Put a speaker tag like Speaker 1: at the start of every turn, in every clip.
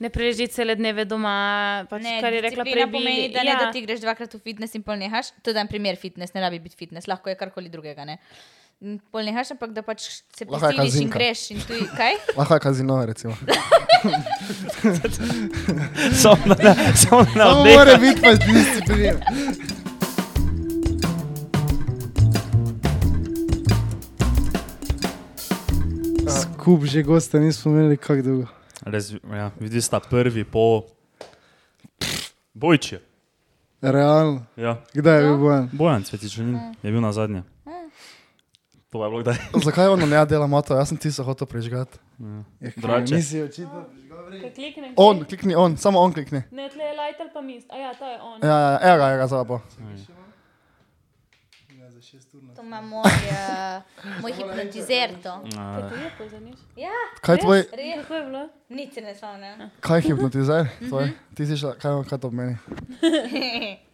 Speaker 1: ne preži cele dneve doma. Pač, ne, kar je rekla prej,
Speaker 2: disciplina pomeni, da, ja. ne, da ti greš dvakrat v fitness in pol nehaš. To je dan primer fitness, ne rabi biti fitness, lahko je karkoli drugega. Ne? In Pol nehaš, ampak da pač se
Speaker 3: Lahko je
Speaker 2: prisiliš in
Speaker 3: kazinka.
Speaker 2: greš. In tuj, kaj?
Speaker 3: Lahko je kazino, recimo.
Speaker 4: Samo na, sam na
Speaker 3: Samo
Speaker 4: oddehu.
Speaker 3: mora biti pač disciplina.
Speaker 5: Skup že gosta nismo imeli kako dolgo.
Speaker 4: Res, ja, vidiš, sta prvi po Bojči.
Speaker 5: Realno.
Speaker 4: Ja.
Speaker 5: Kdaj je
Speaker 3: No.
Speaker 5: bil bojen?
Speaker 4: Bojan Cvetičanin
Speaker 1: Mm.
Speaker 4: je bil na zadnje. To je bilo kdaj.
Speaker 3: Zakaj ono ne dela moto? Jaz sem tisto hotel prežgati.
Speaker 5: Ja, kaj,
Speaker 4: Drače.
Speaker 5: Nisi očitno.
Speaker 6: Kliknem,
Speaker 3: On, klikni on, samo on klikni.
Speaker 6: Ne, tle je light ali pa mist. A ja, ta je on.
Speaker 3: Ja, ja, ja, evo ga, evo ga, zabo.
Speaker 2: To ima moj, uh, moj hipnotizer. To.
Speaker 6: Kaj to je pozanič?
Speaker 2: Ja,
Speaker 3: Kaj tvoj,
Speaker 2: res.
Speaker 6: Kako je bilo?
Speaker 2: Nič se ne
Speaker 1: Ja.
Speaker 2: spomnim.
Speaker 3: kaj hipnotizer? Tvoj? Ti si šla, kaj, kaj to pomeni?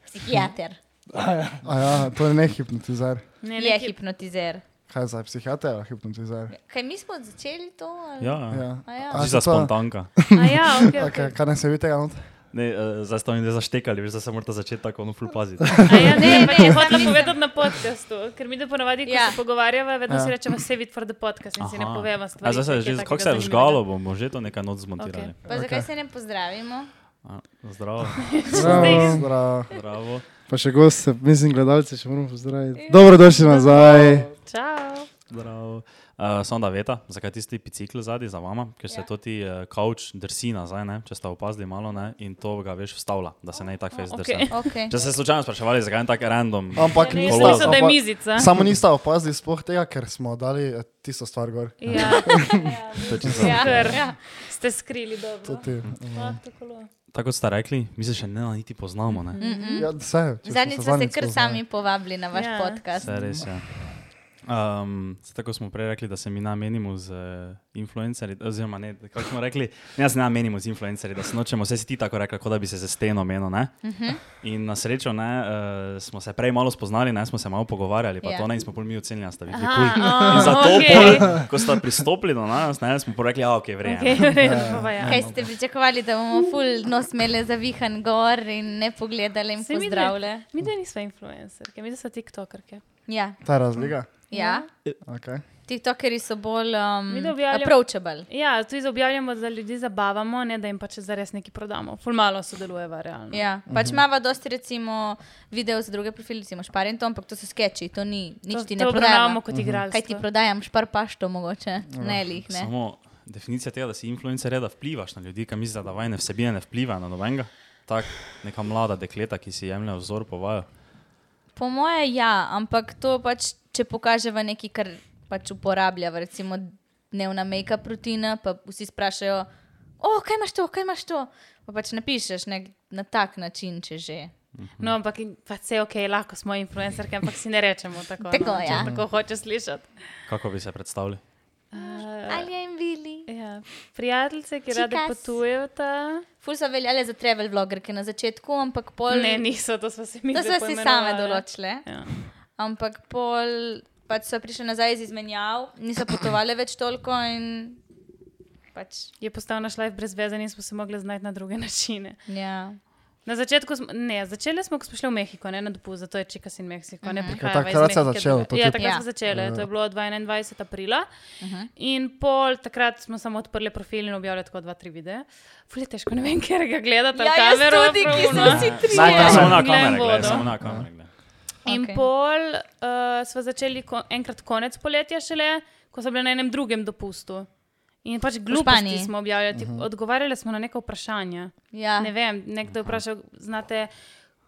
Speaker 2: Psihiater.
Speaker 3: A ja, to je ne hipnotizer.
Speaker 1: Ne,
Speaker 2: Je
Speaker 1: ne, hip.
Speaker 2: hipnotizer.
Speaker 3: Kaj za psihiater, a hipnotizer?
Speaker 2: Kaj mi smo začeli to? ali?
Speaker 4: Ja, ja.
Speaker 3: Ja.
Speaker 2: A ja.
Speaker 3: A
Speaker 4: Ti
Speaker 3: so
Speaker 4: za
Speaker 3: to-
Speaker 4: spontanka.
Speaker 1: A ja, okay, okay.
Speaker 3: Okay, kaj ne se vidi tega not?
Speaker 4: Ne, eh, zdaj ste oni zaštekali, veš, da se morate začeti tako ono ful paziti.
Speaker 1: A ja, ne, ne,
Speaker 2: Ne, ne,
Speaker 1: ne, hotela
Speaker 2: nisem.
Speaker 1: povedati na podkastu, ker mi da ponavadi, ko
Speaker 2: Ja.
Speaker 1: ja. se pogovarjava, vedno
Speaker 3: Ja.
Speaker 1: ja. si rečemo save it for the podcast in Aha. si ne povemo
Speaker 4: A
Speaker 1: stvari.
Speaker 4: zdaj se je
Speaker 1: ki je
Speaker 4: že,
Speaker 1: takega
Speaker 4: kako se je
Speaker 1: zanimivega.
Speaker 4: žgalo, bomo že to nekaj not zmontirali.
Speaker 2: Pa zakaj
Speaker 3: Okej.
Speaker 2: se ne pozdravimo?
Speaker 4: A, Zdravo,
Speaker 5: Zdravo.
Speaker 3: Zdravo.
Speaker 4: zdravo.
Speaker 5: Pa še goste, mislim, gledalce še moramo pozdraviti.
Speaker 1: Ja.
Speaker 5: Dobrodošli nazaj.
Speaker 1: Čau.
Speaker 4: Zdravo. Uh, Samo da veste, zakaj tisti bicikl zadaj za vama, ker
Speaker 2: Ja.
Speaker 4: se ja. to ti uh, kavč drsi nazaj, ne? če ste opazili malo, ne? in to ga veš vstavlja, da se ne tako fez
Speaker 1: okej.
Speaker 4: drsi.
Speaker 2: Okay.
Speaker 4: Če ste se slučajno spraševali, zakaj je tako random,
Speaker 5: Ja.
Speaker 3: Ampak
Speaker 1: Ne, jaz
Speaker 4: Kolo.
Speaker 1: mislim, Ja, da je
Speaker 3: ampak-
Speaker 1: mizica.
Speaker 3: Samo nista opazili sploh tega, ker smo dali eh, tisto stvar gor.
Speaker 1: Ja,
Speaker 4: to je čisto
Speaker 1: ja. ja. Ste skrili dobro.
Speaker 3: Tudi.
Speaker 6: Ah, tako lo.
Speaker 4: Tako kot ste rekli, mi se še ne niti poznamo. Ne?
Speaker 1: Mhm.
Speaker 3: Ja, vse.
Speaker 2: Zadnjič smo se kar sami povabili na vaš
Speaker 1: Ja.
Speaker 2: podcast.
Speaker 4: Vse je res je. Um, se tako smo prej rekli, da se mi namenimo z uh, influencerji, oziroma ne, kako smo rekli, ne, se namenimo z influencerji, da se nočemo, vse si ti tako rekla, kot da bi se za steno menil. Uh -huh. In na srečo ne, uh, smo se prej malo spoznali, ne, smo se malo pogovarjali, pa
Speaker 2: Ja.
Speaker 4: yeah. to ne, in smo pol mi ocenili, da ste vi
Speaker 1: Aha,
Speaker 4: kul.
Speaker 1: a,
Speaker 4: In zato,
Speaker 1: okej.
Speaker 4: pol, ko ste pristopili do nas, ne, smo pa rekli, da okay, je vreme.
Speaker 1: Okay, v redu, pa pa ja.
Speaker 2: Kaj ste pričakovali, da bomo full nos imeli zavihan gor in ne pogledali in
Speaker 1: Se mi da-
Speaker 2: pozdravljali?
Speaker 1: Mi da nismo influencerke, mi da so tiktokerke.
Speaker 2: Ja,
Speaker 3: Ta razlika.
Speaker 2: ja.
Speaker 3: Okay.
Speaker 2: TikTokerji so bolj um,
Speaker 1: Mi da objavljamo-
Speaker 2: approachable.
Speaker 1: Ja, tudi objavljamo, da ljudi zabavamo, ne da jim pač zares nekaj prodamo. Ful malo sodelujeva, realno.
Speaker 2: Ja. Pač imamo dosti recimo videov za druge profile, recimo špar in to, ampak to so skeči, to ni, nič
Speaker 1: To,
Speaker 2: ti
Speaker 1: to
Speaker 2: ne
Speaker 1: obravnavamo
Speaker 2: prodajamo.
Speaker 1: kot igralstvo.
Speaker 2: Kaj ti prodajam, špar pašto mogoče, ne lih, ne.
Speaker 4: Samo definicija tega, da si influencer, je, da vplivaš na ljudi, ki mislijo, da vajne vsebine ne vplivajo na nobenega. Tako neka mlada dekleta, ki si jemlje vzor po vaju.
Speaker 2: Po moje ja, ampak to pač, če pokaževa nekaj, kar pač uporabljava, recimo dnevna make-up rutina, pa vsi sprašajo, o, kaj imaš to, kaj imaš to. Pa pač napišeš nek, na tak način, če že.
Speaker 1: No, ampak in- pa vse ok, lahko smo influencerke, ampak si ne rečemo tako.
Speaker 2: Tako,
Speaker 1: no, če
Speaker 2: ja.
Speaker 1: tako hoče slišati.
Speaker 4: Kako bi se predstavili?
Speaker 2: Ali je jim bili?
Speaker 1: Ja. Prijateljice, ki rade
Speaker 2: Chicas.
Speaker 1: potujeta,
Speaker 2: Ful so veljale za travel vlogerke na začetku, ampak pol.
Speaker 1: ne niso, to smo se mi
Speaker 2: to so si same
Speaker 1: poimenovale.
Speaker 2: določile.
Speaker 1: Ja.
Speaker 2: Ampak pol pač so prišle nazaj iz izmenjav, niso potovale več toliko in pač.
Speaker 1: Je postal naš life brez veze in smo se mogli znati na druge načine.
Speaker 2: Ja.
Speaker 1: Na začetku smo, ne, začeli smo, ko smo šli v Mehiko, ne na dopust, zato je Čikas in Meksiko.
Speaker 4: Mhm.
Speaker 1: Mm -hmm.
Speaker 3: Ja, takrat se je začelo, to
Speaker 1: Ja,
Speaker 3: tudi-
Speaker 1: takrat
Speaker 2: Ja. Mhm.
Speaker 1: ja. smo začeli, to je bilo 22. aprila. Uh -huh. In pol takrat smo samo odprli profil in objavili tako dva, tri videe. Fulje težko, ne vem, ker ga gledate.
Speaker 2: Ja, jaz tudi, ki smo vsi trije.
Speaker 4: Najprej samo na
Speaker 1: Glem
Speaker 4: kamere,
Speaker 1: vodo.
Speaker 4: gledaj, samo na kamere. glej.
Speaker 1: In okay.
Speaker 2: Okej.
Speaker 1: pol uh, smo začeli ko, enkrat konec poletja, šele ko smo bili na enem drugem dopustu. In pač gluposti
Speaker 2: Španiji.
Speaker 1: smo objavljali, uh
Speaker 4: Mhm.
Speaker 1: -huh. odgovarjali smo na neko vprašanje.
Speaker 2: ja.
Speaker 1: Ne vem, nekdo je vprašal, znate,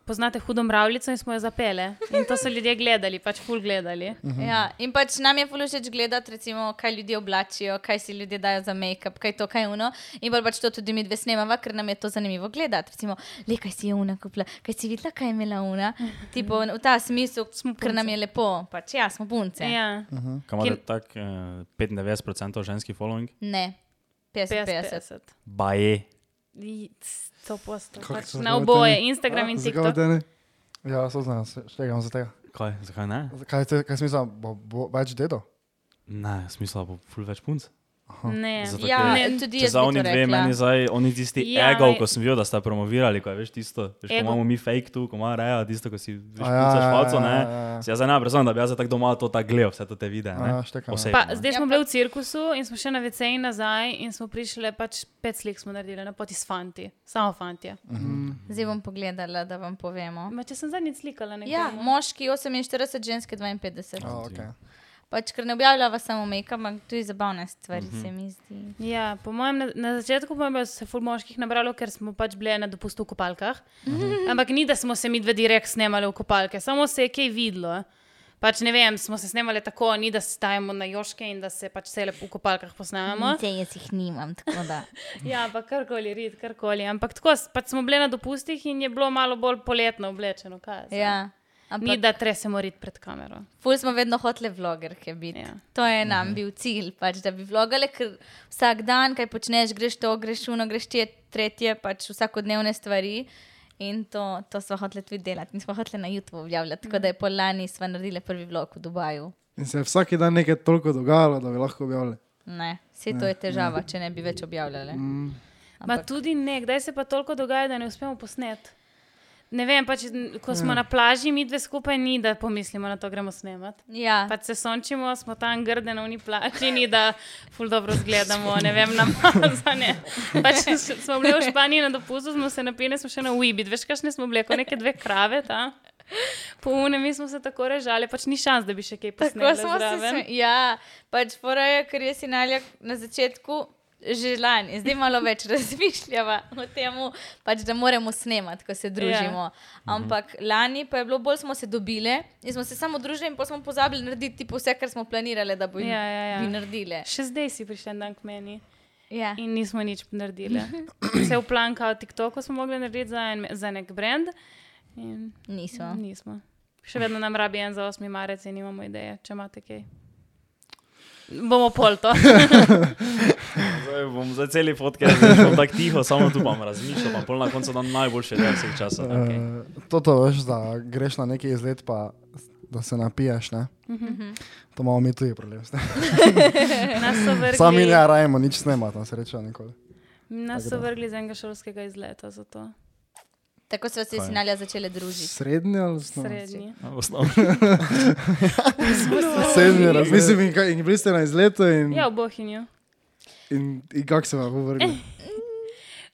Speaker 1: poznate hudo mravljico in smo jo zapele. In to so ljudje gledali, pač ful gledali.
Speaker 2: Ja, in pač nam je fulužeč gledati, recimo, kaj ljudje oblačijo, kaj si ljudje dajo za make-up, kaj to, kaj uno. In bolj pač to tudi mi dve snemava, ker nam je to zanimivo gledati. Recimo, le kaj si je una kupila, kaj si videla, kaj je imela una.
Speaker 1: Mhm.
Speaker 2: Tipo, v ta smislu, ker nam je lepo, pač ja, smo punce. Ja.
Speaker 1: Ja.
Speaker 4: Kaj imate tako eh, 95% ženski following?
Speaker 2: Ne, 50-50.
Speaker 1: 50.
Speaker 4: Baje.
Speaker 1: To posto.
Speaker 5: Kako
Speaker 1: Pač
Speaker 5: so
Speaker 1: na
Speaker 5: zelo
Speaker 1: oboje,
Speaker 5: teni?
Speaker 1: Instagram in
Speaker 5: Zakaj
Speaker 1: TikTok.
Speaker 5: da ne?
Speaker 3: Ja, so znam, štegam za tega.
Speaker 4: Kaj, zakaj ne?
Speaker 3: Kaj, te, kaj smisla, bo, bo več dedo?
Speaker 4: Ne, smisla bo ful več punc.
Speaker 1: Ne.
Speaker 4: Zato
Speaker 2: Ja,
Speaker 1: ker-
Speaker 2: ne, tudi
Speaker 4: Če
Speaker 2: jaz
Speaker 4: za oni
Speaker 2: bi to
Speaker 4: dve,
Speaker 2: rekla.
Speaker 4: meni zdaj, oni tisti
Speaker 1: Ja,
Speaker 4: ja, ego,
Speaker 1: ej.
Speaker 4: ko sem videl, da sta promovirali, ko je veš tisto, veš, ko
Speaker 1: Ego.
Speaker 4: imamo mi fake tu, ko ima reja, tisto, ko si veš,
Speaker 5: A ja,
Speaker 4: pucaš
Speaker 5: ja,
Speaker 4: palco,
Speaker 5: ja,
Speaker 4: ne.
Speaker 5: ja, ja.
Speaker 4: Se jaz zdaj ne prezumem, da bi jaz zdaj tako doma to tako gledal, vse to te vide, ne.
Speaker 5: Ja, štekam, ja.
Speaker 4: Osebno,
Speaker 1: Pa,
Speaker 4: ne.
Speaker 1: zdaj smo bili v cirkusu in smo še na VC-ji nazaj in smo prišli, pač pet slik smo naredili na poti s fanti, samo fanti.
Speaker 5: Mhm.
Speaker 2: Zdaj bom pogledala, da vam povemo.
Speaker 1: Ma, če sem zadnjič slikala nekaj.
Speaker 2: Ja, moški 48, ženske 52.
Speaker 5: A, okej.
Speaker 2: Pač, ker ne objavljava samo make-up, ampak tudi zabavne stvari
Speaker 4: Mhm.
Speaker 2: se mi zdi.
Speaker 1: Ja, po mojem, na, na začetku po mojem, je se je ful moških nabralo, ker smo pač bili na dopustu v kopalkah.
Speaker 2: Mhm.
Speaker 1: Ampak ni, da smo se mi dve direkt snemali v kopalke, samo se je kaj videlo. Pač ne vem, smo se snemali tako, ni da se stajamo na joške in da se pač vse lepo v kopalkah posnamemo.
Speaker 2: Te jaz jih nimam, tako da.
Speaker 1: Ja, pa karkoli, rit, karkoli. Ampak tako, s- pač smo bili na dopustih in je bilo malo bolj poletno oblečeno. kaj jaz vem.
Speaker 2: Ja.
Speaker 1: Ni,
Speaker 2: Ampak
Speaker 1: da tresemo rit pred kamero.
Speaker 2: ful smo vedno hotele vlogerke biti.
Speaker 1: Ja.
Speaker 2: Ja. To je nam bil cilj, pač, da bi vlogale, ker vsak dan, kaj počneš, greš to, greš uno, greš te tretje, pač vsakodnevne stvari. In to, to smo hoteli tudi delati, nismo hoteli na YouTube objavljati, tako da je po lani sva naredila prvi vlog v Dubaju.
Speaker 5: In se je vsak dan nekaj toliko dogajalo, da bi lahko objavili.
Speaker 2: Ne, vse to je težava, če ne bi več objavljali.
Speaker 1: Ma tudi ne, kdaj se pa toliko dogaja, da ne uspemo posneti. Ne vem, pač, n- ko smo ja. na plaži, mi dve skupaj ni, da pomislimo na to, gremo snemati.
Speaker 2: Ja,
Speaker 1: Pa se sončimo, smo tam grde na uni plaži, ni da ful dobro zgledamo, ne vem, namazane. Pač s- smo bili v Španiji na dopustu, smo se napili, smo še na Uibi, veš, kakšne smo bile, kot neke dve krave tam. Po unem mi smo se tako režali, pač ni šans, da bi še kaj
Speaker 2: Tako
Speaker 1: posneli.
Speaker 2: smo se smejali. Ja, pač poraja, ker je sinalja na začetku že lani, zdaj malo več razmišljava o tem, pač, da moramo snemati, ko se družimo. Yeah. Ampak lani pa je bilo bolj smo se dobile in smo se samo družili, in pa smo pozabili narediti tipo, vse, kar smo planirali, da bo
Speaker 1: Ja, ja, ja.
Speaker 2: bi naredili.
Speaker 1: Še zdaj si prišla en dan k meni.
Speaker 2: Ja.
Speaker 1: In nismo nič naredili. Vse v planu, kot TikTok, smo mogli narediti za, en, za nek brand. In
Speaker 2: Niso.
Speaker 1: nismo. Še vedno nam rabi en za 8. marec in imamo ideje, če imate kaj. Bomo pol to.
Speaker 4: Zdaj bom za celi fotke, bom tako tiho, samo tu bom razmišljal, pa pol na koncu dam najboljše del vseh časov.
Speaker 1: Okej.
Speaker 3: To to Eh, veš, da greš na neki izlet, pa da se napiješ. Ne? To imamo mi tudi problem. s tem.
Speaker 1: Nas so
Speaker 3: Sami
Speaker 1: vrgli,
Speaker 3: ne rajemo nič snemati, na srečo nikoli.
Speaker 1: nas so vrgli z enega šolskega izleta za to.
Speaker 2: Tako so se sinalja začele družiti.
Speaker 5: Srednji ali osnovni?
Speaker 1: Srednji.
Speaker 4: Osnovno.
Speaker 3: Sedmi razred.
Speaker 5: Mislim, in, kaj- in bili ste na izletu in,
Speaker 1: Ja, v Bohinju.
Speaker 5: in, in kako se vam vrne?
Speaker 1: Eh.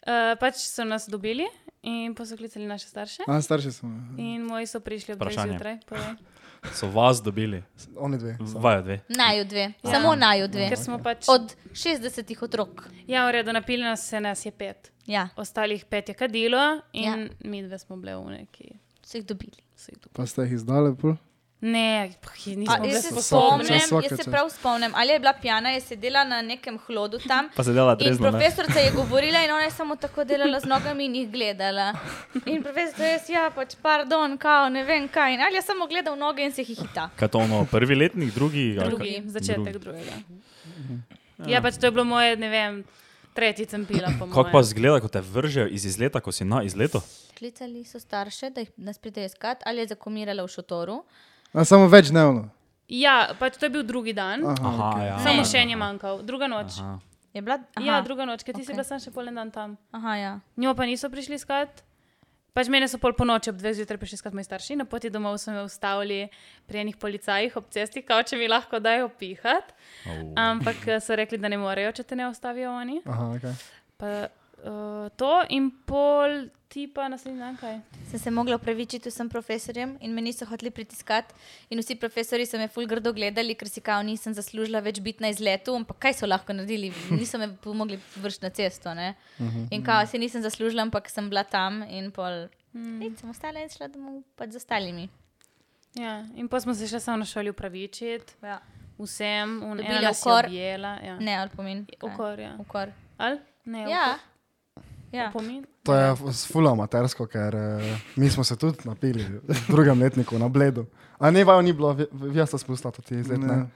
Speaker 1: Uh, pač so nas dobili in pa so klicali naše starše.
Speaker 5: A, starši smo.
Speaker 1: In moji so prišli ob 10.
Speaker 4: Vprašanje.
Speaker 1: zjutraj. povej.
Speaker 4: So vas dobili,
Speaker 3: Oni dve.
Speaker 4: vaju dve.
Speaker 2: Naju dve, ja. samo naju dve.
Speaker 1: Ker smo pač.
Speaker 2: Od 60 otrok.
Speaker 1: Ja, v redu, napili nas se nas je pet.
Speaker 2: Ja,
Speaker 1: ostalih pet je kadilo in ja.
Speaker 2: Ja.
Speaker 1: mi dve smo bile v neki.
Speaker 2: so jih dobili.
Speaker 5: Pa ste jih izdali, pol?
Speaker 1: Ne, pa ki nismo
Speaker 2: A,
Speaker 1: bili
Speaker 2: Jaz se
Speaker 1: sposobni.
Speaker 2: spomnim,
Speaker 5: čas, vsake
Speaker 2: jaz se
Speaker 5: čas.
Speaker 2: prav
Speaker 4: ja.
Speaker 2: spomnim, ali je bila pijana, je sedela na nekem hlodu tam.
Speaker 4: Pa se dela
Speaker 2: In
Speaker 4: trezno. ne?
Speaker 2: profesorica je govorila, in ona je samo tako delala z nogami in jih gledala. In profesorica je rekla, ja, pač, pardon, kao, ne vem kaj. In ali je samo gledal noge in se jih hita.
Speaker 4: Kaj to ono, prvi letnik, drugi? ali
Speaker 1: Drugi,
Speaker 4: kaj?
Speaker 1: začetek drugega. Ja, pač to je bilo moje, ne vem, tretji sem pila. po
Speaker 4: Kako
Speaker 1: moje.
Speaker 4: pa zgleda, ko te vržejo iz izleta, ko si na izletu?
Speaker 2: Klicali so starše, da jih nas pridejo iskat, ali je zakomirala v šotoru.
Speaker 5: A, samo večdnevno.
Speaker 1: Ja, pač to je bil drugi dan, Aha,
Speaker 4: Aha, ja.
Speaker 1: samo še en je manjkal, druga noč. Aha.
Speaker 2: Je bila aha,
Speaker 1: Ja, druga noč, ker ti okay. si
Speaker 2: okej.
Speaker 1: bila sam še pol en dan tam.
Speaker 2: Aha, ja.
Speaker 1: Njo pa niso prišli iskat. Pač mene so pol po noči ob dveh zjutraj prišli iskat moji starši, na poti domov so me ustavili pri enih policajih ob cesti, kao če mi lahko dajo pihati. Oh. Ampak eh, so rekli, da ne morejo, če te ne ustavijo oni.
Speaker 3: Aha, okay.
Speaker 1: Pa, uh, to in pol ti pa naslednji dan kaj.
Speaker 2: Sem se mogla upravičiti vsem profesorjem in me niso hoteli pritiskati. In vsi profesori so me ful grdo gledali, ker si kao nisem zaslužila več biti na izletu, ampak kaj so lahko naredili, niso me pomogli vršiti na cesto. Ne?
Speaker 4: Mhm.
Speaker 2: In kao si nisem zaslužila, ampak sem bila tam in pol. Mm. Sem ostala in šla domov pač z ostalimi.
Speaker 1: Ja. In pa smo se še samo na šoli upravičiti,
Speaker 2: Ja.
Speaker 1: vsem, un-
Speaker 2: Dobila
Speaker 1: ena nas je
Speaker 2: ukor.
Speaker 1: objela, ja.
Speaker 2: Ne, ali pomen.
Speaker 1: Ukor, ja.
Speaker 2: Ukor.
Speaker 1: Al? Ne,
Speaker 2: Ja.
Speaker 1: ukor.
Speaker 2: ja.
Speaker 1: Pomin.
Speaker 3: To je fulano amatersko, ker eh, mi smo se tudi napili v drugem letniku na Bledu. A ne, vaju ni bilo, vi, vi ste spustili tudi izlet. Ne.
Speaker 5: Ne.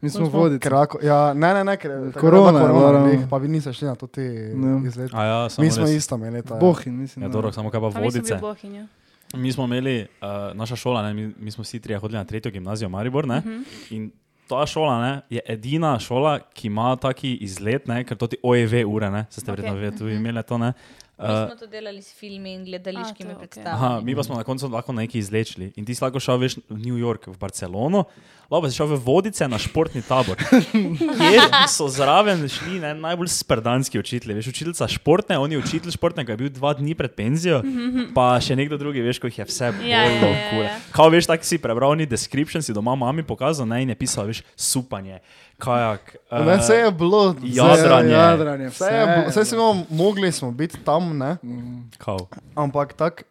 Speaker 5: Mi smo vodili.
Speaker 3: Ker ako- Ja, ne, ne, ne, ker takrat je
Speaker 5: Korona
Speaker 3: bila ja.
Speaker 5: je bila ravno.
Speaker 3: glih, pa vi niste šli na to ti
Speaker 5: Ne.
Speaker 3: izlet.
Speaker 4: A ja, samo
Speaker 3: Mi smo
Speaker 4: res.
Speaker 3: isto imeli ta
Speaker 5: Bohin, mislim.
Speaker 4: Ja,
Speaker 5: da.
Speaker 4: dobro, samo kaj pa
Speaker 1: Pa mi smo bili
Speaker 4: vodice.
Speaker 1: v Bohinju.
Speaker 4: eh, Mi smo imeli, uh, naša šola, ne, mi, mi smo vsi trije hodili na tretjo gimnazijo Maribor, ne, in ta šola ne, je edina šola, ki ima taki izlet, ne, ker to ti OEV ure, ne, se ste verjetno
Speaker 1: Ok,
Speaker 4: okay. imeli to. Ne,
Speaker 2: Mi smo to delali s filmi in
Speaker 1: A,
Speaker 2: gledališkimi
Speaker 1: to, ok.
Speaker 4: Aha,
Speaker 2: predstavami.
Speaker 1: mm.
Speaker 4: mi pa smo na koncu lahko nekaj izlečili. In ti si lahko šel veš, v New York, v Barcelono, lahko pa si šel v Vodice na športni tabor, kjer so zraven šli ne, najbolj sprdanski učitelji. Veš, učiteljica športne, on je učitelj športne, ki je bil dva dni pred penzijo, pa še nekdo drugi, veš, ko jih je vse
Speaker 1: Mhm.
Speaker 4: bolj
Speaker 1: Ja, ja, ja,
Speaker 4: ja, ja,
Speaker 1: ja.
Speaker 4: ja. Kao veš, tako si prebral ni description, si doma mami pokazal ne, in je pisal, veš, supanje, kajak. eh,
Speaker 3: Ne, vse je bilo,
Speaker 4: Jadranje.
Speaker 5: Jadranje,
Speaker 3: vse je bilo, vse smo mogli smo biti tam, ne?
Speaker 4: Mm. Kao.
Speaker 3: ampak tako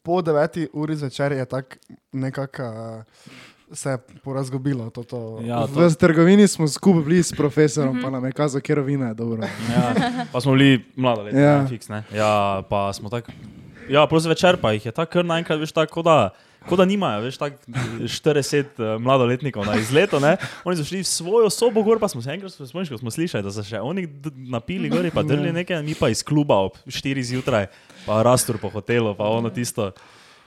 Speaker 3: po 9 uri zvečer je tako nekako uh, se je porazgobilo. To, to.
Speaker 4: Ja, to,
Speaker 5: V trgovini smo skupaj bili s profesorom,
Speaker 1: Mhm.
Speaker 5: pa nam je kazal, kjer vina je dobro.
Speaker 4: Ja, pa smo bili mlada leta,
Speaker 5: Ja.
Speaker 4: ja. fiks, ne? Ja, pa smo tako. Ja, plus večer pa jih je tako kar naenkrat, veš, tako ko da. Kot da nimajo, veš, tako 40 uh, mladoletnikov na izletu, ne? Oni so šli v svojo sobo gor, pa smo se enkrat spomnili, ko smo slišali, da so še oni d- napili gori, pa drli nekaj, mi pa iz kluba ob 4 zjutraj, pa rastur po hotelu, pa ono tisto.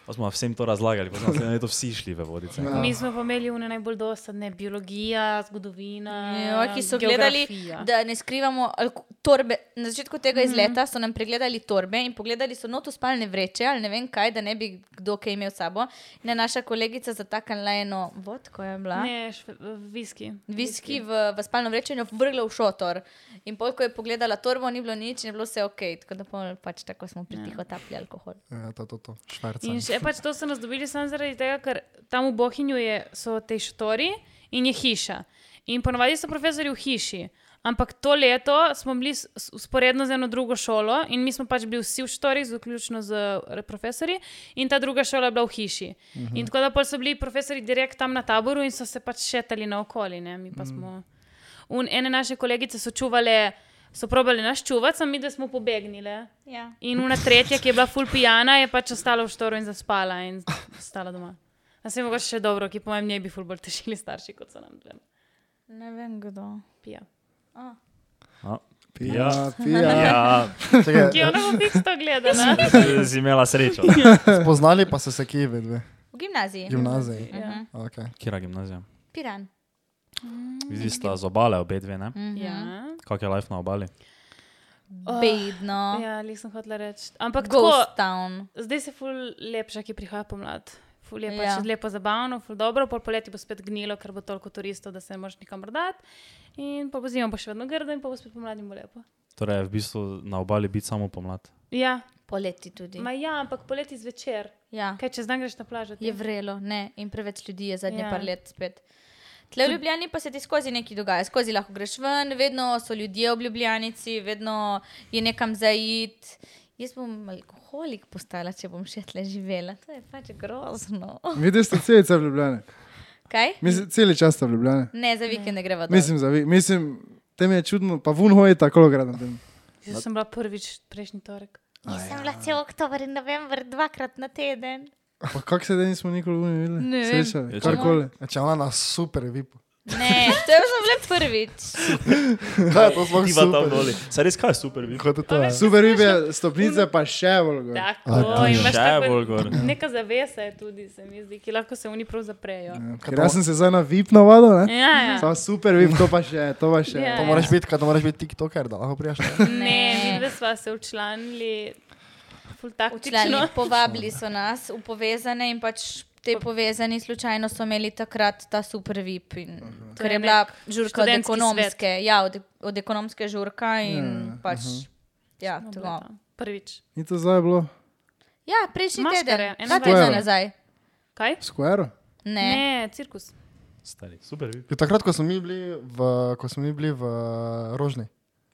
Speaker 4: Pa smo vsem to razlagali, pa smo se to vsi šli v vodice.
Speaker 2: Ja.
Speaker 1: Mi smo pa imeli une najbolj dosadne, biologija, zgodovina.
Speaker 2: Jo, Ja, ki so gledali,
Speaker 1: Ehm, geografija.
Speaker 2: da ne skrivamo alko- torbe. Na začetku tega izleta so nam pregledali torbe in pogledali so noto spalne vreče ali ne vem kaj, da ne bi kdo kaj imel s sabo. In je naša kolegica zataknila eno vodko, je bila.
Speaker 1: Ne, šve, viski.
Speaker 2: Viski v, v spalno vrečo in jo vrgla v šotor. In pol, ko je pogledala torbo, ni bilo nič, in je bilo vse ok. Tako da pol, pač tako smo pritiho tapli alkohol.
Speaker 3: Ja, to, to, to. Šverca.
Speaker 1: In še pač to so nas dobili samo zaradi tega, ker tam v Bohinju je, so te štori in je hiša. In ponovadi so profesori v hiši. Ampak to leto smo bili s- s- usporedno z eno drugo šolo in mi smo pač bili vsi v štorih, vključno z eh, profesorji, in ta druga šola je bila v hiši. Mhm. In tako da pol so bili profesori direkt tam na taboru in so se pač šetali naokoli. Ne? Mi pa smo. Un, ene naše kolegice so čuvale, so probali naš čuvati, sami da smo pobegnile.
Speaker 2: Ja.
Speaker 1: In una tretja, ki je bila full pijana, je pač ostala v štoru in zaspala in ostala doma. A se je mogoče še dobro, ki po mojem njej bi full bolj težili starši, kot so nam dve.
Speaker 2: Ne vem kdo.
Speaker 1: Pija.
Speaker 5: Pija, pija.
Speaker 4: Ja,
Speaker 3: Čekaj,
Speaker 1: Ki ona bo fiksno gledala.
Speaker 2: Mhm.
Speaker 4: si imela srečo.
Speaker 3: Spoznali pa so se kje, vi dve,
Speaker 2: V gimnaziji.
Speaker 3: gimnaziji.
Speaker 1: Ja.
Speaker 2: Mhm.
Speaker 3: Okay.
Speaker 4: Kira gimnazija?
Speaker 2: Piran.
Speaker 4: Vi ste z obale, obe dve, ne?
Speaker 2: Mhm.
Speaker 1: Ja,
Speaker 4: Kak je life na obali?
Speaker 2: Bedno.
Speaker 1: ja lih sem hotela reči. Ampak tako,
Speaker 2: Ghost Town.
Speaker 1: zdaj se full lepša, ki prihaja pomlad. Ful je pač
Speaker 2: Ja.
Speaker 1: ja. lepo zabavno, ful dobro, pol poleti bo spet gnilo, ker bo toliko turistov, da se ne moreš nikamor dati. In pa bo zima bo še vedno grdo in pa bo spet pomlad in bo lepo.
Speaker 4: Torej, v bistvu na obali biti samo pomlad.
Speaker 1: Ja,
Speaker 2: Poleti tudi.
Speaker 1: ma ja, ampak poleti zvečer.
Speaker 2: Ja.
Speaker 1: Kaj čez dan greš na plažo? ti?
Speaker 2: Je vrelo, ne, in preveč ljudi je zadnje
Speaker 1: Ja.
Speaker 2: ja. par let spet. Tle v Ljubljani pa se ti skozi nekaj dogaja, skozi lahko greš ven, vedno so ljudje v Ljubljanici, vedno je nekam zaid. Jaz bom alkoholik postala, če bom še tle živela. To je pač grozno.
Speaker 5: Videli ste celice v Ljubljani.
Speaker 2: Kaj?
Speaker 5: Mislim, celi čas ste v Ljubljani.
Speaker 2: Ne, za vikend ne greva dol.
Speaker 5: Mislim, zavi, mislim, tem je čudno, pa vun hoji tako grad na tem.
Speaker 1: Jaz sem bila prvič prejšnji torek.
Speaker 2: Jaz sem bila cel oktober in november dvakrat na teden.
Speaker 5: Pa kako se da nismo nikoli vun videli?
Speaker 2: Ne vem.
Speaker 5: Srečali,
Speaker 4: Ja,
Speaker 5: karkoli.
Speaker 3: Ja, Če ona nas super, vi pa.
Speaker 2: Ne, to je bilo prvič.
Speaker 3: Kaj je to sploh
Speaker 4: Ti pa tam
Speaker 3: super?
Speaker 4: doli. Se res kaj je super, bi.
Speaker 3: Kot je to? je?
Speaker 5: Super ribe, stopnice pa še bolj gor.
Speaker 1: Tako, in imaš
Speaker 4: Še
Speaker 1: tako-
Speaker 4: bolj gor.
Speaker 1: Neka zavesa je tudi, se mi zdi, ki lahko se oni prav zaprejo.
Speaker 5: Ker jaz sem se zdaj na VIP navadil, ne?
Speaker 1: Ja, ja.
Speaker 5: Samo super vip, to pa še, to pa še.
Speaker 1: Ja.
Speaker 3: To moraš biti, kaj to moraš biti tiktoker, da lahko prijaš.
Speaker 1: Ne, vidve sva se včlanili, ful taktično.
Speaker 2: Včlani, povabili so nas v povezane in pač te povezani slučajno so imeli takrat ta super VIP. In,
Speaker 4: Mhm.
Speaker 1: To
Speaker 2: ker
Speaker 1: je
Speaker 2: je bila
Speaker 1: nek
Speaker 2: žurka od
Speaker 1: študentski
Speaker 2: ekonomske, ja, od, od ekonomske žurka
Speaker 4: ja,
Speaker 2: in pač.
Speaker 4: Mhm.
Speaker 2: Ja,
Speaker 1: Smo bile
Speaker 2: tako.
Speaker 1: tam. No, Prvič.
Speaker 5: Ni to zdaj bilo?
Speaker 2: ja, prejšnji
Speaker 1: Maškare,
Speaker 2: teden, dva
Speaker 1: 21.
Speaker 2: tedna nazaj.
Speaker 1: Kaj?
Speaker 5: Square?
Speaker 2: Ne.
Speaker 1: Ne, cirkus.
Speaker 4: Stari, super, bi.
Speaker 3: Ja, Takrat, ko smo mi bili v, ko smo mi bili v eh, Rožni.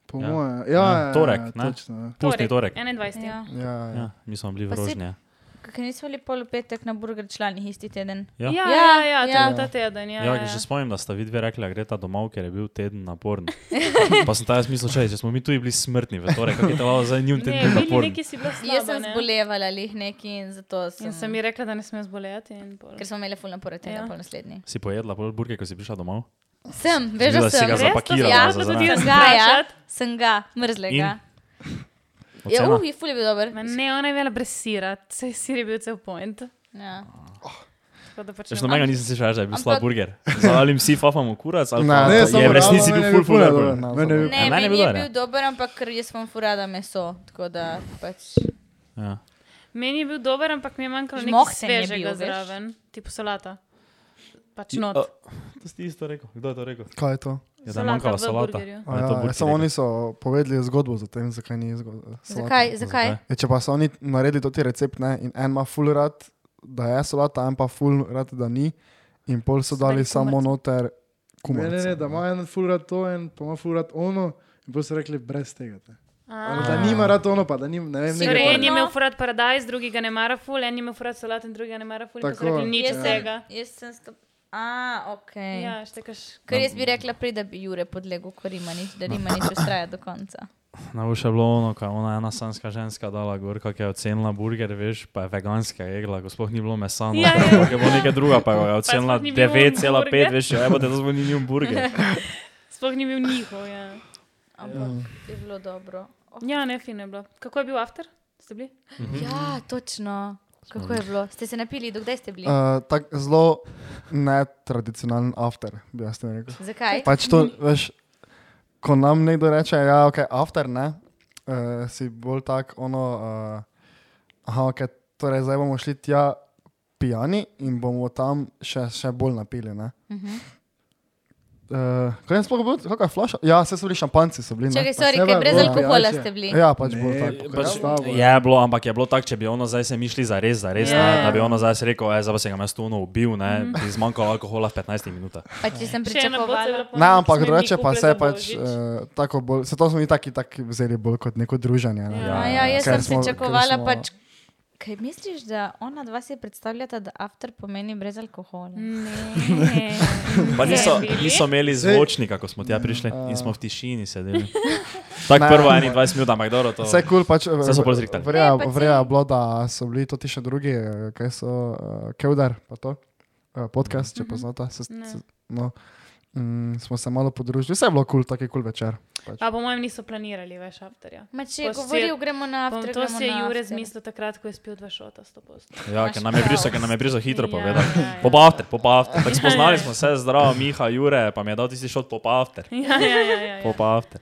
Speaker 5: Po
Speaker 4: Ja.
Speaker 5: moje. Ja, ja, ja,
Speaker 4: Torek,
Speaker 5: ja,
Speaker 4: ne?
Speaker 5: točno. ja.
Speaker 4: Pustni torek.
Speaker 1: 21. Ja.
Speaker 2: Ja.
Speaker 3: Ja, ja.
Speaker 4: Ja, mi smo bili v
Speaker 2: Pa si-
Speaker 4: rožnje.
Speaker 2: Kaj nismo bili pol v petek na burger člani isti teden?
Speaker 1: Ja,
Speaker 4: Ja.
Speaker 1: ja, ja, to
Speaker 2: Ja.
Speaker 1: je bil ta teden. Ja,
Speaker 4: Ja,
Speaker 1: ja.
Speaker 4: že spomnim, da sta vi dve rekli, da gre ta domov, ker je bil teden naporen. Pa sem ta jaz mislil, čakaj, če smo mi tu bili smrtni, v torek, kako je to za njim
Speaker 1: Ne,
Speaker 4: teden
Speaker 1: bili
Speaker 4: naporen.
Speaker 1: neki si bila
Speaker 2: Jaz sem
Speaker 1: slaba, ne?
Speaker 2: zbolevala ali nekaj in zato
Speaker 1: In
Speaker 2: sem.
Speaker 1: sem ji rekla, da ne smem zboleti. in pol-
Speaker 2: Ker smo imeli fulno pored tega,
Speaker 1: Ja.
Speaker 2: ja. pol naslednji.
Speaker 4: Si pojedla pol burke, ko si prišla domov?
Speaker 2: Sem, veš, da
Speaker 4: Videla si
Speaker 2: sem.
Speaker 4: ga
Speaker 1: Res? To si
Speaker 4: zapakirala
Speaker 1: jaz
Speaker 4: za
Speaker 1: pa
Speaker 4: zraven.
Speaker 1: tudi jaz
Speaker 2: Sem ga, ja,
Speaker 1: vprašati.
Speaker 2: sem ga, mrzlega. Ja,
Speaker 4: Ocena?
Speaker 2: uhi, ful je bil dober.
Speaker 1: Ma Ne, ona je bila brez sira, saj sir je bil cel point.
Speaker 2: Ja.
Speaker 1: Tako da pač
Speaker 4: Če
Speaker 1: ne-
Speaker 4: nobenega nisem slišal, da je bil
Speaker 2: Ampak-
Speaker 4: slab burger. Zalim si, fafam v kurac, ali
Speaker 3: Ne,
Speaker 4: pa
Speaker 3: ne,
Speaker 4: je
Speaker 3: samo
Speaker 4: v resnici
Speaker 3: ravno
Speaker 4: bil
Speaker 3: meni je
Speaker 4: full
Speaker 3: bil ful
Speaker 4: full
Speaker 3: dober,
Speaker 4: burger.
Speaker 3: no,
Speaker 5: Meni je
Speaker 3: samo.
Speaker 5: bil-
Speaker 2: Ne,
Speaker 4: A meni je
Speaker 2: meni
Speaker 4: bilo,
Speaker 2: je
Speaker 3: ja.
Speaker 4: ne?
Speaker 2: bil dober, ampak ker jaz imam furada meso. Tako da pač.
Speaker 4: Ja.
Speaker 1: Meni je bil dober, ampak mi je manjkalo nekaj
Speaker 2: Žmohten je bil,
Speaker 1: svežega
Speaker 2: veš.
Speaker 1: zraven, tipo solata. Pač
Speaker 4: Ni-
Speaker 1: not.
Speaker 4: a, To si ti isto rekel. Kdo je to rekel?
Speaker 3: Kaj je to?
Speaker 4: Ja, da je
Speaker 1: Solata
Speaker 4: manjkala
Speaker 1: v
Speaker 4: solata.
Speaker 1: burgerju.
Speaker 3: A Ja, ja, samo oni so povedali zgodbo za tem, zakaj ni zgodba.
Speaker 2: Zakaj? Zakaj?
Speaker 3: Je, E, če pa so oni naredili to ti recept, ne, in en ima full rad, da je solata, en pa full rad, da ni, in pol so
Speaker 1: Stari
Speaker 3: dali samo
Speaker 1: kumarci.
Speaker 3: noter
Speaker 5: Ne,
Speaker 3: kumarce.
Speaker 5: ne, ne, da ima en furat to, en pa ima furat ono. In pa so rekli brez tega. te. Ali
Speaker 1: A.
Speaker 5: Da nima rad ono, pa da nima, ne vem,
Speaker 1: Torej, en
Speaker 5: nekaj.
Speaker 1: je
Speaker 2: Sigurno.
Speaker 1: imel furat paradajz, drugi ga ne mara ful, en je imel furat solat in drugi ga ne mara ful. Tako
Speaker 5: Tako.
Speaker 1: je nič
Speaker 2: Jaz
Speaker 1: od
Speaker 2: sem-
Speaker 1: tega.
Speaker 2: Jaz sem stop. A, ok.
Speaker 1: Ja, štekaš.
Speaker 2: Ker jaz bi rekla, prej, da bi Jure podlegel, ko rima nič, da rima nič ustraja do konca.
Speaker 4: Najboljše je bilo ono, ko je ona ena sanska ženska dala gor, kako je ocenila burger, veš, pa je veganska jegla, ko sploh ni bilo mesa, no,
Speaker 1: Ja, ja,
Speaker 4: ampak je bilo nekaj druga, pa jo je ocenila
Speaker 1: sploh ni bil on
Speaker 4: 9,5,
Speaker 1: burger.
Speaker 4: veš, ja, evo, da to zvoni ni njun burger.
Speaker 1: Sploh ni bil njihov, ja.
Speaker 2: Ampak je bilo dobro.
Speaker 1: Ja, ne, fino je bilo. Kako je bil after? Ste bili?
Speaker 3: Mhm.
Speaker 2: Ja, točno. Kako je bilo? Ste se napili, dokdaj ste bili?
Speaker 3: Uh, tak, zelo netradicionalen after, bi jaz temu rekel.
Speaker 2: Zakaj?
Speaker 3: Pač
Speaker 1: Mhm.
Speaker 3: to, veš, ko nam nekdo reče, ja, ok, after ne, uh, si bolj tak, ono, uh, aha, ok, torej zdaj bomo šli tja pijani in bomo tam še, še bolj napili, ne. Uh
Speaker 2: Mhm.
Speaker 3: -huh. uh, kaj je sploh bilo, kakšna flaša? Ja, vse so bili šampanci, so bili. ne?
Speaker 2: Čakaj,
Speaker 3: Pa
Speaker 2: sorry,
Speaker 5: saj
Speaker 2: kaj
Speaker 5: pa
Speaker 2: brez
Speaker 5: bolj
Speaker 2: alkohola
Speaker 5: pijače.
Speaker 2: ste bili.
Speaker 3: Ja, pač bolj
Speaker 5: Ne,
Speaker 3: tako.
Speaker 5: pač-
Speaker 4: Je bilo, ampak je bilo tako, če bi ono zdaj se mi šli za res, za res, ne,
Speaker 1: Ja. Mhm.
Speaker 4: da bi ono zdaj si rekel, e, zdaj pa se ga jaz tu ono ubil, ne, bi zmanjkalo alkohola v 15 minutah.
Speaker 2: Pa če sem
Speaker 1: Še ena boca je bila
Speaker 2: pričakovala.
Speaker 1: polna,
Speaker 3: Ne,
Speaker 1: ko smo
Speaker 3: ampak
Speaker 1: jim
Speaker 3: drugače
Speaker 1: mi
Speaker 3: pa
Speaker 1: kuple
Speaker 3: se
Speaker 1: za
Speaker 3: pač
Speaker 1: Božič.
Speaker 3: uh, tako bolj, se to smo mi taki, taki vzeli bolj kot neko druženje. Ne?
Speaker 1: Ja.
Speaker 2: Ja, ja, jaz
Speaker 3: Ker
Speaker 2: sem
Speaker 3: smo- ker
Speaker 2: pričakovala
Speaker 3: smo-
Speaker 2: pač. Kaj misliš, da ona dva si predstavljata, da after pomeni brez alkohola?
Speaker 1: Mm. Ne.
Speaker 4: Pa niso,
Speaker 1: bili?
Speaker 4: niso imeli
Speaker 5: Zdaj-
Speaker 4: zvočnika, ko smo tja prišli
Speaker 3: Ja.
Speaker 4: in smo v tišini sedeli. Tako prvo 21 minut, ampak dobro to.
Speaker 3: Vse kul, cool, pač
Speaker 4: Saj so bolj zrihtali.
Speaker 2: Ne, pa
Speaker 3: Vreja je bilo, da so bili to ti še drugi, eh, kaj so uh, Kevdar, pa to, uh,
Speaker 2: Mhm.
Speaker 3: podcast, če poznata. Se, se, no, mm, smo se malo podružili, vse je bilo kul, cool, tako je kul cool večer. Pač.
Speaker 1: A po mojem niso planirali več afterja.
Speaker 2: Ma če
Speaker 1: Pa
Speaker 2: je
Speaker 1: se-
Speaker 2: govoril, gremo na after.
Speaker 1: to
Speaker 2: gremo
Speaker 1: si je
Speaker 2: na
Speaker 1: Jure
Speaker 2: after.
Speaker 1: zmislil takrat, ko je spil dva šota, 100%.
Speaker 4: Ja, ker nam je briso, ker nam je briso hitro
Speaker 1: Ja,
Speaker 4: povedal.
Speaker 1: ja, ja.
Speaker 4: Popavte, popavte. Pač spoznali
Speaker 1: ja.
Speaker 4: smo se, zdravo, Miha, Jure, pa mi je dal tisti šot popavte.
Speaker 1: Ja, ja, ja. ja, ja.
Speaker 4: Popavte.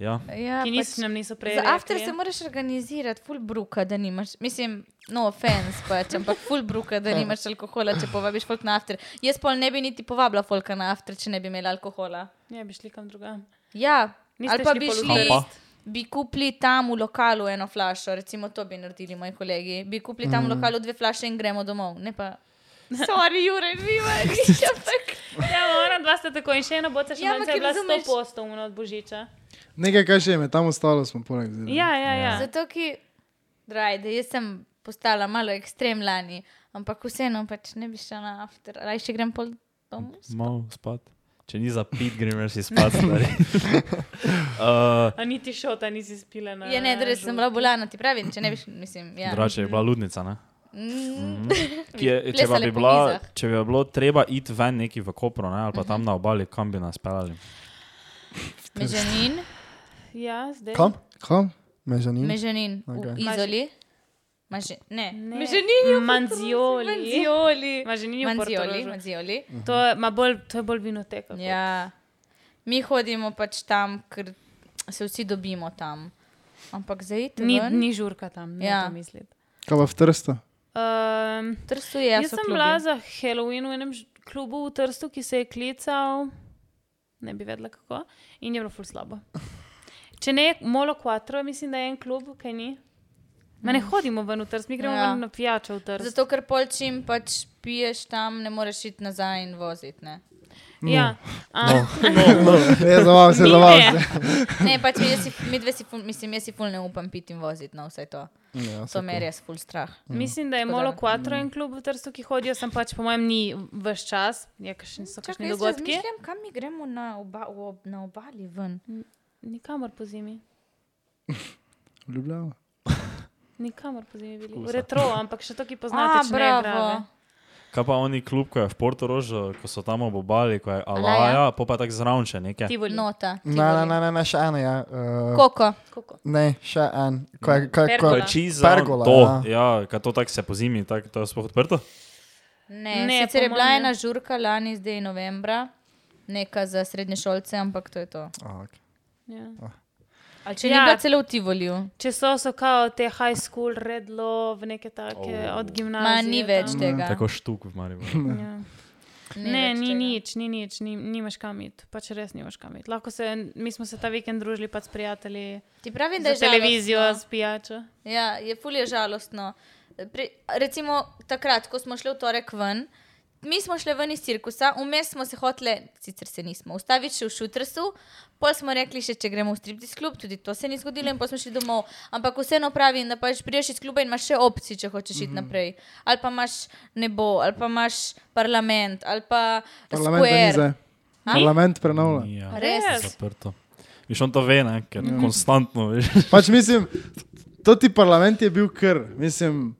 Speaker 4: Ja,
Speaker 2: Ja,
Speaker 1: Ki
Speaker 2: pač-
Speaker 1: niso nam niso prej. ja.
Speaker 2: Za after
Speaker 1: rekli.
Speaker 2: se moraš organizirati, full bruka, da nimaš. Mislim, no offense pač, ampak full bruka,
Speaker 1: Ja.
Speaker 2: da nimaš alkohola, če povabiš folk na after. Jaz pol ne bi niti povabila folka na after, če ne bi imela alkohola.
Speaker 1: Ja, bi šli kam drugam.
Speaker 2: Ja,
Speaker 1: Niste
Speaker 2: ali pa
Speaker 1: šli
Speaker 2: bi
Speaker 1: pol v
Speaker 2: šli.
Speaker 4: kam pa?
Speaker 2: Bi kupili tam v lokalu eno flašo, recimo to bi naredili moji kolegi. Bi kupili tam v lokalu dve flaše in gremo domov. Ne pa, sorry, Jure, živaj, ampak.
Speaker 1: Ja, ona dva sta tako in še ena boca, še
Speaker 2: Ja,
Speaker 1: ja,
Speaker 2: ampak
Speaker 1: manjka je bila
Speaker 2: razumeš-
Speaker 1: 100% umna od Božiča.
Speaker 5: Nekaj, kaj še je, tam ostalo smo poleg.
Speaker 1: Ja, ja, ja.
Speaker 2: Zato, ki, drajde, jaz sem postala malo ekstrem lani, ampak vseeno pač ne bi šla na after, ali še grem pol domov.
Speaker 4: malo spat. Če ni za pit, grem jaz si spat. stari. Uh,
Speaker 1: A niti šota nisi spila na.
Speaker 2: Je ne, da sem bila bolana, ti pravim, če ne bi šla, mislim, ja.
Speaker 4: Drugače je bila ludnica, ne?
Speaker 2: Mm,
Speaker 4: Ki je, če, pa
Speaker 2: Plesale
Speaker 4: bi
Speaker 2: po
Speaker 4: bila,
Speaker 2: mizah.
Speaker 4: če bi bilo treba iti ven neki v Kopro, ne? ali pa tam na obali, kam bi nas pelali.
Speaker 2: mežanin,
Speaker 1: Ja, zdaj.
Speaker 3: Kam?
Speaker 5: Kam?
Speaker 3: Mežanin.
Speaker 2: mežanin, okay.
Speaker 3: Ok.
Speaker 2: v izoli. Maže, ne,
Speaker 1: Ne.
Speaker 2: mežanin,
Speaker 1: Manzioli.
Speaker 2: manzioli.
Speaker 1: Manzioli.
Speaker 2: Manzioli,
Speaker 1: Manzioli.
Speaker 2: manzioli.
Speaker 1: To, je- ma bolj, to je bolj vinoteka. kot-
Speaker 2: Ja, mi hodimo pač tam, ker se vsi dobimo tam. Ampak zdaj
Speaker 1: Ni, ni žurka tam, ne
Speaker 2: Ja.
Speaker 1: ja. mislim.
Speaker 5: Kaj pa v Trsta?
Speaker 1: Um,
Speaker 2: Trsuje,
Speaker 1: jaz sem bila za Halloween v enem ž- klubu v Trstu, ki se je klical, ne bi vedela kako, in je bilo ful slabo. Če ne, Molo Quattro, mislim, da je en klub, kaj ni. Ma ne hodimo ven v Trst, mi gremo
Speaker 2: Mm. Ja.
Speaker 1: ja. ven na pijačo v Trst.
Speaker 2: Zato, ker pol čim pač piješ tam, ne moreš iti nazaj in voziti. Ne,
Speaker 1: Ja. No.
Speaker 5: Ne, zabavam se, zabavam se.
Speaker 2: ne pač jaz si, mi dve si, ful, mislim, jaz si ful ne upam piti in voziti na vse to.
Speaker 3: Ja,
Speaker 2: To me je res ful strah.
Speaker 1: Mislim, da je
Speaker 2: Tako
Speaker 1: Molo
Speaker 2: da- Mm.
Speaker 1: Quattro en klub v Trstu, ki hodijo, sem pač po mojem ni vse čas, je kakšni so kakšni dogodki.
Speaker 2: razmišljam, kam mi gremo na, oba, v ob, na obali ven.
Speaker 1: Nikamor po zimi.
Speaker 5: Ljubljana.
Speaker 1: Nikamor po zimi bili. V retro, ampak še to, ki
Speaker 2: A,
Speaker 1: poznate, če ne igrave.
Speaker 4: Kaj pa oni klub, ko je v Portorožu, ko so tam obobali, ko je
Speaker 2: Alaja?
Speaker 4: Alaja, pa pa tako zraven še nekaj.
Speaker 1: Tivoli.
Speaker 2: Nota.
Speaker 3: Ne, ne, ne, ne, ne, še ena je. Uh,
Speaker 2: Koko.
Speaker 1: Kako?
Speaker 3: ne, še en. Kaj, kaj,
Speaker 4: Ko
Speaker 3: kaj,
Speaker 1: Pergola.
Speaker 4: je čiz zraven
Speaker 3: Pergola,
Speaker 4: to, ja, kaj to tako se pozimi, tako to je sploh odprto.
Speaker 2: Ne,
Speaker 1: Ne,
Speaker 2: ne sicer je
Speaker 1: po
Speaker 2: bila
Speaker 1: mojem ne.
Speaker 2: ena žurka lani, zdaj novembra, neka za srednje šolce, ampak to je to.
Speaker 3: Aha, ok.
Speaker 1: Ja.
Speaker 2: Ali če ja.
Speaker 1: Ja.
Speaker 2: ni bila celo v Tivoliju,
Speaker 1: Če so, so kao te high school, redlo, v neke take oh. od gimnazije.
Speaker 2: ma ni več
Speaker 1: tam.
Speaker 2: tega.
Speaker 4: Tako štuk v Mariboru.
Speaker 1: Ja.
Speaker 5: Mm.
Speaker 1: Ne, ni
Speaker 2: ja.
Speaker 1: nič, ni nič, ni, nimaš kam iti, pač res nimaš kam iti. Lahko se, mi smo se ta vikend družili pač s prijatelji,
Speaker 2: Ti pravim, da je
Speaker 1: z televizijo,
Speaker 2: žalostno.
Speaker 1: s pijačo.
Speaker 2: Ja, je fulje žalostno. Pri, recimo takrat, ko smo šli v torek ven, mi smo šli ven iz cirkusa, vmes smo se hoteli, sicer se nismo, ustaviti še v šutrsu, pol smo rekli, še če gremo v striptiz klub, tudi to se ni zgodilo in pol smo šli domov. Ampak vseeno pravim, da pač priješ iz kluba in imaš še opcije, če hočeš iti mm -hmm. naprej. Ali pa imaš nebo, ali pa imaš parlament, ali pa
Speaker 5: Parlament ni
Speaker 2: square.
Speaker 5: zdaj. Parlament prenavlja.
Speaker 4: Ja,
Speaker 2: Res.
Speaker 4: zaprto. Viš on to ve, ne? ker
Speaker 1: Ja.
Speaker 4: mm. konstantno veš.
Speaker 5: Pač mislim, to ti parlament je bil kr, mislim.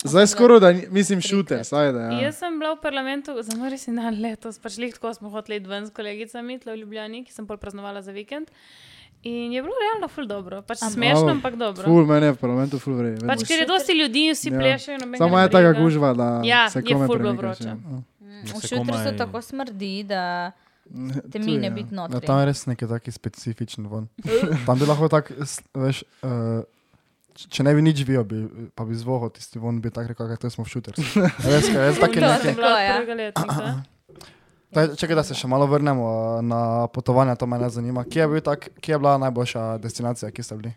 Speaker 5: Zdaj skoraj da, ni- mislim, šuter, saj da. Ja.
Speaker 1: Jaz sem bila v parlamentu, zelo resen dan letos, pač lih tako smo hoteli iti ven s kolegicami, tle v Ljubljani, ki sem bolj praznovala za vikend. In je bilo realno ful dobro, pač smešno,
Speaker 5: Malo
Speaker 1: ampak dobro.
Speaker 5: Ful, meni je v parlamentu ful vrej.
Speaker 1: Pač, ker je dosti ljudi in vsi plešajo. nobenega
Speaker 5: Samo
Speaker 1: ne
Speaker 5: je taka
Speaker 1: briga.
Speaker 5: gužva, da
Speaker 1: Ja,
Speaker 5: se
Speaker 1: je
Speaker 5: kome
Speaker 1: ful bilo
Speaker 5: premikaš,
Speaker 1: vroče.
Speaker 5: ja.
Speaker 2: mm, V šutrsu tako smrdi, da te
Speaker 5: tu
Speaker 2: mi ne
Speaker 5: je, ja.
Speaker 2: biti
Speaker 3: Ja,
Speaker 2: notri.
Speaker 3: tam je res neki taki specifičen von. Tam bi lahko tako, s- veš, uh, če ne bi nič bil, bi, pa bi zvohal tisti von, bi tako rekel, da smo v šuter. Res, kaj, res taki
Speaker 1: Ful dobro,
Speaker 3: neki.
Speaker 1: sem bila od
Speaker 2: Tako, ja.
Speaker 1: prvega letnika.
Speaker 3: Taj, čekaj, da se še malo vrnemo eh, na potovanja, to me ne zanima. Kje je, bil tak, kje je bila najboljša destinacija, kje ste bili?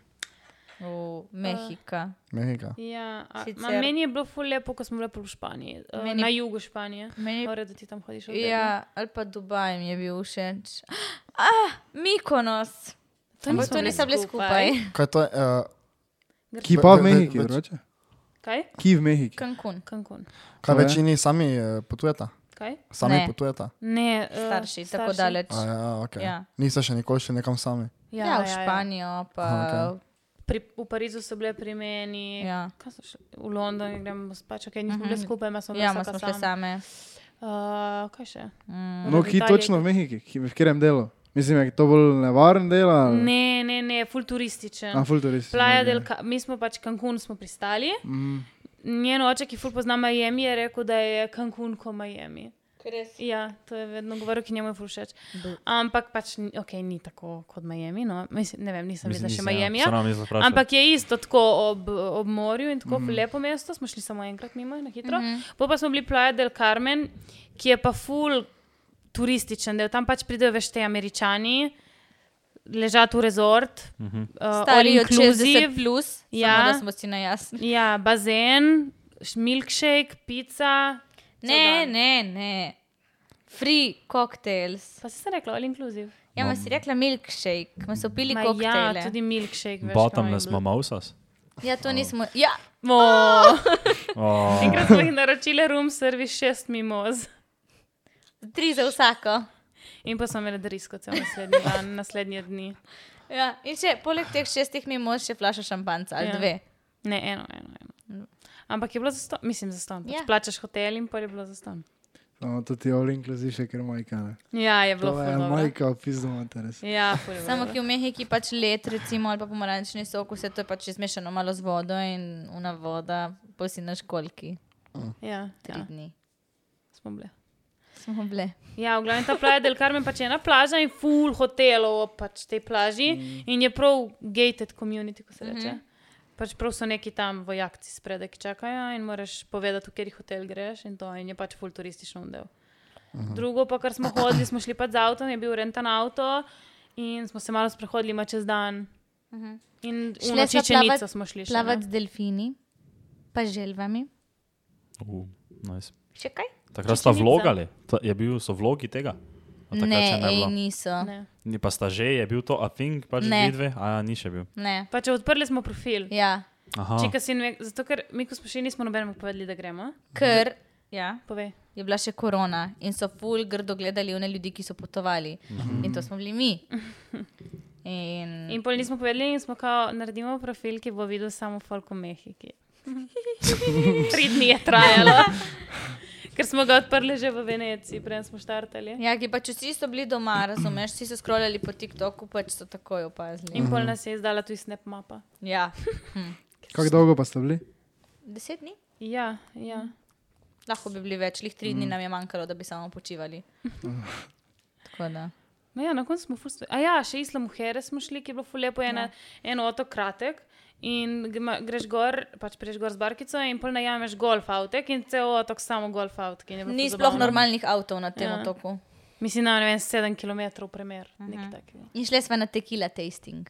Speaker 2: V Mehika.
Speaker 3: Mehika.
Speaker 1: Ja, a, ma,
Speaker 2: Sicer-
Speaker 1: meni je bilo ful lepo, ko smo bili v Španiji, meni...
Speaker 2: Meni-
Speaker 1: na jugu Španije.
Speaker 2: Meni
Speaker 1: Ore, da ti tam hodiš. od vedno.
Speaker 2: Ja, ali pa Dubaj mi je bil všeč. Ah, Mikonos.
Speaker 1: to
Speaker 2: Ampak
Speaker 1: nismo
Speaker 2: to
Speaker 1: bili
Speaker 2: nisem bila skupaj.
Speaker 3: Kaj to je? Uh,
Speaker 5: Ki pa v
Speaker 3: Ve- ve- pač-
Speaker 5: Mehiki,
Speaker 3: več-
Speaker 5: vroče?
Speaker 1: Kaj?
Speaker 5: Ki v Mehiki.
Speaker 2: Cancun.
Speaker 1: Cancun.
Speaker 5: To
Speaker 3: kaj
Speaker 5: je?
Speaker 3: večini sami uh, potujeta?
Speaker 1: Kaj?
Speaker 3: Sami
Speaker 2: Ne.
Speaker 3: ne. potujeta?
Speaker 1: Ne, eh,
Speaker 2: Starši, tako daleč.
Speaker 3: A, ja, okay.
Speaker 2: Ja.
Speaker 3: Niste še nikoli šli nekam sami?
Speaker 1: Ja,
Speaker 2: Ja, v Španijo, pa
Speaker 3: Aha,
Speaker 1: Pri, v Parizu so bile pri meni,
Speaker 2: Ja.
Speaker 1: kaj so šli? v London, gremo spač, okay, nismo bili skupaj, ima smo
Speaker 2: ja,
Speaker 1: bili
Speaker 2: ma smo šle same.
Speaker 1: Uh, kaj še?
Speaker 2: Mm.
Speaker 5: No, ki
Speaker 1: Italiji.
Speaker 5: točno v Mehiki, ki- v katerem delu? Mislim, je to bolj nevaren del ali?
Speaker 1: Ne, ne, ne, ful turističen.
Speaker 5: A, ful turist.
Speaker 1: Playa del, Ca- mi smo pač Cancun smo pristali. Mm. Njen oče, ki ful pozna Miami, je rekel, da je Cancun kot Miami. Ja, to je vedno govoril, ki njemu je ful všeč. Ampak pač ni- okay, ni tako kot Miami. No. Mislim, ne vem, nisem ja, videla še
Speaker 4: ja,
Speaker 1: Miami. Ampak je isto tako ob, ob morju in tako mm. lepo mesto, smo šli samo enkrat mimo, na hitro. Mm
Speaker 2: Mhm.
Speaker 1: -hmm. Potem pa smo bili Playa del Carmen, ki je pa ful turističen del. Tam pač pridejo veš te američani, ležati v rezort, mm -hmm. uh,
Speaker 2: Stari od 60
Speaker 1: inclusive.
Speaker 2: plus, ja.
Speaker 1: Ja.
Speaker 2: samo da smo si na jasni.
Speaker 1: Ja, bazen, š- milkshake, pica.
Speaker 2: Ne,
Speaker 1: dan.
Speaker 2: ne, ne. Free cocktails.
Speaker 1: Pa si se rekla, ali inkluziv.
Speaker 2: Ja, ma si rekla milkshake, ma so pili
Speaker 1: Ja,
Speaker 2: koktejle.
Speaker 1: tudi milkshake. veš, no,
Speaker 4: Bottomless
Speaker 1: kaj ima.
Speaker 4: mamosas.
Speaker 2: Ja, to nismo. Ja,
Speaker 1: O,
Speaker 4: Oh.
Speaker 1: Enkrat smo jih naročili, room service, šest mimoz.
Speaker 2: tri za vsako.
Speaker 1: In pa smo imeli drisko cel naslednji dan, naslednje dni.
Speaker 2: Ja. In še poleg teh šestih mi mož še flaša šampanca ali
Speaker 1: Ja.
Speaker 2: ja. dve.
Speaker 1: Ne, eno, eno. eno. Ampak je bilo za ston, mislim, za ston. Pač
Speaker 2: Ja.
Speaker 1: Plačaš hotel in pa je bilo za ston.
Speaker 5: No, to ti je all inclusive, še ker majka. Ne?
Speaker 1: Ja, je bilo
Speaker 5: To je
Speaker 1: fajn.
Speaker 5: majka, opizdo materes.
Speaker 1: Ja, ful je bilo
Speaker 2: Samo
Speaker 1: dobro.
Speaker 2: ki v Mehiki pač let, recimo, ali pa pomarančni sok, vse to je pač izmešano malo z vodo in una voda, posi na školki,
Speaker 1: ja,
Speaker 2: tri
Speaker 1: ja,
Speaker 2: ja. dni.
Speaker 1: smo bili.
Speaker 2: Smo bile.
Speaker 1: Ja, v glavnem ta plaža del Carmen pač je ena plaža in full hotelov ob pač tej plaži mm. in je prav gated community, ko se
Speaker 2: Mhm.
Speaker 1: reče. Mm -hmm. Pač prav so neki tam vojakci spredaj, ki čakajo in moraš povedati, v kateri hotel greš in to in je pač full turistično del.
Speaker 2: Mhm.
Speaker 1: Drugo, pa kar smo hodili, smo šli pa z avtom, je bil rentan avto in smo se malo sprehodili ima čez dan. In
Speaker 2: Šle
Speaker 1: na
Speaker 2: sva
Speaker 1: Čičenico
Speaker 2: Mhm. plavat-
Speaker 1: smo šli. še, ne?
Speaker 2: Plavati z delfini, pa želvami.
Speaker 4: Uh, nice.
Speaker 2: Še kaj?
Speaker 4: Takrat sta
Speaker 1: Čečenica.
Speaker 4: vlogali, Ta- je bil, so vlogi tega. A takrat še
Speaker 2: Ne,
Speaker 4: ne je
Speaker 2: ej,
Speaker 4: bilo.
Speaker 2: niso. Ne.
Speaker 1: Ne.
Speaker 4: Ni pa sta že, je bil to Afing, pač
Speaker 2: Ne.
Speaker 4: vidve, a ja, ni še bil.
Speaker 2: ne.
Speaker 1: Pač odprli smo profil.
Speaker 2: Ja,
Speaker 4: Aha.
Speaker 1: Čika, sin, ve- zato, ker mi, ko smo šli, nismo nobenemu povedali, da gremo.
Speaker 2: ker. Ja.
Speaker 1: Povej.
Speaker 2: je bila še korona in so ful grdo gledali one ljudi, ki so potovali.
Speaker 4: Mhm.
Speaker 2: In to smo bili mi. In,
Speaker 1: In pol nismo povedali, in smo kao, naredimo profil, ki bo videl samo folk v Mehiki. Tri dni je trajalo, ker smo ga odprli že v Veneciji, preden smo štartali.
Speaker 2: ja, ki pač vsi so bili doma, razumeš, vsi so scrollali po TikToku, pač so takoj opazili.
Speaker 1: In pol nas je izdala tudi snap mapa.
Speaker 2: Ja,
Speaker 5: Kako dolgo pa ste bili?
Speaker 2: deset dni.
Speaker 1: Ja, ja.
Speaker 2: Lahko bi bili več, lih tri
Speaker 4: Mm.
Speaker 2: dni nam je manjkalo, da bi samo počivali. Tako da.
Speaker 1: No ja, na koncu smo fusti. A ja, še Islam v Here smo šli, ki je bilo fulepo, ja. en otok kratek. In gma- greš gor, pač prejš gor z barkico in pol najameš golf avtek in cel otok samo golf avtek.
Speaker 2: Ni sploh normalnih avtov na tem
Speaker 1: Ja.
Speaker 2: otoku.
Speaker 1: Mislim, da je 7 km premer,
Speaker 2: Mhm.
Speaker 1: nekaj takega.
Speaker 2: In šli smo na tekila tasting.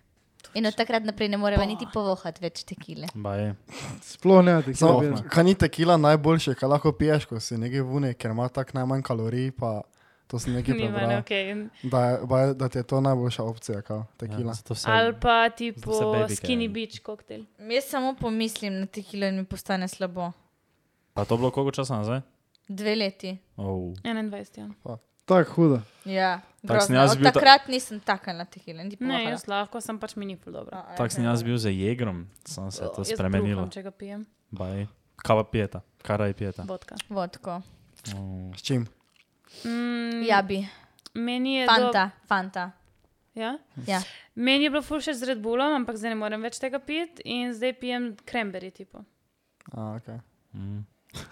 Speaker 2: In od takrat naprej ne moremo niti povohati več tekile.
Speaker 4: Baje.
Speaker 5: Sploh ne, ti
Speaker 3: Samo,
Speaker 5: samo.
Speaker 3: kaj ni tekila najboljše, kaj lahko piješ, ko si nekaj vune, ker ima tako najmanj kalorij, pa to si nekaj
Speaker 1: Nima, ne,
Speaker 3: prebral.
Speaker 1: okay.
Speaker 3: Da, je- baje, da ti je to najboljša opcija, kao tekila.
Speaker 4: Ja, zato vse-
Speaker 1: Ali pa
Speaker 4: Za
Speaker 1: tipo
Speaker 4: vse babike,
Speaker 1: skinny
Speaker 4: ja.
Speaker 1: beach koktejl.
Speaker 2: Jaz samo pomislim na tekilo in mi postane slabo.
Speaker 4: Pa to bilo koliko časa nazaj?
Speaker 2: Dve leti.
Speaker 4: Oh.
Speaker 1: 21. Ja.
Speaker 5: Tako huda.
Speaker 2: Ja,
Speaker 4: Tak sem
Speaker 2: grozno.
Speaker 4: jaz
Speaker 2: Od
Speaker 4: bil ta-
Speaker 2: takrat nisem taka na tekile, niti
Speaker 1: Ne,
Speaker 2: povohala.
Speaker 1: jaz lahko, sem pač mi ni pol dobro.
Speaker 2: A,
Speaker 4: Tako sem
Speaker 2: ja.
Speaker 4: jaz bil za jegrom, sem se to
Speaker 1: Jaz
Speaker 4: spremenilo.
Speaker 1: bruham, Če ga pijem,
Speaker 4: Baje. Kava pijeta, kara je pijeta.
Speaker 1: vodka.
Speaker 2: Vodko.
Speaker 4: Oh.
Speaker 3: S čim?
Speaker 1: Mm,
Speaker 2: Ja, bi.
Speaker 1: Meni
Speaker 2: Ja,
Speaker 1: je, do...
Speaker 2: Fanta, fanta.
Speaker 1: ja?
Speaker 2: Ja.
Speaker 1: Meni je bilo fušer z Red Bullom, ampak zdaj ne morem več tega piti in zdaj pijem kremberji. Tipo.
Speaker 3: A, okay.
Speaker 4: mm.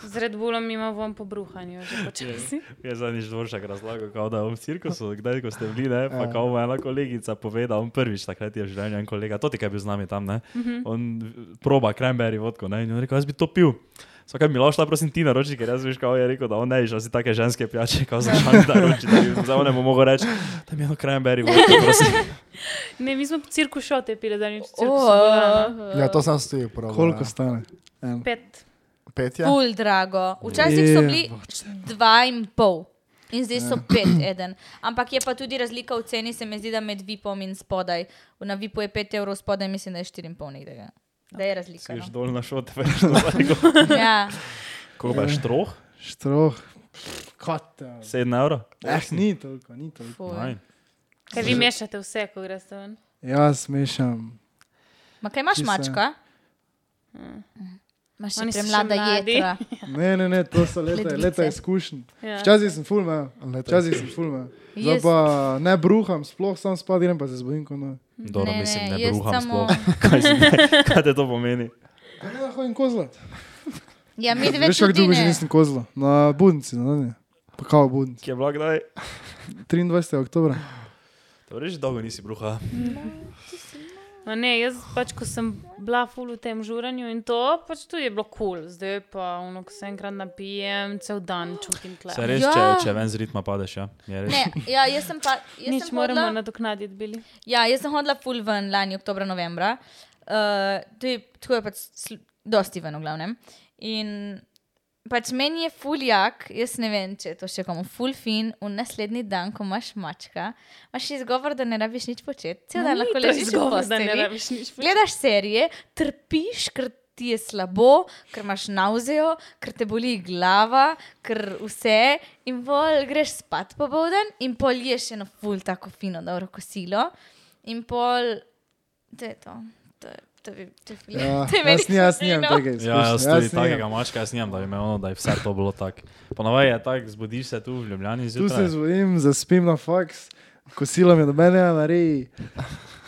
Speaker 1: Z Red Bullom imam vom po bruhanju, že počasi.
Speaker 4: Jaz zadnjič dvoršek razlagal, kao da je on v cirkusu, kdaj ko ste bili, ne,
Speaker 2: Ja.
Speaker 4: pa kao mu je ena kolegica povedala, on prvič takrat je v življenju en kolega, to ti kaj je bil z nami tam, ne,
Speaker 2: Mhm.
Speaker 4: on eh, proba cranberry vodko, ne, in je rekel, jaz bi to pil. Vsak mi lahko šla, prosim, ti naroči, ker jaz veš, kako je rekel, da on ne bi šel si take ženske pijače, kao za šan, da roči, da bi za onem mogel reči, da mi je eno cranberry vodko, prosim.
Speaker 1: Ne, mi smo cirku šote pili, da nič cirkusa.
Speaker 2: Oh,
Speaker 3: ja, to sem stojil prav.
Speaker 5: Koliko stane?
Speaker 1: Pet.
Speaker 5: Ja.
Speaker 3: Petje?
Speaker 2: Ful drago. Včasih so bili dva in pol. In zdaj so pet, eden. Ampak je pa tudi razlika v ceni, se mi zdi, da med Vipom in spodaj. Na Vipu je 5 evrov, spodaj mislim, da je 4,5 nekdega. ja. Da je razlika.
Speaker 4: Greš
Speaker 2: No.
Speaker 4: dol na šote, veš, to je
Speaker 2: Ja,
Speaker 4: kako pa je štroh,
Speaker 5: Štroh. Kot.
Speaker 4: 7 evrov.
Speaker 5: Eh, ni toliko, ni toliko.
Speaker 2: ful.
Speaker 4: Naj.
Speaker 1: Kaj vi mešate vse, ko greste ven?
Speaker 5: Jaz mešam.
Speaker 2: Ma kaj imaš
Speaker 5: Čisto. ja.
Speaker 2: mačka? Hm. Imaš še
Speaker 1: Oni so še
Speaker 2: premlada
Speaker 1: mladi.
Speaker 2: jedra.
Speaker 5: Ne, ne, ne, to so leta,
Speaker 2: Ja. Ledvice.
Speaker 5: leta izkušenj.
Speaker 1: Ja.
Speaker 5: Včasih sem ful, me,
Speaker 3: Leta
Speaker 5: včasih sem ful. Me. Zdaj
Speaker 2: Jaz-
Speaker 5: pa ne bruham, sploh sam spad, grem pa se zbudim, ko ne.
Speaker 4: Dobro,
Speaker 2: Ne,
Speaker 4: mislim,
Speaker 2: ne,
Speaker 4: ne
Speaker 2: jaz
Speaker 4: bruham
Speaker 2: samo-
Speaker 4: sploh. Kaj, si- kaj te to pomeni?
Speaker 5: Ne, da hodim kozlat.
Speaker 2: Ja, mi dve
Speaker 5: Veš, kako
Speaker 2: tudi
Speaker 5: dolgo že
Speaker 2: ne.
Speaker 5: nisem kozla? Na budnici, na zadnje. Pa kao budnici.
Speaker 4: Kje je blog, daj?
Speaker 5: 23. oktober.
Speaker 4: To reži dolgo nisi bruha.
Speaker 1: Ma ne, jaz pač, ko sem bila ful v tem žuranju in to, pač tudi je bilo kul. Cool. Zdaj pa, ono, ko se enkrat napijem, cel dan čutim tle.
Speaker 4: Se res,
Speaker 2: Ja.
Speaker 4: če, če ven z ritma padeš, ja. Je res.
Speaker 2: Ne, ja, jaz sem pa. Jaz
Speaker 1: Nič
Speaker 2: sem
Speaker 1: moramo
Speaker 2: hodila-
Speaker 1: nadoknaditi bili.
Speaker 2: Ja, jaz sem hodila full ven lani, oktober, novembra. Uh, tudi, tako je pač sl- dosti ven, v glavnem. In pač meni je full jak, jaz ne vem, če je to še komu full fin, v naslednji dan, ko imaš mačka, imaš izgovor, da ne rabiš nič početi. Cel dan lahko
Speaker 1: No,
Speaker 2: ležiš v
Speaker 1: izgovor, da ne
Speaker 2: postelji.
Speaker 1: rabiš nič.
Speaker 2: Gledaš serije, trpiš, ker ti je slabo, ker imaš nauzejo, ker te boli glava, ker vse. In pol greš spat popoldan, in pol ješ eno ful tako fino, dobro kosilo. In pol, to je to. To je- to je- to je fil-
Speaker 5: Ja,
Speaker 2: to je meni
Speaker 5: jaz ni, no. jaz nimam
Speaker 2: fino.
Speaker 5: tega
Speaker 4: Ja, jaz
Speaker 5: izkušnja.
Speaker 4: tudi takega mačka, jaz nimam, da bi me ono, da je vse to bilo tako. Ponavadi je tako, zbudiš se tu v Ljubljani
Speaker 5: Tu se
Speaker 4: zjutraj.
Speaker 5: zbudim, zaspim na faks, kosilo mi do mene, Mariji.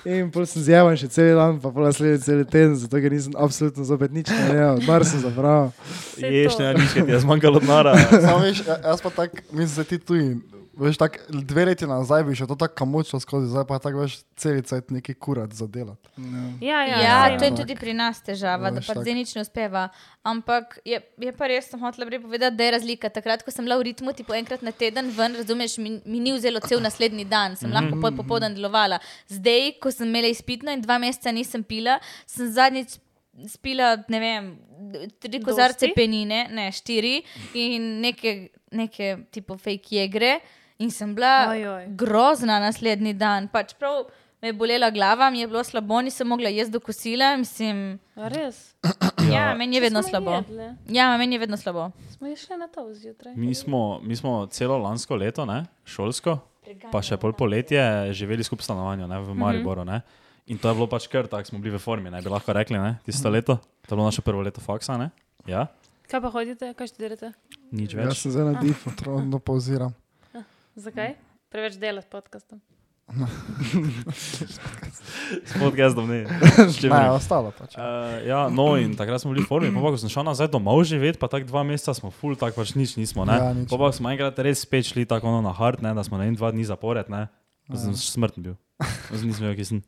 Speaker 5: In pol sem zjevan še cel dan, pa pol naslednji cel teden, zato ker nisem absolutno zopet nič naredil, mar sem zapravil.
Speaker 1: Saj
Speaker 4: Ješ
Speaker 1: to.
Speaker 4: ne nič, ker ti je zmanjkalo denara.
Speaker 3: Samo veš, ja- jaz pa tako, mislim, da ti tuji. Veš, tak, dve leti nazaj bi še to tako kamočno skozi, zdaj pa tako veš, celica je neki kurat za delo.
Speaker 1: Ja, ja,
Speaker 2: Ja,
Speaker 1: saj.
Speaker 2: to je tudi pri nas težava, da
Speaker 3: Veš,
Speaker 2: pač
Speaker 3: tako.
Speaker 2: zdaj nič ne uspeva. Ampak je, je pa res, sem hotela prej povedati, da je razlika. Takrat, ko sem bila v ritmu, ti po enkrat na teden ven, razumeš, mi, mi ni vzelo cel naslednji dan, sem
Speaker 3: Mhm.
Speaker 2: lahko pol popoldan delovala. Zdaj, ko sem imela izpitno in dva meseca nisem pila, sem zadnjič spila, ne vem, tri kozarce
Speaker 1: Dosti?
Speaker 2: penine, ne štiri in neke, neke tipo fake jegre. In sem bila
Speaker 1: Ojoj.
Speaker 2: grozna naslednji dan. Pač prav me je bolela glava, mi je bilo slabo, nisem mogla jesti do kosila. Mislim,
Speaker 1: A Res.
Speaker 2: ja, ja, meni je vedno slabo.
Speaker 6: Jedle.
Speaker 2: Ja, meni je vedno slabo.
Speaker 6: Smo jih šli na to zjutraj.
Speaker 4: Mi smo, mi smo celo lansko leto, ne, šolsko, pa še pol poletje živeli skupaj v stanovanju ne, v
Speaker 2: Mhm.
Speaker 4: Mariboru. Ne. In to je bilo pač kar, tako smo bili v formi, ne bi lahko rekli, ne,
Speaker 2: Mhm.
Speaker 4: tisto leto. To je bilo naše prvo leto faksa, ne? Ja,
Speaker 1: Kaj pa hodite, kaj študirate?
Speaker 4: nič
Speaker 5: Jaz
Speaker 4: več.
Speaker 5: sem zdaj na difu.
Speaker 3: Trudno pauziram.
Speaker 1: Zakaj? Preveč dela s podkastom.
Speaker 4: S podcastom ne. S čim
Speaker 3: Ne,
Speaker 5: Ja,
Speaker 4: drugim.
Speaker 3: ostalo pač.
Speaker 4: Uh, ja, no, in takrat smo bili v formi, pa ko sem šel nazaj domov živeti, pa tako dva meseca smo full, tako pač nič nismo. Ja,
Speaker 3: Ja, nič.
Speaker 4: pa smo enkrat res spet šli tako ono na hard, ne, da smo na en dva dni zapored, ne. Ko Sem smrten bil. Ko Sem nisem vedel, kje sem.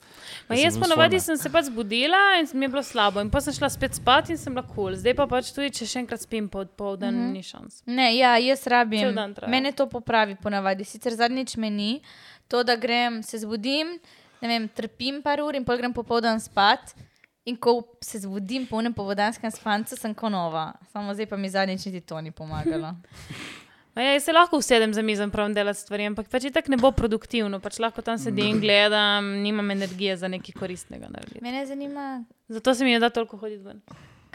Speaker 1: Ma
Speaker 4: Jaz sem
Speaker 1: jaz
Speaker 4: bil iz
Speaker 1: ponovadi
Speaker 4: forme.
Speaker 1: sem se pač zbudila in mi je bilo slabo, in pa sem šla spet spat in sem bila kul. Cool. Zdaj pa pač tudi, če še enkrat spim po odpovdan,
Speaker 2: Mhm.
Speaker 1: mm -hmm. ni šans.
Speaker 2: Ne, ja, jaz
Speaker 1: Cel
Speaker 2: rabim.
Speaker 1: dan traja.
Speaker 2: Mene to popravi ponavadi. Sicer zadnjič meni to, da grem, se zbudim, ne vem, trpim par ur in pol grem popoldan spat. In ko se zbudim po enem povodanskem spancu, sem konova. Samo zdaj pa mi zadnjič niti to ni pomagalo.
Speaker 1: Ma Ja, jaz se lahko usedem za mizem, pravim delati stvari, ampak pač tako ne bo produktivno, pač lahko tam sedim
Speaker 3: Mm.
Speaker 1: in gledam, nimam energije za nekaj koristnega narediti.
Speaker 2: Mene zanima,
Speaker 1: Zato se mi ne da toliko hoditi ven.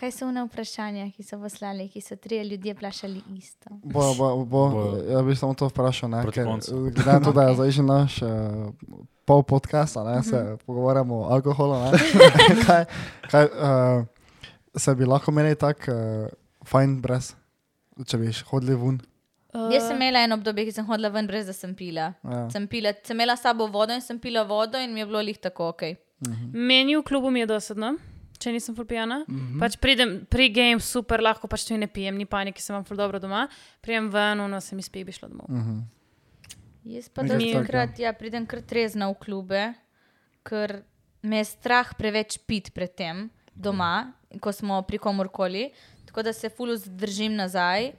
Speaker 2: kaj so vne vprašanja, ki so poslali, ki so trije ljudje plašali isto.
Speaker 3: Bo, bo, bo,
Speaker 4: Bo.
Speaker 3: ja bi samo to vprašal, ne,
Speaker 4: Proti
Speaker 3: ker
Speaker 4: koncu.
Speaker 3: eh, glede na to, da je zdaj že naš uh, pol podcasta, ne,
Speaker 5: Mhm.
Speaker 3: se pogovarjamo o alkoholu. Ne, kaj, kaj, uh, se bi lahko meni tako uh, fajn brez, če bi šli hodili ven.
Speaker 1: Uh,
Speaker 2: Jaz sem imela eno obdobje, ki sem hodila ven brez da sem pila.
Speaker 3: Ja.
Speaker 2: Sem, pila, sem imela s sabo vodo in sem pila vodo in mi je bilo lih tako ok.
Speaker 3: Mhm.
Speaker 1: Meni v klubu mi je dosedno. Če nisem ful pijana, mm
Speaker 3: Mhm.
Speaker 1: -hmm. pač pridem pri game, super, lahko pač tudi ne pijem, ni panike, sem vam ful dobro doma, prijem ven, no se mi spi, bi šla domov.
Speaker 3: Mhm.
Speaker 1: Mm.
Speaker 2: Jaz pa
Speaker 5: Nekaj takega.
Speaker 2: dostikrat ja, pridem kar trezna v klube, ker me je strah preveč pit predtem doma, ko smo pri komorkoli. Tako da se fulu zdržim nazaj.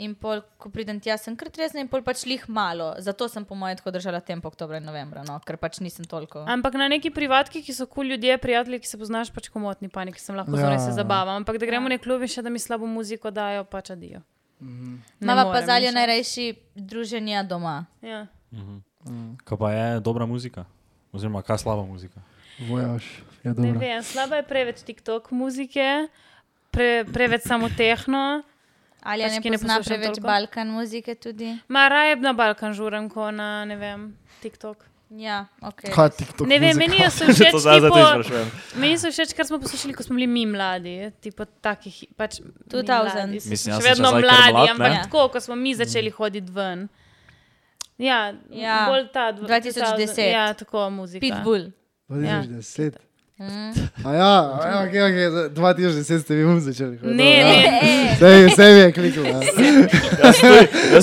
Speaker 2: In pol, ko pridem tja, sem kar trezna in pol pač lih malo. Zato sem po mojem tako držala tempo oktobra in novembra, no, ker pač nisem toliko.
Speaker 1: Ampak na neki privatki, ki so kul cool ljudje, prijatelji, ki se poznaš, pač komotni paniki, sem lahko zelo
Speaker 3: Ja.
Speaker 1: se zabavam. Ampak da gremo v nek klub in še da mi slabo muziko dajo, pač adijo.
Speaker 3: Mhm.
Speaker 1: Ne
Speaker 2: Mama pa
Speaker 1: morem,
Speaker 2: zalijo
Speaker 1: nič.
Speaker 2: najrajši druženja doma.
Speaker 1: Ja.
Speaker 4: Ko pa je dobra muzika, oziroma kaj slaba muzika.
Speaker 5: Vojaš, je
Speaker 1: Ne
Speaker 5: dobro.
Speaker 1: vem, slaba je preveč TikTok muzike, pre, preveč samo tehno.
Speaker 2: Ali pač
Speaker 1: Pač,
Speaker 2: ne
Speaker 1: ki ne
Speaker 2: pozna
Speaker 1: poslušam
Speaker 2: preveč
Speaker 1: toliko.
Speaker 2: toliko? Balkan muzike tudi?
Speaker 1: Ma raje bi na Balkan žuren, ko na ne vem, TikTok.
Speaker 2: Ja, ok.
Speaker 3: Kaj ti to
Speaker 1: Ne vem, meni je so všeč.
Speaker 4: To zdaj zato
Speaker 1: tipo-
Speaker 4: izprašujem.
Speaker 1: Meni so všeč, kar smo poslušali, ko smo bili mi mladi. Tipo, takih, pač, mi
Speaker 2: 2000.
Speaker 1: mladi smo
Speaker 4: Mislim,
Speaker 1: še
Speaker 4: jaz sem še
Speaker 1: vedno
Speaker 4: zdaj kar
Speaker 1: mladi,
Speaker 4: mlad, ne?
Speaker 1: ampak
Speaker 2: Ja.
Speaker 1: tako, ko smo mi začeli hoditi ven. Ja,
Speaker 2: Ja,
Speaker 1: bolj ta dv-
Speaker 2: 2010.
Speaker 1: 2000, Ja, tako muzika.
Speaker 2: Pitbull.
Speaker 5: Ja. 2010.
Speaker 2: Mm.
Speaker 5: A ja, a ja, ok, ok, 2010 ste vi um začeli. hoditi,
Speaker 1: Ne,
Speaker 5: ja.
Speaker 1: ne,
Speaker 5: Sej, sej je klikal. ja.
Speaker 4: Jaz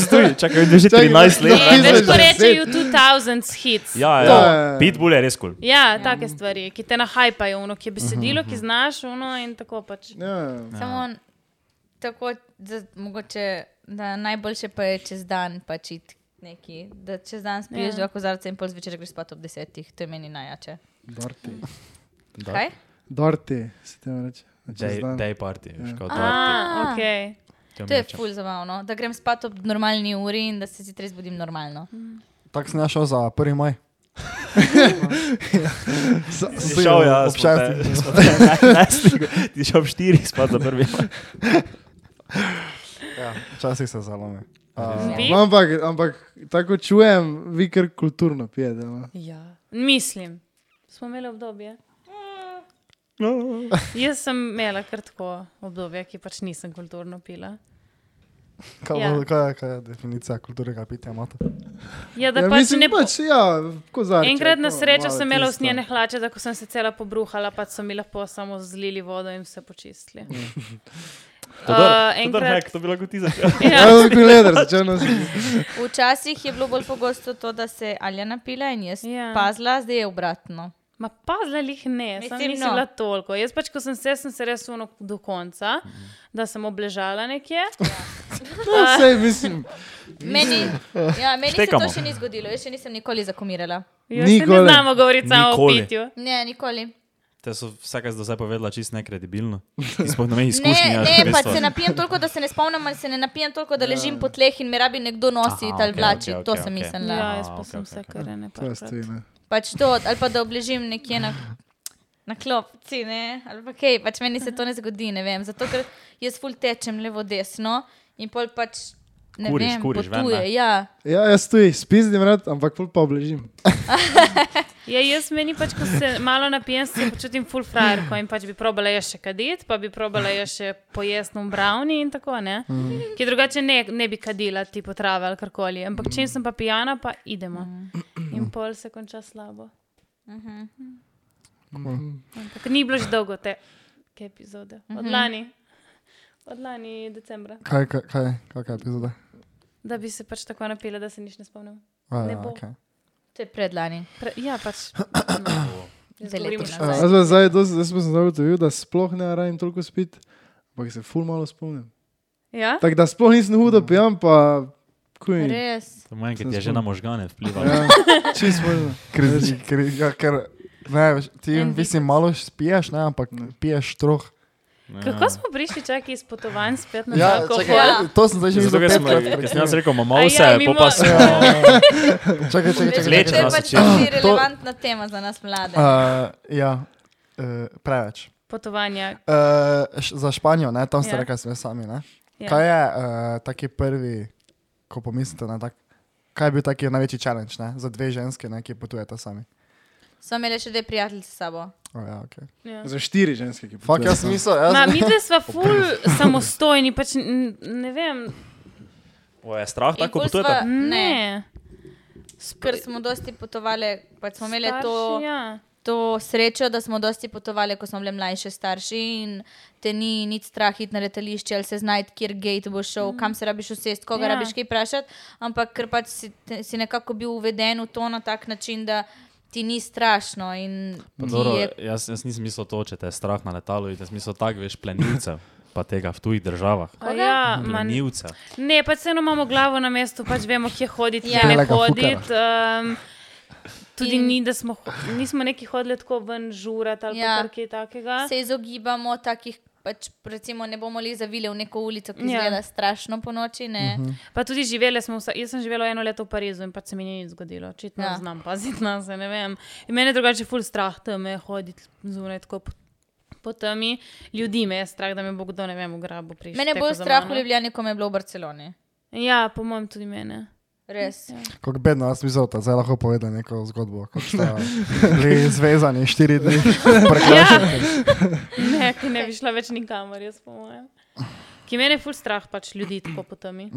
Speaker 4: sem tudi, čakaj, vidim, že
Speaker 5: Čakaj,
Speaker 4: 13
Speaker 1: ne,
Speaker 4: let.
Speaker 5: ne,
Speaker 1: več ko
Speaker 5: 2010.
Speaker 1: rečejo 2000 hits.
Speaker 4: Ja,
Speaker 5: To
Speaker 4: ja.
Speaker 5: je-
Speaker 4: Pitbull je res kul. Cool.
Speaker 1: Ja, take stvari, ki te nahajpajo, ono, ki je besedilo, ki znaš, ono in tako pač.
Speaker 5: Ja.
Speaker 2: Samo tako, da, mogoče, da najboljše pa je čez dan pač iti neki. Da čez dan spiješ
Speaker 1: Ja.
Speaker 2: ja. dva kozarca in pol zvečer greš spat ob desetih, to je meni najjače.
Speaker 5: Dorti.
Speaker 4: Da.
Speaker 2: Kaj?
Speaker 5: Dorti, se temu reče.
Speaker 4: Day, day party, veš, kot da.
Speaker 1: A, ok.
Speaker 2: To je ful zabavno, da grem spat ob normalni uri in da se zjutraj zbudim normalno.
Speaker 3: Tako sem ja šel za 1. maj.
Speaker 4: Šel je,
Speaker 3: ob šestih.
Speaker 4: Ti šel ob štirih, spat za prvi.
Speaker 3: Ja, Včasih se zalomi.
Speaker 1: Vi?
Speaker 5: No, ampak, ampak tako čujem, vi kar kulturno pijete. No.
Speaker 1: Ja. Mislim, smo imeli obdobje.
Speaker 5: No.
Speaker 1: Jaz sem imela kar tako obdobje, ki pač nisem kulturno pila.
Speaker 3: Kaj,
Speaker 1: Ja.
Speaker 3: ja. kaj, je- kaj je definicija kulturnega pitja? imate?
Speaker 1: Ja, da ja, pač ne bo.
Speaker 5: pač, ja, kozarček,
Speaker 1: Enkrat na
Speaker 5: to,
Speaker 1: srečo
Speaker 5: malo
Speaker 1: sem imela
Speaker 5: tisto.
Speaker 1: usnjene hlače, da ko sem se cela pobruhala, pa so mi lahko samo zlili vodo in vse počistili.
Speaker 5: Ja.
Speaker 1: Uh, enkrat,
Speaker 4: to bi lahko ti začel.
Speaker 5: Ja,
Speaker 1: ja,
Speaker 5: tako leder, začel nositi.
Speaker 2: Včasih je bilo bolj pogosto to, da se Alja napila in jaz
Speaker 1: Ja.
Speaker 2: ja. pazla, zdaj je obratno.
Speaker 1: ma pa zlelih ne, sem
Speaker 2: Mislim,
Speaker 1: nisem
Speaker 2: no.
Speaker 1: bila toliko. Jaz pač, ko sem se, sem se res uno do konca, da sem obležala nekje.
Speaker 5: No, sej, mislim,
Speaker 2: Meni, ja, meni se
Speaker 4: Štekamo.
Speaker 2: to še ni zgodilo, jaz še nisem nikoli zakomirala.
Speaker 1: Jaz se ne
Speaker 5: Nikoli.
Speaker 1: znamo govoriti samo o
Speaker 4: Nikoli.
Speaker 1: pitju.
Speaker 2: Ne, nikoli.
Speaker 4: Te so vsaka zdaj povedala čist nekredibilno. Sploh ne me izkušnje. ja.
Speaker 2: Ne, ne, pa se napijem toliko, da se ne spomnim, ali se ne napijem toliko, da
Speaker 1: Ja.
Speaker 2: ležim po tleh in me rabi nekdo nositi
Speaker 4: Aha,
Speaker 2: ali
Speaker 4: okej,
Speaker 2: vlačiti.
Speaker 4: okej,
Speaker 2: To
Speaker 4: okej,
Speaker 2: sem
Speaker 4: okej.
Speaker 2: mislila.
Speaker 1: Ja, jaz
Speaker 4: Ah,
Speaker 1: pa
Speaker 4: ok,
Speaker 1: sem
Speaker 4: ok,
Speaker 1: vse
Speaker 4: ok.
Speaker 1: kar ne.
Speaker 5: to je stoj, ja, ne.
Speaker 2: Pač to, ali pa da obležim nekje na, na klopci, ne, ali pa kaj, pač meni se to ne zgodi, ne vem. Zato, ker jaz ful tečem levo, desno in pol pač ne
Speaker 4: Kuriš,
Speaker 2: vem,
Speaker 4: kuriš ven,
Speaker 2: potuje.
Speaker 4: ne?
Speaker 2: ja.
Speaker 5: Ja, jaz tu jih spizdim rad, ampak pol pa obležim.
Speaker 1: Ja, jaz meni pač, ko se malo napijem, se počutim full frajer, ko jim pač bi probala jaz še kaditi, pa bi probala jaz še pojesti v browni in tako, ne? Mm. Ki drugače ne, ne bi kadila ti potrave ali karkoli. Ampak čim sem pa pijana, pa idemo. Mm. In pol se konča slabo. Ampak ni bilo že dolgo te ke epizode. Od lani. Od lani decembra.
Speaker 3: Kaj, kaj, kaj, kakšna epizoda?
Speaker 1: Da bi se pač tako napila, da se nič ne spomnim.
Speaker 3: A,
Speaker 1: Ne
Speaker 3: ja,
Speaker 1: bo.
Speaker 3: okej.
Speaker 2: To je predlani.
Speaker 1: Pre, ja, pač. Jaz
Speaker 2: Dve leti
Speaker 1: govorim
Speaker 2: nazaj.
Speaker 1: nazaj.
Speaker 5: Jaz pa zdaj, dosti- zdaj pa sem zdaj ugotovil, da sploh ne rabim toliko spiti, ampak se ful malo spomnim.
Speaker 1: Ja?
Speaker 5: Tako da sploh nisem hudo pijan, pa kuj.
Speaker 2: Res.
Speaker 4: To manj, ki ti je
Speaker 5: Sem
Speaker 4: že na možgane vplivalo.
Speaker 5: Ja, čist možno.
Speaker 3: Krizi, krizi, ja, ker ne, veš, ti
Speaker 2: En
Speaker 3: v bistvu malo spiješ, ne, ampak
Speaker 5: Ne.
Speaker 3: piješ troh.
Speaker 4: Ja.
Speaker 1: Kako smo prišli čakaj iz potovanj spet na
Speaker 3: Ja,
Speaker 1: alkohol?
Speaker 3: čakaj, to sem zdaj že
Speaker 4: Zato, ker
Speaker 3: videl.
Speaker 4: smo,
Speaker 3: petkrat
Speaker 4: ker sem jaz rekel,
Speaker 1: A
Speaker 4: mamo
Speaker 1: ja,
Speaker 4: se, ja,
Speaker 1: mimo-
Speaker 4: pa pa smo.
Speaker 3: prekinil. ja. Čakaj, čakaj, čakaj.
Speaker 2: Veš, to je
Speaker 4: Vlečno
Speaker 2: pač
Speaker 4: se čez-
Speaker 2: tudi
Speaker 3: To-
Speaker 2: relevantna tema za nas mlade.
Speaker 3: Uh, ja, uh, preveč.
Speaker 1: Potovanja.
Speaker 3: Uh, š, za Španijo, ne, tam ste
Speaker 1: Ja.
Speaker 3: ja. rekli, smo sami.
Speaker 1: Ja.
Speaker 3: Ne? Ja. Kaj je uh, taki prvi, ko pomislite na tak, kaj je bil taki največji challenge ne? za dve ženske, ne, ki potujete sami?
Speaker 2: Smo imeli še dve prijateljice s sabo.
Speaker 3: Oh, ja, okay.
Speaker 1: Ja.
Speaker 5: Za štiri ženske, ki
Speaker 3: Fak,
Speaker 5: potujejo
Speaker 3: jaz
Speaker 5: sam.
Speaker 3: mislim,
Speaker 1: Ma,
Speaker 3: jaz,
Speaker 1: mi dve sva ful samostojni, pač n- ne vem.
Speaker 4: O, je strah
Speaker 2: In
Speaker 4: tako
Speaker 2: pol
Speaker 4: potujete?
Speaker 2: sva-
Speaker 1: Ne.
Speaker 2: Ker smo dosti potovali, pač smo imeli
Speaker 1: Starši,
Speaker 2: to,
Speaker 1: Ja.
Speaker 2: to srečo, da smo dosti potovali, ko smo bili mlajši starši in te ni nič strah iti na letališče ali se znajti, kjer gate bo šel, kam se rabiš usesti, koga
Speaker 1: Mhm. Ja.
Speaker 2: ja. rabiš kaj vprašati. Ampak ker pač si, te, si nekako bil uveden v to na tak način, da ti ni strašno. In
Speaker 4: Pa
Speaker 2: ti
Speaker 4: Dobro,
Speaker 2: je,
Speaker 4: jaz, jaz nisem mislil to, če te je strah na letalu, jaz sem mislil tako, veš, plenilcev, pa tega v tujih državah.
Speaker 1: A Ja, man,
Speaker 4: Plenilcev.
Speaker 1: ne, pač vseeno imamo glavo na mestu, pač vemo, kje hoditi,
Speaker 2: Ja.
Speaker 1: kje ne
Speaker 3: Belega
Speaker 1: hoditi. Um, tudi
Speaker 2: In-
Speaker 1: In... ni, da smo, ho- nismo neki hodili tako ven žurat ali
Speaker 2: Ja.
Speaker 1: ja. kaj takega.
Speaker 2: se izogibamo takih. Pač, recimo, ne bomo le zavili v neko ulico, ki
Speaker 1: Ja.
Speaker 2: je ja. strašno po noči. Ne?
Speaker 4: Mhm.
Speaker 1: Pa tudi živele smo, vsa, jaz sem živela eno leto v Parizu in pa se mi ni nič zgodilo, očitno
Speaker 2: Ja.
Speaker 1: ja. znam paziti na se, ne vem. In mene je drugače ful strah, da me hoditi zunaj tako po, po temi. Ljudi me je strah, da me bo kdo, ne vem, ugrabil pri
Speaker 2: Mene je bolj strah v Ljubljani, ko me je bilo v Barceloni.
Speaker 1: Ja, po mojem tudi mene.
Speaker 2: Res.
Speaker 1: Ja.
Speaker 3: kako bedno, jaz mislim, da zdaj lahko povem neko zgodbo. Kako ste bili zvezani štiri dni,
Speaker 1: Ja. ne, ki ne bi šla več nikamor, jaz po mojem. Ki mene je ful strah pač ljudi tako po temi.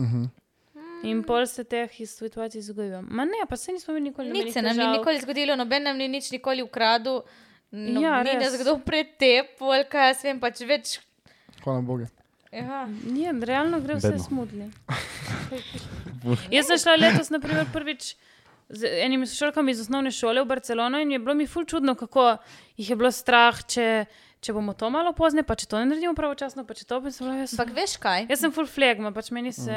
Speaker 1: In pol se teh iz situacij zgodijo. Ma ne, pa se nismo mi nikoli nobenih
Speaker 2: Nič se nam ni
Speaker 1: težav.
Speaker 2: nikoli zgodilo, noben nam ni nič nikoli ukradel. No,
Speaker 1: Ja,
Speaker 2: ja, ni
Speaker 1: res.
Speaker 2: nas kdo pretepel, ali kaj jaz vem, pač več.
Speaker 3: hvala Bogu.
Speaker 2: Ja.
Speaker 1: Ja, realno gre vse
Speaker 4: Bedno.
Speaker 1: smudli. Jaz sem šla letos, naprimer, prvič z enimi sošolkami iz osnovne šole v Barcelono in je bilo mi ful čudno, kako jih je bilo strah, če, če bomo to malo pozne, pa če to ne naredimo pravočasno, pa če to bi se bilo. Jaz,
Speaker 2: Ampak veš kaj?
Speaker 1: jaz sem ful flegma, pač meni se.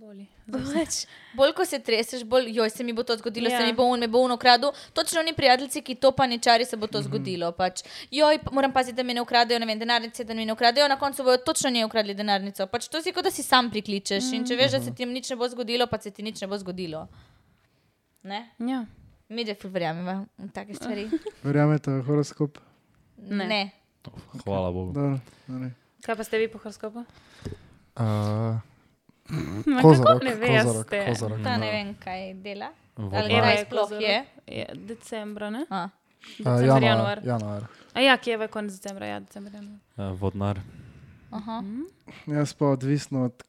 Speaker 1: Boli.
Speaker 2: Pač, bolj ko se treseš, bolj joj se mi bo to zgodilo, yeah.
Speaker 1: Ja.
Speaker 2: se mi bo on, me bo on ukradel. Točno oni prijatelji, ki to pa nečari, se bo to zgodilo. Pač. Joj, pa moram paziti, da mi ne ukradejo, ne vem, denarnice, da mi ne ukradejo, na koncu bojo točno nje ukradli denarnico. Pač to si kot da si sam prikličeš mm. in če veš, da se ti nič ne bo zgodilo, pa se ti nič ne bo zgodilo. Ne?
Speaker 1: Ja.
Speaker 2: Mi že ful verjamemo v take stvari.
Speaker 5: Verjamete v horoskop?
Speaker 1: Ne.
Speaker 2: ne.
Speaker 4: Hvala Bogu.
Speaker 5: Dobro, dobro.
Speaker 1: Kaj pa ste vi po horoskopu?
Speaker 3: Uh,
Speaker 1: Ma
Speaker 3: kozorok,
Speaker 1: kako ne
Speaker 3: kozorok,
Speaker 1: veste? Ja,
Speaker 3: kozorok.
Speaker 2: Ta ne vem, kaj dela. Ali
Speaker 1: Eva
Speaker 2: kaj
Speaker 1: je
Speaker 2: sploh
Speaker 1: kozorog.
Speaker 2: je.
Speaker 1: Je decembra, ne?
Speaker 2: A.
Speaker 3: Uh,
Speaker 1: December, januar.
Speaker 3: januar, januar.
Speaker 1: A ja, kje je konec decembra? Ja, decembra. januar.
Speaker 4: Eh, Vodnar.
Speaker 2: Aha.
Speaker 5: Jaz pa odvisno od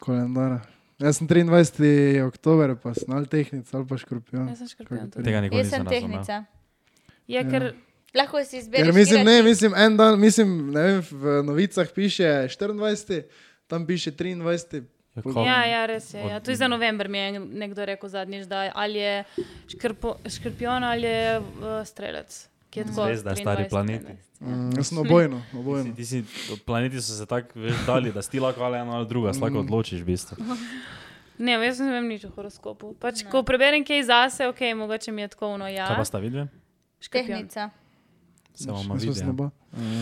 Speaker 5: koledara. Jaz sem 23. oktober, pa sem ali tehnic ali pa škorpion.
Speaker 1: Jaz sem škorpion. tudi.
Speaker 4: Tega nikoli
Speaker 2: Jaz
Speaker 4: nisem
Speaker 2: sem
Speaker 4: razumel.
Speaker 2: tehnica.
Speaker 1: Ja, ker
Speaker 2: Lahko si izbereš.
Speaker 5: Ker mislim,
Speaker 2: štiri
Speaker 5: ne,
Speaker 2: ali-
Speaker 5: mislim, en dan, mislim, ne vem, v novicah piše 24, tam piše 23.
Speaker 4: Ja,
Speaker 5: Pol-
Speaker 4: kako?
Speaker 1: Ja, ja, res je. Ja.
Speaker 4: Od-
Speaker 1: Tudi za november mi je en- nekdo rekel zadnjič, da ali je škrpo, škrpion ali je uh, strelec. ki je tako
Speaker 4: Zvezda, stari
Speaker 1: 23,
Speaker 4: planeti.
Speaker 1: 15.
Speaker 5: Mm, jaz sem obojno,
Speaker 4: Ti,
Speaker 5: obojno.
Speaker 4: ti si, planeti so se tako veš, dali, da si ti lahko ali ena ali druga, se lahko odločiš v bistvu.
Speaker 1: Ne, jaz ne vem nič o horoskopu. Pač, ko preberem kaj zase, ok, mogoče mi je tako ono, ja.
Speaker 4: Kaj pa sta vidve?
Speaker 1: Škorpion.
Speaker 2: Tehnica.
Speaker 4: Se bomo
Speaker 5: Jaz sem
Speaker 4: videli.
Speaker 5: slabo.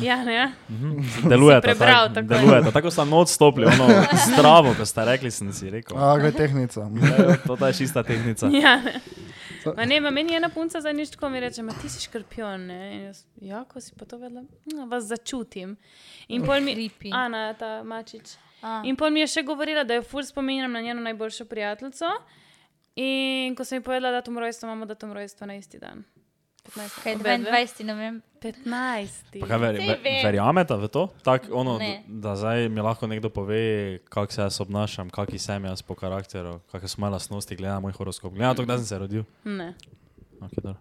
Speaker 1: Ja, ne.
Speaker 4: Deluje
Speaker 1: prebral
Speaker 4: tako.
Speaker 1: takoj.
Speaker 4: Delujeta, tako sem odstopil, ono zdravo, ko ste rekli, sem si rekel.
Speaker 3: A, gre tehnica.
Speaker 4: Ja, To ta je čista tehnica.
Speaker 1: Ja, ne. Ma ne, ma meni je ena punca zadnjič tako mi reče, ma ti si škorpion, ne. In jaz, ja, ko si pa to vedela, "Mm, vas začutim. In pol mi...
Speaker 2: Creepy.
Speaker 1: Ana, ta mačič.
Speaker 2: A.
Speaker 1: In pol mi je še govorila, da jo ful spominjam na njeno najboljšo prijateljico. In ko sem ji povedala datum rojstva, imamo datum rojstva na isti dan. 15.
Speaker 2: Kaj je
Speaker 1: Obedve.
Speaker 2: 22, ne vem.
Speaker 1: 15.
Speaker 4: Pa Kaj, ver,
Speaker 2: Saj
Speaker 4: ver,
Speaker 2: vem.
Speaker 4: verjamete v to? Tak, ono,
Speaker 2: Ne.
Speaker 4: da zdaj mi lahko nekdo pove, kako se jaz obnašam, kakšen sem jaz po karakteru, kakšne so moje lastnosti, glede na moj horoskop. Glede na to, kdaj sem se rodil.
Speaker 1: Ne.
Speaker 4: Okay, dobro.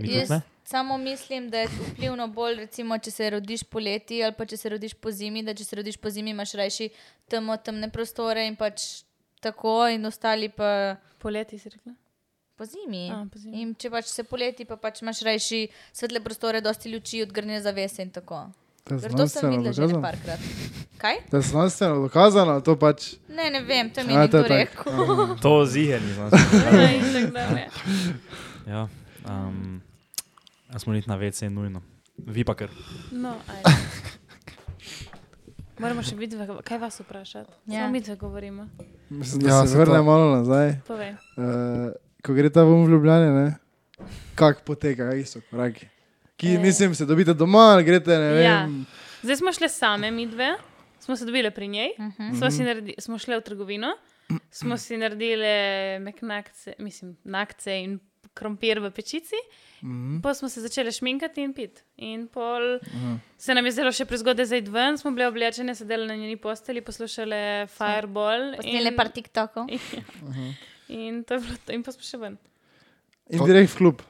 Speaker 4: Mi
Speaker 2: Jaz
Speaker 4: tudi ne?
Speaker 2: samo mislim, da je vplivno bolj, recimo, če se rodiš poleti ali pa če se rodiš po zimi, da če se rodiš po zimi, imaš rajši temo, temne prostore in pač tako, in ostali pa
Speaker 1: Poleti si rekla.
Speaker 2: po zimi.
Speaker 1: A, po zimi.
Speaker 2: In če pač se poleti, pa pač imaš rajši svetle prostore, dosti luči, odgrne zavese in tako.
Speaker 5: To je
Speaker 2: Zato sem
Speaker 5: znanstveno
Speaker 2: videla že
Speaker 5: dokazano.
Speaker 2: nekajkrat. Kaj?
Speaker 5: To je znanstveno dokazano, ali to pač.
Speaker 2: Ne, ne vem, to mi je
Speaker 5: A,
Speaker 2: nekdo
Speaker 5: to je tako.
Speaker 2: rekel.
Speaker 4: To ziherni znaš.
Speaker 1: Ja, in tako dalje.
Speaker 4: Ja, um, a smo niti na VC nujno. Vi pa kar.
Speaker 1: No, ajde. Moramo še biti, kaj vas vprašati? Ja.
Speaker 2: Ja.
Speaker 1: Samo mi dve govorimo.
Speaker 5: Mislim, da
Speaker 3: Ja,
Speaker 5: ja,
Speaker 3: se
Speaker 5: se vrne
Speaker 3: to-
Speaker 5: malo nazaj.
Speaker 1: Povej.
Speaker 5: Eh, ko gre ta vom v Ljubljani, ne? kako poteka, kakšni so koraki.
Speaker 2: Eh.
Speaker 5: Ki nisem se dobite doma, ali greste ne
Speaker 1: Ja.
Speaker 5: vem.
Speaker 1: Zdaj smo šli same, mi dve, smo se dobili pri njej,
Speaker 2: Mhm.
Speaker 1: uh -huh. smo, naredi, smo šli v trgovino, smo si naredili meknakce, mislim, nakce in krompir v pečici. Mm -hmm. Pa smo se začeli šminkati in pit. In pol uh -huh. se nam je zelo še prezgodaj za idven, smo bile oblečene, sedeli na njeni posteli, poslušali Fireball. Ja.
Speaker 2: Posnele par TikTokov.
Speaker 1: In, to je bilo to. in pa smo še ven.
Speaker 5: In direkt v klub.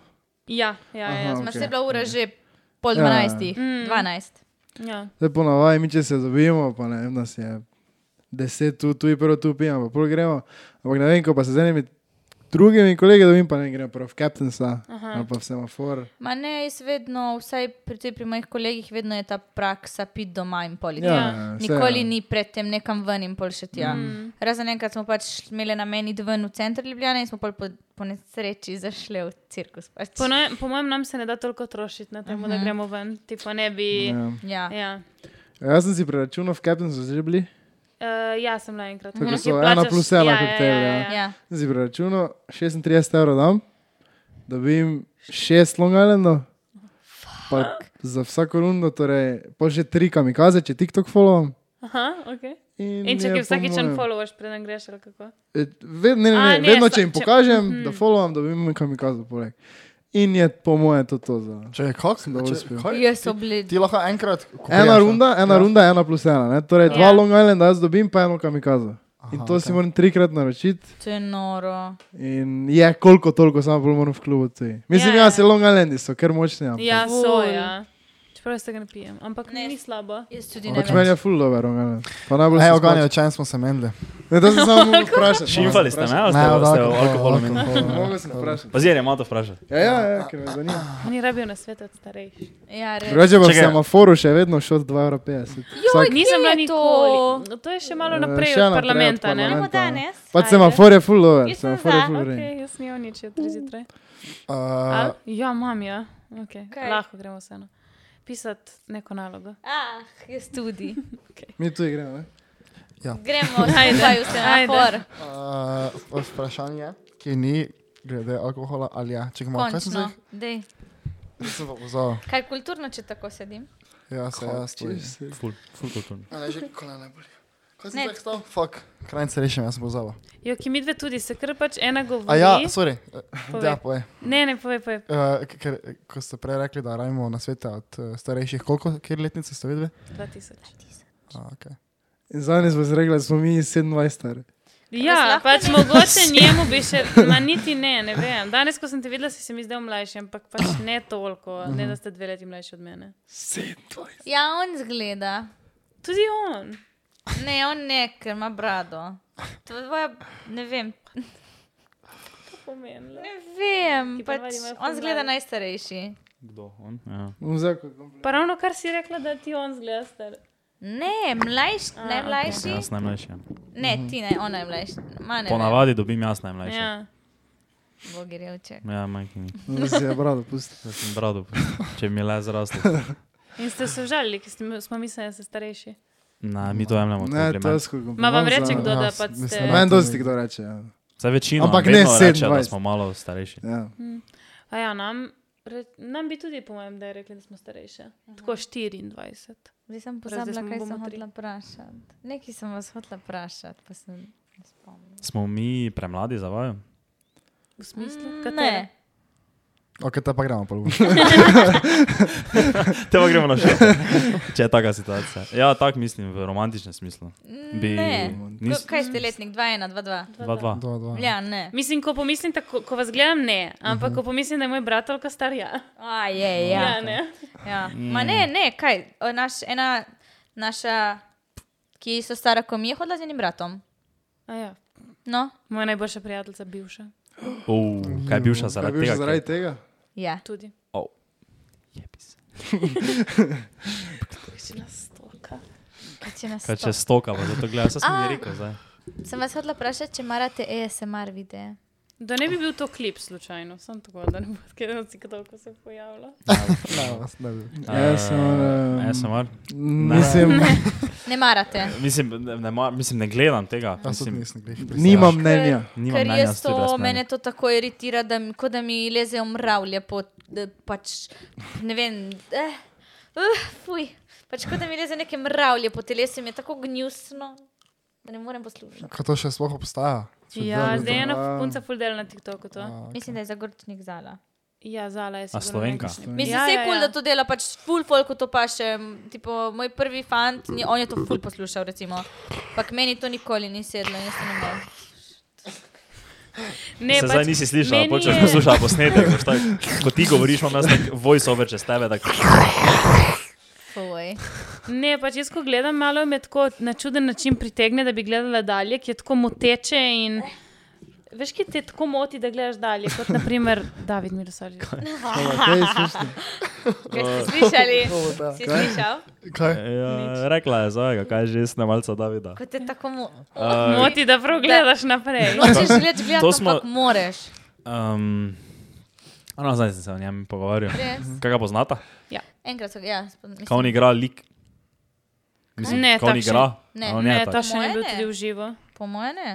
Speaker 1: Ja, ja, ja, ja.
Speaker 5: Aha.
Speaker 2: Smo
Speaker 5: okej.
Speaker 2: se bila ura že pol
Speaker 5: Ja.
Speaker 2: dvanajstih,
Speaker 1: Mm.
Speaker 2: dvanajst.
Speaker 1: ja.
Speaker 5: Zdaj ponavadi, mi če se dobimo, pa ne vem, nas je deset tu, tu in prvo tu pijemo, pa pol gremo. Ampak ne vem, ko pa se z enimi drugimi kolegi dobim, pa ne gremo prav v Captainsa ali pa v semafor.
Speaker 2: Ma ne, jaz vedno, vsaj pri, te- pri mojih kolegih, vedno je ta praksa pit doma in politi.
Speaker 5: Ja,
Speaker 1: Ja.
Speaker 5: ja, vse,
Speaker 2: Nikoli
Speaker 5: ja.
Speaker 2: ni predtem nekam ven in pol še tja. Mm. Razen enkrat smo pač imeli na meni ven v center Ljubljana in smo pol po, po nesreči zašli v cirkus. Pač.
Speaker 1: Po, naj, po mojem, nam se ne da toliko trošiti na tem, uh -huh. da gremo ven, ti pa ne bi. Ja.
Speaker 5: Ja.
Speaker 2: Ja.
Speaker 1: Ja.
Speaker 5: Jaz sem si preračunal v Captainsu, že bili.
Speaker 1: Uh, ja, sem bila enkrat.
Speaker 5: Tako
Speaker 1: Ono,
Speaker 5: so
Speaker 1: ki
Speaker 5: ena
Speaker 1: plačaš-
Speaker 5: plus ena koktejl, ja.
Speaker 2: Ja.
Speaker 5: Sem si preračunal 36 evrov dam, dobim 6 Long Islandov. Pa za vsako rundo, torej pa že tri kamikaze, če TikTok followam.
Speaker 1: Aha, okay.
Speaker 5: In,
Speaker 1: In če
Speaker 5: je
Speaker 1: ti
Speaker 5: po
Speaker 1: vsakeč en
Speaker 5: mojem-
Speaker 1: followaš, preden greš ali kako.
Speaker 5: Ved, E, ne, ne,
Speaker 1: A, ne,
Speaker 5: ne, ne, vedno,
Speaker 1: sa-
Speaker 5: če jim
Speaker 1: če- mhm.
Speaker 5: pokažem, če, da followam, da vem, kam jih kazal poleg. In je po mojem to, to za.
Speaker 3: Če je kak, sem
Speaker 5: Dobro
Speaker 3: dobro
Speaker 5: uspel.
Speaker 3: spil.
Speaker 2: Jaz so bili.
Speaker 3: Ti lahko enkrat. ko
Speaker 5: Ena
Speaker 3: priješ,
Speaker 5: runda, ena
Speaker 3: ja.
Speaker 5: ja. runda, ena plus ena. Ne? Torej, dva
Speaker 1: Ja.
Speaker 5: ja. Long Island jaz dobim, pa eno kamikazo. In to
Speaker 3: Aha,
Speaker 5: okay. si
Speaker 3: ok.
Speaker 5: moram trikrat naročiti.
Speaker 2: To je noro.
Speaker 5: In je koliko toliko, samo bolj moram v klubu. Tudi.
Speaker 1: Ja,
Speaker 5: Mislim, ja,
Speaker 1: ja.
Speaker 5: ja se Long Islandi so, ker močni. ampak-
Speaker 1: Ja, so,
Speaker 2: Ful.
Speaker 1: ja. Čeprav jaz tega ne pijem, ampak ne.
Speaker 2: Ne.
Speaker 1: ni slabo.
Speaker 2: Jaz tudi ne
Speaker 5: Pač meni
Speaker 2: vem.
Speaker 5: je full dobro, Long Island. Pa najbolj
Speaker 3: Hej,
Speaker 5: se
Speaker 3: oganje,
Speaker 5: splača.
Speaker 3: o čem smo se menili?
Speaker 5: Ne, to sem samo vprašal.
Speaker 4: Šimfali ste me, ali ste,
Speaker 3: Ne, od
Speaker 4: ste o
Speaker 3: alkohola,
Speaker 4: alkoholu menili?
Speaker 3: alkohola.
Speaker 5: Mogoče sem vprašal.
Speaker 4: Pazir je malo to vprašal.
Speaker 5: Ja, ja, ja, ker me zanima.
Speaker 1: Oni rabijo na svet od starejših.
Speaker 2: Ja, res.
Speaker 5: Drugače pa v
Speaker 4: Čakaj.
Speaker 5: semaforu še vedno šel 2,50 evra.
Speaker 1: Nisem bila
Speaker 2: je to?
Speaker 1: nikoli. No, to je še malo
Speaker 5: Eh,
Speaker 1: naprej
Speaker 5: še
Speaker 1: od
Speaker 5: naprej od
Speaker 1: parlamenta, ne?
Speaker 2: Gremo
Speaker 5: parlamenta.
Speaker 2: danes.
Speaker 5: Pa
Speaker 1: Ajde.
Speaker 5: semafor Pač je full over.
Speaker 2: Jaz sem
Speaker 5: Semafor je
Speaker 2: za,
Speaker 5: full over.
Speaker 1: Okay, jaz nisem nič, je tri zjutraj.
Speaker 3: Uh,
Speaker 1: A? Ja, imam, ja. Okay.
Speaker 2: Kaj?
Speaker 1: Lahko gremo vseeno. Pisati neko nalogo.
Speaker 2: Ah, jaz tudi.
Speaker 5: Mi tu igramo. ne?
Speaker 3: No.
Speaker 2: Gremo, skupaj v semafor.
Speaker 3: uh, vprašanje, ki ni glede alkohola ali ja. Če ga imamo, kaj sem
Speaker 2: Končno.
Speaker 3: zdaj?
Speaker 2: Dej.
Speaker 3: Nisem pa pozval.
Speaker 2: Kaj kulturno, če tako sedim?
Speaker 3: Ja, se jaz stojim.
Speaker 4: Ful, ful kulturno.
Speaker 3: A Ne, že kola ne boli. Kaj
Speaker 2: Ne.
Speaker 3: sem zdaj stal? Fuck, kraj se rešim, jaz sem pozval.
Speaker 1: Jo, ki mi dve tudi se kar pač ena govori.
Speaker 3: A ja, sorry. Eh,
Speaker 1: Povej.
Speaker 3: Ja, povej.
Speaker 1: Ne, ne, povej, povej.
Speaker 3: Uh, ker, eh, ko ste prej rekli, da rajmo na svete od uh, starejših, koliko, kjer letnice ste videli?
Speaker 1: 2000.
Speaker 3: Ah, okay.
Speaker 5: In zadnji smo se rekli, da smo mi 27 stari.
Speaker 1: Ja,
Speaker 2: Res lahko
Speaker 1: pač
Speaker 2: ne?
Speaker 1: mogoče njemu bi še, ma niti ne, ne vem. Danes, ko sem te videla, si se mi zdel mlajši, ampak pač ne toliko, ne da ste dve leti mlajši od mene.
Speaker 2: Ja, on zgleda.
Speaker 1: Tudi on.
Speaker 2: Ne, on ne, ker ima brado. Tvoja, ne vem,
Speaker 1: Pomenila.
Speaker 2: ne vem.
Speaker 1: Ti pa
Speaker 2: Pač,
Speaker 1: navadi imajo ful
Speaker 2: on zgleda
Speaker 1: mlade.
Speaker 2: najstarejši.
Speaker 4: Kdo? On? Ja.
Speaker 5: Bom vzel kot kompliment.
Speaker 1: Pa ravno kar si rekla, da ti on zgleda star.
Speaker 2: Ne, mlajši, najmlajši.
Speaker 4: Jaz najmlajši. ja.
Speaker 2: Ne,
Speaker 3: Mhm.
Speaker 2: ti ne, on najmlajši. Ma ne.
Speaker 4: Ponavadi dobim jaz najmlajši. Ja,
Speaker 1: Ja.
Speaker 2: vem. Bogi revček.
Speaker 4: ja majhni. mi.
Speaker 5: Zdaj si je brado pusti.
Speaker 4: Zdaj sem brado, če bi mi le zrastel.
Speaker 1: In ste se žalili, ker ste mi- smo mislili, da ste starejši.
Speaker 4: Na, mi to jemljemo. kot
Speaker 5: Ne, to je
Speaker 4: kompliment.
Speaker 5: skoro kompliment.
Speaker 1: Ma vam reče
Speaker 5: za-
Speaker 1: kdo, da
Speaker 3: jaz
Speaker 1: pač
Speaker 3: mislim,
Speaker 1: ste...
Speaker 3: da
Speaker 5: Meni dosti kdo reče. Ja.
Speaker 4: Zdaj večino,
Speaker 5: Ampak
Speaker 4: ampak
Speaker 5: ne
Speaker 4: ne reče, da
Speaker 5: 27.
Speaker 4: smo malo starejši.
Speaker 5: Ja.
Speaker 1: A ja, nam, re, nam bi tudi, po mojem, da je rekli, da smo starejši. Tako 24.
Speaker 2: Zdaj sem
Speaker 1: Prav, zdaj
Speaker 2: pozabila,
Speaker 1: smo
Speaker 2: kaj
Speaker 1: bomo
Speaker 2: sem
Speaker 1: tri.
Speaker 2: hotela vprašati. Nekaj sem vas hotela vprašati, pa sem ne spomnila.
Speaker 4: Smo mi premladi za vaju?
Speaker 1: V smislu?
Speaker 2: Mm,
Speaker 1: Katera?
Speaker 2: Ne,
Speaker 3: Ok, te pa gremo pol.
Speaker 4: Te pa gremo na še. Če je taka situacija. Ja, tako mislim, v romantičnem smislu. Bi...
Speaker 2: Ne.
Speaker 4: Nis...
Speaker 2: Kaj ste letnik? 2-1, 2-2.
Speaker 4: Dva, dva.
Speaker 3: Dva, dva.
Speaker 2: Ja, ne.
Speaker 1: Mislim, ko pomislim, tako, ko vas gledam, ne, ampak ko pomislim, da je moj brat ali star, ja.
Speaker 2: A, je,
Speaker 1: ja.
Speaker 2: ja.
Speaker 1: ja ne.
Speaker 2: ja.
Speaker 4: Mm.
Speaker 2: Ma ne, ne, kaj. o, Naš, ena naša, ki so stara, ko mi je hodila z enim bratom.
Speaker 1: A Ja.
Speaker 2: No,
Speaker 1: Moja najboljša prijateljica, bivša,
Speaker 4: Uh, kaj je
Speaker 5: Kaj
Speaker 4: bivša zaradi
Speaker 5: bi
Speaker 4: tega?
Speaker 5: že zaradi tega?
Speaker 2: ja.
Speaker 1: tudi.
Speaker 4: Oh. Jebis.
Speaker 1: Kakšna stoka.
Speaker 2: Kaj če nas
Speaker 4: Kaj če
Speaker 2: to?
Speaker 4: stoka, pa zato gledam, vse sem mi rekel zdaj.
Speaker 2: Sem vas hodila vprašati, če marate ASMR videe.
Speaker 1: Da ne bi bil to klip slučajno, sem tako, da ne bo kaj tako se pojavilo.
Speaker 3: Ne, vas ne bi.
Speaker 5: Ja, Jaz sem,
Speaker 4: Eh,
Speaker 5: eh,
Speaker 4: ASMR?
Speaker 5: Mislim,
Speaker 2: Ne marate.
Speaker 4: Mislim, ne, ne, mar- mislim, ne gledam tega.
Speaker 3: Jaz tudi
Speaker 4: Mislim,
Speaker 3: nisem glih.
Speaker 5: nimam mnenja.
Speaker 4: nimam
Speaker 2: Ker
Speaker 4: mnenja,
Speaker 2: jaz
Speaker 4: tudi jaz
Speaker 2: to,
Speaker 4: ne.
Speaker 2: mene to tako iritira, da, mi- kot da mi lezejo mravlje po, da pač, ne vem, eh, uh, fuj. Pač kot da mi leze neke mravlje po telesu, in mi je tako gnusno, da ne morem poslušati.
Speaker 3: Kaj to še sploh obstaja? Če
Speaker 1: Ja,
Speaker 3: kdo-
Speaker 1: zdaj je ena punca full del na TikToku to.
Speaker 2: Mislim, da je zagorčnik zala.
Speaker 1: Ja, zala je.
Speaker 4: A
Speaker 1: sigurno
Speaker 4: Slovenka?
Speaker 1: nekaj.
Speaker 2: Mislim,
Speaker 1: Ja,
Speaker 2: ja, se je
Speaker 1: ja,
Speaker 2: kul, cool,
Speaker 1: ja.
Speaker 2: da to dela, pač full folku to paše. m, Tipo, moj prvi fant, ni- on je to full poslušal, recimo. Ampak meni to nikoli ni sedlo, jaz to ne morem.
Speaker 1: Ne,
Speaker 4: Se
Speaker 1: pač
Speaker 4: zdaj nisi slišala,
Speaker 1: meni
Speaker 4: počeš
Speaker 1: je-
Speaker 4: poslušala posnetek. boš tako, Ko ti govoriš, imam jaz tak voice over čez tebe. Tak,
Speaker 2: Fuj.
Speaker 4: Eh.
Speaker 1: Ne, pač jaz, ko gledam, malo me tako na čuden način pritegne, da bi gledala dalje, ki je tako moteče in. Veš, ki te tako moti, da gledaš dalje, kot naprimer David Mirosavljev.
Speaker 2: Kaj ste slišali? Si slišal?
Speaker 3: Kaj?
Speaker 4: ja, rekla je za kaj že snemalca Davida.
Speaker 2: Kot je tako mu.
Speaker 4: Uh,
Speaker 1: Moti, da prav gledaš naprej.
Speaker 4: No,
Speaker 2: Nočeš gledati, gledati,
Speaker 4: smo-
Speaker 2: ampak moraš.
Speaker 4: um, no, zdaj sem se o njem pogovarjal.
Speaker 2: Res.
Speaker 4: Kaj ga poznata?
Speaker 2: Mhm. Enkrat so ga, ja, spod- mislim,
Speaker 4: Kaj on igra lik? Mislim,
Speaker 1: Ne,
Speaker 4: kaj on
Speaker 1: takšen-
Speaker 4: igra?
Speaker 2: ne.
Speaker 4: A on je
Speaker 1: Ne,
Speaker 4: tak.
Speaker 1: ta še ne
Speaker 2: Moje
Speaker 1: bi bil
Speaker 2: ne.
Speaker 1: tudi v živo.
Speaker 2: po moje ne.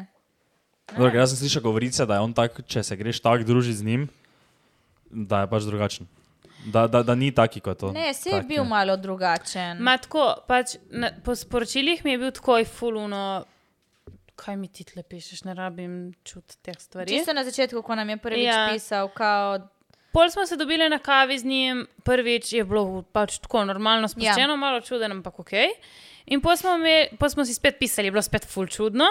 Speaker 4: Dobro, ker jaz sem slišal govorice, da je on tak, če se greš tako družiti z njim, da je pač drugačen. Da, da, da ni taki kot to.
Speaker 2: Ne, se je
Speaker 4: Tak
Speaker 2: bil malo drugačen.
Speaker 1: Ma tako, pač na, po sporočilih mi je bil tako fuluno, kaj mi ti tle pišeš, ne rabim čut teh stvari.
Speaker 2: Čisto na začetku, ko nam je prvič
Speaker 1: Ja.
Speaker 2: ja. pisal, kao,
Speaker 1: Pol smo se dobili na kavi z njim, prvič je bilo pač tako normalno sproščeno, ja. malo čudno, ampak ok. In pol smo, me, pol smo si spet pisali, je bilo spet ful čudno.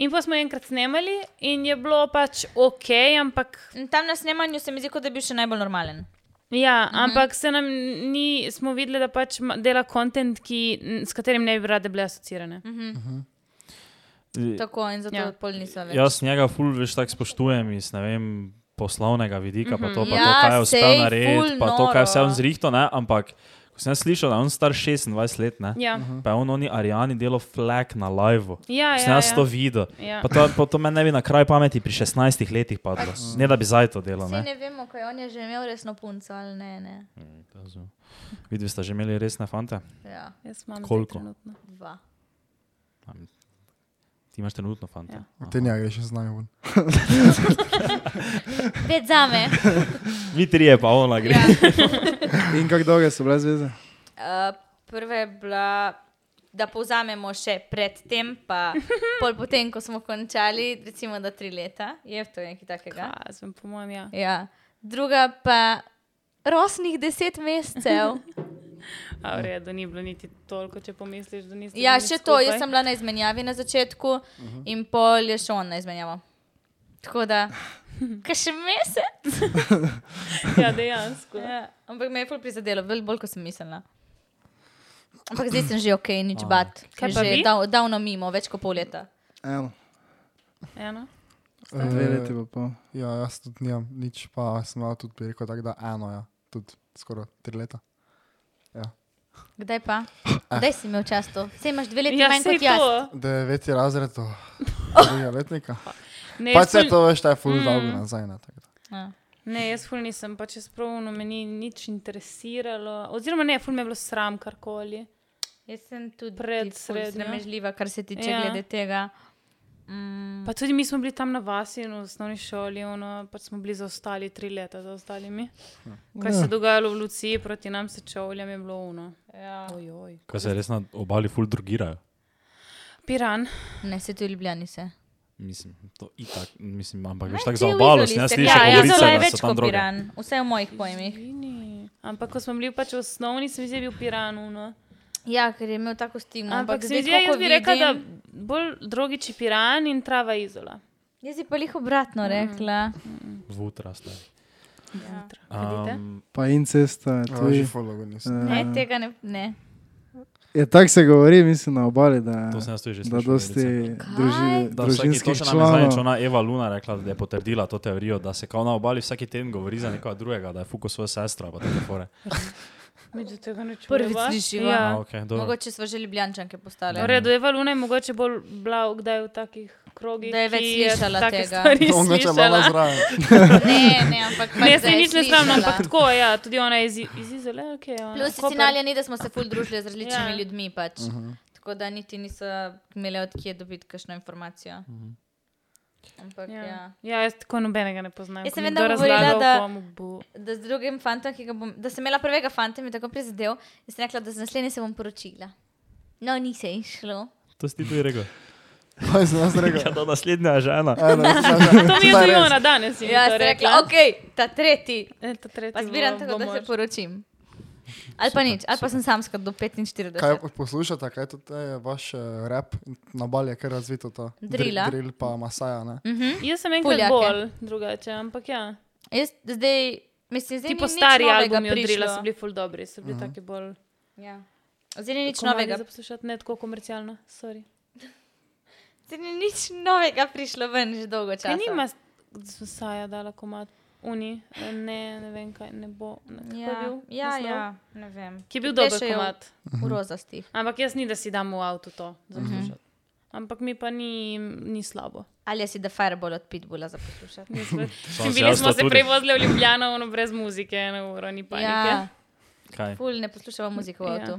Speaker 1: In pa smo enkrat snemali, in je bilo pač ok, ampak,
Speaker 2: "M, tam na snemanju se mi zdi, kot da je bil še najbolj normalen.
Speaker 1: ja, ampak se nam ni, smo videli, da pač ma- dela kontent, s katerim ne bi rade bile asocirane.
Speaker 4: je-
Speaker 2: Tako in zato
Speaker 1: Ja.
Speaker 2: ja. pol nisem več.
Speaker 4: Jaz njega ful več tako spoštujem iz ne vem, poslovnega vidika, pa to, pa
Speaker 2: Ja,
Speaker 4: to kaj je
Speaker 2: sej,
Speaker 4: uspel
Speaker 2: ful
Speaker 4: narediti, pa to, kaj je vse on
Speaker 2: noro.
Speaker 4: zrihto, ne? ampak ko sem jaz slišal, da je on star 26 let, ne?
Speaker 1: Ja,
Speaker 4: pa je on oni Arijani delo flek na live.
Speaker 1: ja,
Speaker 4: Mhm. Sem
Speaker 1: ja,
Speaker 4: jaz to
Speaker 1: ja.
Speaker 4: videl.
Speaker 1: Ja.
Speaker 4: Pa to, pa to meni ne bi na kraj pameti pri 16 letih padlo. Ne da bi zdaj to delo.
Speaker 2: Vsi
Speaker 4: Ne?
Speaker 2: ne vemo, kaj on je že imel resno punco ali ne. ne.
Speaker 4: Videli ste že imeli resne fante?
Speaker 2: Ja,
Speaker 1: Jaz imam zdaj
Speaker 4: Koliko?
Speaker 1: trenutno.
Speaker 2: dva.
Speaker 4: Ti imaš trenutno fante.
Speaker 1: Ja.
Speaker 3: Ti ne greš z nami ven.
Speaker 2: Pet za me.
Speaker 4: Mi trije pa ona gre.
Speaker 2: Ja.
Speaker 5: In kako dolge so bile zveze?
Speaker 2: Uh, prva je bila, da povzamemo še predtem, pa pol potem, ko smo končali, recimo da tri leta, je to nekaj takega.
Speaker 1: Kazen, po mojem, ja.
Speaker 2: Ja. Druga pa rosnih deset mesecev.
Speaker 1: A v redu, ni bilo niti toliko, če pomisliš, da nisi.
Speaker 2: Ja, še to, jaz sem bila na izmenjavi na začetku uh -huh. in pol je še on na izmenjavo. Tako da, kaj še mesec?
Speaker 1: Ja, dejansko.
Speaker 2: Ja, ampak me je bolj prizadelo, veliko bolj, kot sem mislila. Ampak zdaj sem že ok, nič bat.
Speaker 1: Kaj pa vi?
Speaker 2: že dav, davno mimo, več kot pol leta.
Speaker 5: Eno,
Speaker 1: Eno.
Speaker 4: Eh,
Speaker 5: dve leti pa pol.
Speaker 3: Ja, jaz tudi nimam nič, pa sem imel tudi bi rekel tako, da eno, ja, tudi skoraj tri leta.
Speaker 2: Kdaj pa? Kdaj si imel čas to? Sej imaš dve leti
Speaker 1: Ja,
Speaker 2: manj
Speaker 1: sej
Speaker 2: kot jaz.
Speaker 1: to.
Speaker 3: Deveti razred, to drugega letnika.
Speaker 1: Ne,
Speaker 3: Pa
Speaker 1: jaz
Speaker 3: se
Speaker 1: ful-
Speaker 3: to veš, da je full dolgo nazaj. Ne, tako da.
Speaker 1: Ne, jaz ful nisem, pa če spravno me ni nič interesiralo. Oziroma, ne, ful me je bilo sram karkoli.
Speaker 2: Jaz sem tudi
Speaker 1: Pred
Speaker 2: ful
Speaker 1: srednjo.
Speaker 2: sramežljiva, kar se tiče
Speaker 1: Ja.
Speaker 2: ja. glede tega. Mm,
Speaker 1: Pa tudi mi smo bili tam na vasi in v osnovni šoli, ono, pač smo bili zaostali tri leta, zaostali mi.
Speaker 3: Hm.
Speaker 1: Kaj
Speaker 3: Ja.
Speaker 1: se je dogajalo v Luciji, proti nam se čovljam je bilo uno.
Speaker 2: ja.
Speaker 1: Ojoj.
Speaker 4: Ko se res na obali ful drugirajo.
Speaker 1: Piran.
Speaker 2: Ne, se tudi ljubljeni se.
Speaker 4: Mislim, to itak, mislim, ampak veš
Speaker 2: Ne,
Speaker 4: tako
Speaker 2: ti v
Speaker 4: zaobalo,
Speaker 2: Izoli
Speaker 4: jaz
Speaker 2: ste-
Speaker 4: slišim,
Speaker 2: Ja, ja,
Speaker 4: govorice,
Speaker 2: zelo je
Speaker 4: da
Speaker 2: več
Speaker 4: so tam
Speaker 2: kot
Speaker 4: droge.
Speaker 2: Piran, vse v mojih pojmih.
Speaker 1: Zvini. Ampak ko smo bili pač v osnovni, sem zdaj bil piran. No.
Speaker 2: Ja, ker je imel tako stigmo.
Speaker 1: Ampak
Speaker 2: Ampak
Speaker 1: se mi
Speaker 2: zdaj,
Speaker 1: zdi, ja, jaz
Speaker 2: kako
Speaker 1: bi rekla, da bolj drogiči piran in trava izola.
Speaker 2: Jaz bi pa jih obratno rekla.
Speaker 4: Vutra, stari.
Speaker 2: Ja.
Speaker 1: Hodite?
Speaker 4: Um,
Speaker 5: Pa incesta,
Speaker 3: že
Speaker 5: tudi.
Speaker 3: fologo nisem.
Speaker 5: eh,
Speaker 2: Ne, tega ne. ne.
Speaker 5: Ja, tako se govori, mislim, na obali, da,
Speaker 4: to sem jaz tudi že
Speaker 5: da
Speaker 4: slišal.
Speaker 5: dosti
Speaker 4: Verica.
Speaker 5: druži,
Speaker 4: Da vsaki, to
Speaker 5: družinskih
Speaker 4: še nam je zadnjič
Speaker 5: članov.
Speaker 4: ona Eva Luna rekla, da je potrdila to teorijo, da se kao na obali vsaki teden govori za nekoga drugega, da je fuko svojo sestro. pa take fore.
Speaker 1: Mi do tega ne čujemo.
Speaker 2: Prvič slišiva.
Speaker 4: A,
Speaker 1: Ja.
Speaker 4: okay, dobro.
Speaker 2: Mogoče smo že ljubljančanke postale.
Speaker 1: V redu, Eva Luna je mogoče bolj bila kdaj v takih krogih.
Speaker 2: Da je več
Speaker 1: ki
Speaker 2: slišala
Speaker 1: take
Speaker 2: tega.
Speaker 1: stvari
Speaker 3: Mogoče malo
Speaker 1: slišala.
Speaker 3: zraven.
Speaker 2: Ne, ne, ampak pač
Speaker 1: Ne,
Speaker 2: da
Speaker 1: se
Speaker 2: je
Speaker 1: nič ne sramno,
Speaker 2: slišala.
Speaker 1: ampak tako, ja, tudi ona je iz, iz Izole, ok. Ja,
Speaker 2: Plus Sinalija ni, da smo se ful družili z različnimi
Speaker 1: Ja.
Speaker 2: ljudmi. Pač. Tako da niti niso imeli odkje dobiti kakšno informacijo. Ampak
Speaker 1: Ja.
Speaker 2: ja.
Speaker 1: ja, jaz tako nobenega ne poznam.
Speaker 2: Jaz
Speaker 1: Ko
Speaker 2: sem
Speaker 1: mi
Speaker 2: vedno
Speaker 1: kdo
Speaker 2: govorila,
Speaker 1: razlaga o
Speaker 2: da-
Speaker 1: komu bo-
Speaker 2: Da z drugim fantom, ki ga bom, da sem imela prvega fanta, mi je tako prizadel in sem rekla, da z naslednjim se bom poročila. No, ni se išlo.
Speaker 4: To si ti tudi rekel.
Speaker 3: Kaj sem jaz
Speaker 4: Ja,
Speaker 3: rekel?
Speaker 4: to naslednja je žena.
Speaker 3: Eno, še-
Speaker 1: To mi je
Speaker 3: Saj
Speaker 1: tudi
Speaker 3: res.
Speaker 1: ona danes.
Speaker 2: Ja, sem rekla, ok, ta tretji.
Speaker 1: E, ta tretji
Speaker 2: Pa zbiram
Speaker 1: bo-
Speaker 2: tako,
Speaker 1: bo
Speaker 2: da se
Speaker 1: mož.
Speaker 2: poročim. Ali pa nič, ali pa sem samska do 45.
Speaker 3: Kaj poslušate, kaj tudi je vaš eh, rap, na balje, kar razvito to.
Speaker 2: Drila.
Speaker 3: Drill pa Masaja, ne?
Speaker 2: Mhm.
Speaker 1: Jaz sem enkrat
Speaker 2: Puljake.
Speaker 1: bolj drugače, ampak ja.
Speaker 2: Jaz zdaj, mislim, zdaj
Speaker 1: Ti
Speaker 2: ni
Speaker 1: po
Speaker 2: nič
Speaker 1: stari
Speaker 2: novega
Speaker 1: albumi odrila
Speaker 2: prišlo.
Speaker 1: so bili ful dobri, so bili taki bolj.
Speaker 2: Ja. Zdaj ni nič
Speaker 1: komadi
Speaker 2: novega.
Speaker 1: Za poslušati ne tako komercialno, sorry.
Speaker 2: Zdaj ni nič novega prišlo ven že dolgo časa.
Speaker 1: Kaj nima s- Saja dala komat? Uni, eh, ne, ne vem kaj, ne bo. Ne, kako je
Speaker 2: Ja,
Speaker 1: bil
Speaker 2: ja,
Speaker 1: naslov?
Speaker 2: ja, ne vem.
Speaker 1: Ki je bil
Speaker 2: Ki
Speaker 1: dober
Speaker 2: plešejo
Speaker 1: komat.
Speaker 4: Mhm.
Speaker 2: V rozastih.
Speaker 1: Ampak jaz ni, da si dam v avtu to
Speaker 2: Mhm.
Speaker 1: za poslušati. Ampak mi pa ni, ni slabo.
Speaker 2: Ali je si The Fireball od Pitbulla za poslušati?
Speaker 1: Sem bili
Speaker 4: jaz
Speaker 1: smo
Speaker 4: to
Speaker 1: se
Speaker 4: tudi.
Speaker 1: prevozili v Ljubljano, ono brez muzike, eno uro, ni
Speaker 2: Ja,
Speaker 1: panike.
Speaker 4: Kaj?
Speaker 2: ful ne poslušava muzike v
Speaker 1: Ja.
Speaker 2: avtu.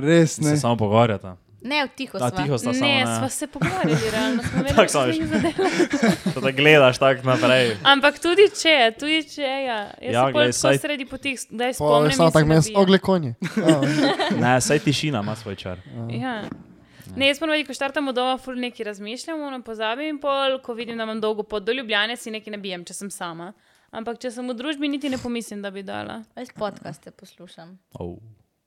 Speaker 5: Res
Speaker 4: Se
Speaker 5: ne.
Speaker 4: samo pogovarjata.
Speaker 2: Ne, v tiho
Speaker 4: Da,
Speaker 2: sva.
Speaker 4: tiho sta samo.
Speaker 1: Ne, sva se pogovarjali, realno smo imeli
Speaker 4: Tako samo
Speaker 1: različne
Speaker 4: veš.
Speaker 1: zadeve.
Speaker 4: To da gledaš tako naprej.
Speaker 1: Ampak tudi če, tudi če, ja. Jaz
Speaker 4: Ja,
Speaker 1: ja, se pol
Speaker 4: glej,
Speaker 1: tako
Speaker 4: saj-
Speaker 1: sredi potih, da je
Speaker 3: Pa
Speaker 1: spomnim.
Speaker 3: je samo
Speaker 1: in se
Speaker 3: tako mes,
Speaker 1: nabijem.
Speaker 3: ogle konji.
Speaker 4: Ne, saj tišina ima svoj čar.
Speaker 1: Ja. Ne, jaz ponovadi, ko štartamo doma, ful nekaj razmišljam, ono pozabim in pol, ko vidim, da imam dolgo pot do Ljubljane, si nekaj nabijem, če sem sama. Ampak če sem v družbi, niti ne pomislim, da bi dala.
Speaker 2: Jaz podcaste poslušam.
Speaker 4: Oh,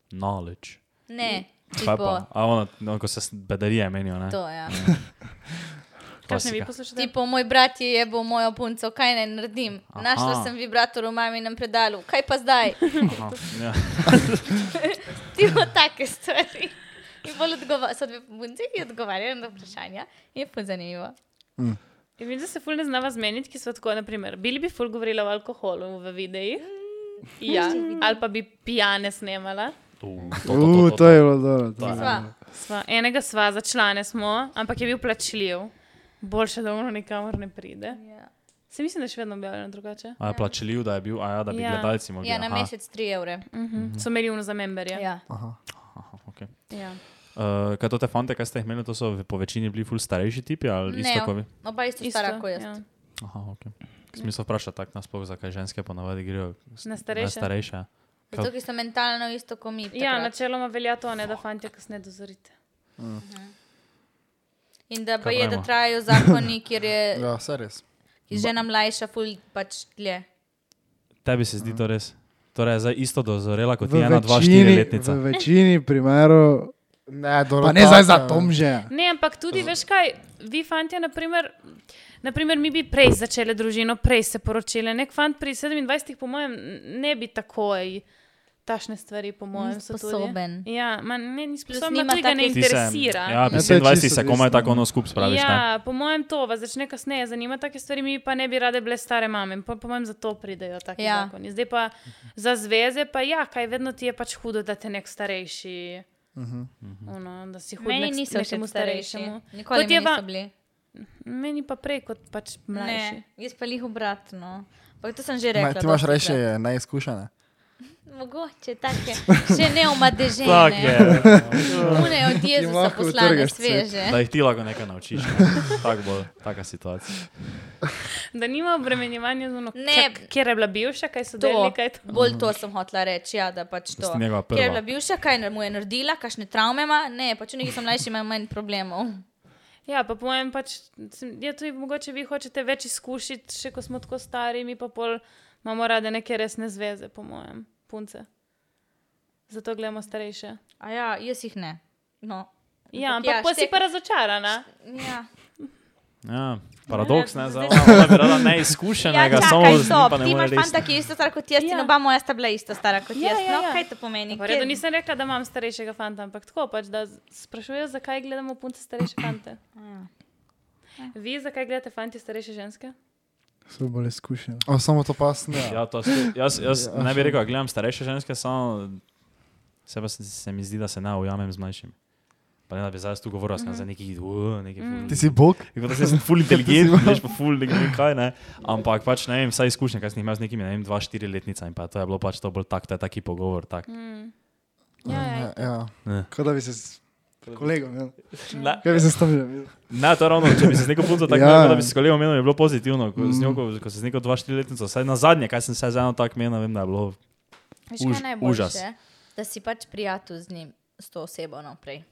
Speaker 4: knowledge.
Speaker 2: Ne,
Speaker 4: Kaj pa? Mhm.
Speaker 2: tipo.
Speaker 4: A ono, no, ko se s- bedarije menijo, ne?
Speaker 2: To, ja.
Speaker 1: Kaj ne vi
Speaker 4: Klasika.
Speaker 1: poslušate?
Speaker 2: Tipo, moj brat je jebo mojo punco, kaj naj naredim.
Speaker 4: Aha.
Speaker 2: Našla sem vibrator v maminem predalu, kaj pa zdaj?
Speaker 4: Aha, ja.
Speaker 2: Tipo take stvari. In bolj odgovarjajo, so dve punce, ki odgovarjajo na vprašanja. Je pa zanimivo.
Speaker 1: Ja, Vidim, da se ful ne znava zmeniti, ki so tako, naprimer, bili bi ful govorila o alkoholu v videih. Ja, ali pa bi pijane snemala.
Speaker 4: U, to, to, to,
Speaker 5: Uh,
Speaker 4: to,
Speaker 5: to je bilo dobro. to je bilo.
Speaker 2: Sva.
Speaker 1: Sva, enega sva za člane smo, ampak je bil plačljiv. Boljše, da ono nikamor ne pride.
Speaker 2: Ja.
Speaker 1: Se mislim, da je še vedno objavljeno drugače.
Speaker 4: A je plačljiv, da je bil, a ja, da bi
Speaker 1: Ja.
Speaker 4: gledalci mogli.
Speaker 2: Ja, na
Speaker 4: aha.
Speaker 2: mesec 3 evre.
Speaker 1: Mhm. So imeli uno za memberje.
Speaker 2: Ja.
Speaker 4: Aha, okay.
Speaker 1: Ja.
Speaker 4: uh, kaj to te fante, kaj ste jih imeli, to so v- po večini bili ful starejši tipi ali
Speaker 2: Ne,
Speaker 4: isto kot vi?
Speaker 2: oba isto stara kot jaz.
Speaker 1: ja.
Speaker 4: Aha, ok. Smisel vprašati tako nasploh, zakaj ženske ponavadi grejo s-
Speaker 1: Na starejše?
Speaker 4: Na starejše. ja. Kaj-
Speaker 2: Zato, ki so mentalno isto kot mi.
Speaker 1: ja,
Speaker 2: takrat.
Speaker 1: načeloma velja to, ne, da fantje kasneje dozorite.
Speaker 2: In da pa
Speaker 4: Kaj
Speaker 2: je, da
Speaker 4: pravimo?
Speaker 2: trajajo zakoni, kjer je
Speaker 3: Ja, se res.
Speaker 2: žena mlajša, ful pač dlje.
Speaker 4: Tebi se zdi to res. Torej, je zdaj isto dozorela kot
Speaker 5: V
Speaker 4: ti ena, dva, štiri
Speaker 5: večini, v
Speaker 4: letnica.
Speaker 5: večini primerov,
Speaker 3: Ne, dobro.
Speaker 5: pa ne zdaj za tom že.
Speaker 1: Ne, ampak tudi, veš kaj, vi fantje, naprimer, naprimer, mi bi prej začeli družino, prej se poročili. Nek fant pri 27, po mojem, ne bi takoj. Tašne stvari, po mojem, so tudi-
Speaker 2: sposoben.
Speaker 1: Ja, ma, ne, ni sposoben,
Speaker 2: nima
Speaker 1: tudi ga ne
Speaker 2: takih-
Speaker 4: Ti se,
Speaker 1: interesira.
Speaker 4: ja,
Speaker 5: to
Speaker 4: pri
Speaker 5: je
Speaker 4: 27
Speaker 5: čisto
Speaker 4: se komaj
Speaker 5: odvisno, no.
Speaker 4: tako ono skup spraviš. ne?
Speaker 1: Ja, po mojem, to vas začne kasneje zanimati, take stvari mi pa ne bi rade bile stare mame. Po, po mojem, zato pridejo taki
Speaker 2: Ja.
Speaker 1: ja. zakoni. Zdaj pa za zveze, pa ja, kaj vedno ti je pač hudo, da te nek starejši. Ono, da si hud
Speaker 2: Meni
Speaker 1: nek-
Speaker 2: niso še
Speaker 1: nekemu
Speaker 2: starejši.
Speaker 1: starejšemu.
Speaker 2: Nikoli
Speaker 1: Kot je
Speaker 2: mi
Speaker 1: va-
Speaker 2: niso bili.
Speaker 1: Meni pa prej kot pač mlajši.
Speaker 2: Ne, jaz pa jih obratno. Pa to sem že
Speaker 3: Ne,
Speaker 2: rekla.
Speaker 3: ti imaš
Speaker 2: dostikrat.
Speaker 3: reči neizkušene.
Speaker 2: Mogoče take, še ne umadežene.
Speaker 4: Tako je,
Speaker 2: Une od Jezusa
Speaker 5: lahko
Speaker 2: poslane
Speaker 5: utrgaš cel.
Speaker 2: sveže.
Speaker 4: da jih ti lahko nekaj naučiš. ne. Tako bo, taka situacija.
Speaker 1: Da nima obremenjevanja z ono,
Speaker 2: Ne.
Speaker 1: kje, kjer je bila bivša, kaj so delali,
Speaker 2: To,
Speaker 1: kaj je to.
Speaker 2: bolj to sem hotela reči, ja, da pač
Speaker 4: To
Speaker 2: to.
Speaker 4: sta Mhm. njegova
Speaker 2: Ker je bila
Speaker 4: prva.
Speaker 2: bivša, kaj mu je naredila, kakšne travme ima, ne, pač neki so mlajši, imajo manj problemov.
Speaker 1: Ja, pa pojem, pač, sem- je tudi mogoče vi hočete več izkušiti, še ko smo tako stari, mi pa pol imamo rade neke resne zveze, po mojem, punce. Zato gledamo starejše.
Speaker 2: A ja, jaz jih ne. No.
Speaker 1: Ja,
Speaker 2: Ampak ja,
Speaker 1: ampak ja, si
Speaker 2: štek-
Speaker 1: pa razočarana.
Speaker 2: Ja.
Speaker 4: Ja, paradoks, ne,
Speaker 2: Zdaj-
Speaker 4: zelo zelo
Speaker 2: Ja,
Speaker 4: neizkušenega, samo
Speaker 2: čakaj,
Speaker 4: z njim
Speaker 2: stop,
Speaker 4: pa ne
Speaker 2: ti
Speaker 4: more
Speaker 2: imaš
Speaker 4: res.
Speaker 2: fanta, ki je ista stara kot jaz, ja. in
Speaker 1: Ja.
Speaker 2: oba moja sta bila ista stara kot
Speaker 1: Ja,
Speaker 2: jaz.
Speaker 1: ja,
Speaker 2: no,
Speaker 1: ja.
Speaker 2: kaj to pomeni?
Speaker 1: V redu, nisem rekla, da imam starejšega fanta, ampak tako pač, da z- sprašujejo, zakaj gledamo punce starejše fante. Vi, zakaj gledate fanti starejše ženske?
Speaker 5: So bolj izkušeni.
Speaker 3: O, samo to pasne.
Speaker 4: Ja, to se- jaz, jaz
Speaker 3: Ja.
Speaker 4: ne bi rekel, da gledam starejše ženske, samo se, pa, se, se mi zdi, da se ne ujamem z mlajšimi. Pa ne, da bi zdaj jaz tu govoril,
Speaker 2: Mhm.
Speaker 4: sem za neki, uh, neki. Mm.
Speaker 3: Ti si bog? Ja,
Speaker 4: Tako da se sem ful inteligenten, veš pa ful ne vem kaj, ne. Ampak pač ne vem, vsaj izkušnje, kaj sem jih imel z nekimi, ne vem, dva, štiri letnica in pa to je bilo pač to bolj tak, to je taki pogovor, tak.
Speaker 1: Ja, ja,
Speaker 3: Ja, ja.
Speaker 2: Mhm.
Speaker 5: Kot da bi se s kolegom, ja.
Speaker 4: Ne,
Speaker 5: Kaj bi se stavili?
Speaker 4: ne, to je ravno, če bi se z neko punco tako
Speaker 5: Ja.
Speaker 4: ja. da bi se s kolegom menil, je bilo pozitivno, ko, mm. z njo, ko, ko se z neko dva, štiri letnico, vsaj na zadnje, kaj sem se z eno tak menil, vem, da je bilo.
Speaker 2: Veš,
Speaker 4: Už-
Speaker 2: kaj najboljše?
Speaker 4: užas.
Speaker 2: Da si pač prijatelj z njim, s to osebo naprej.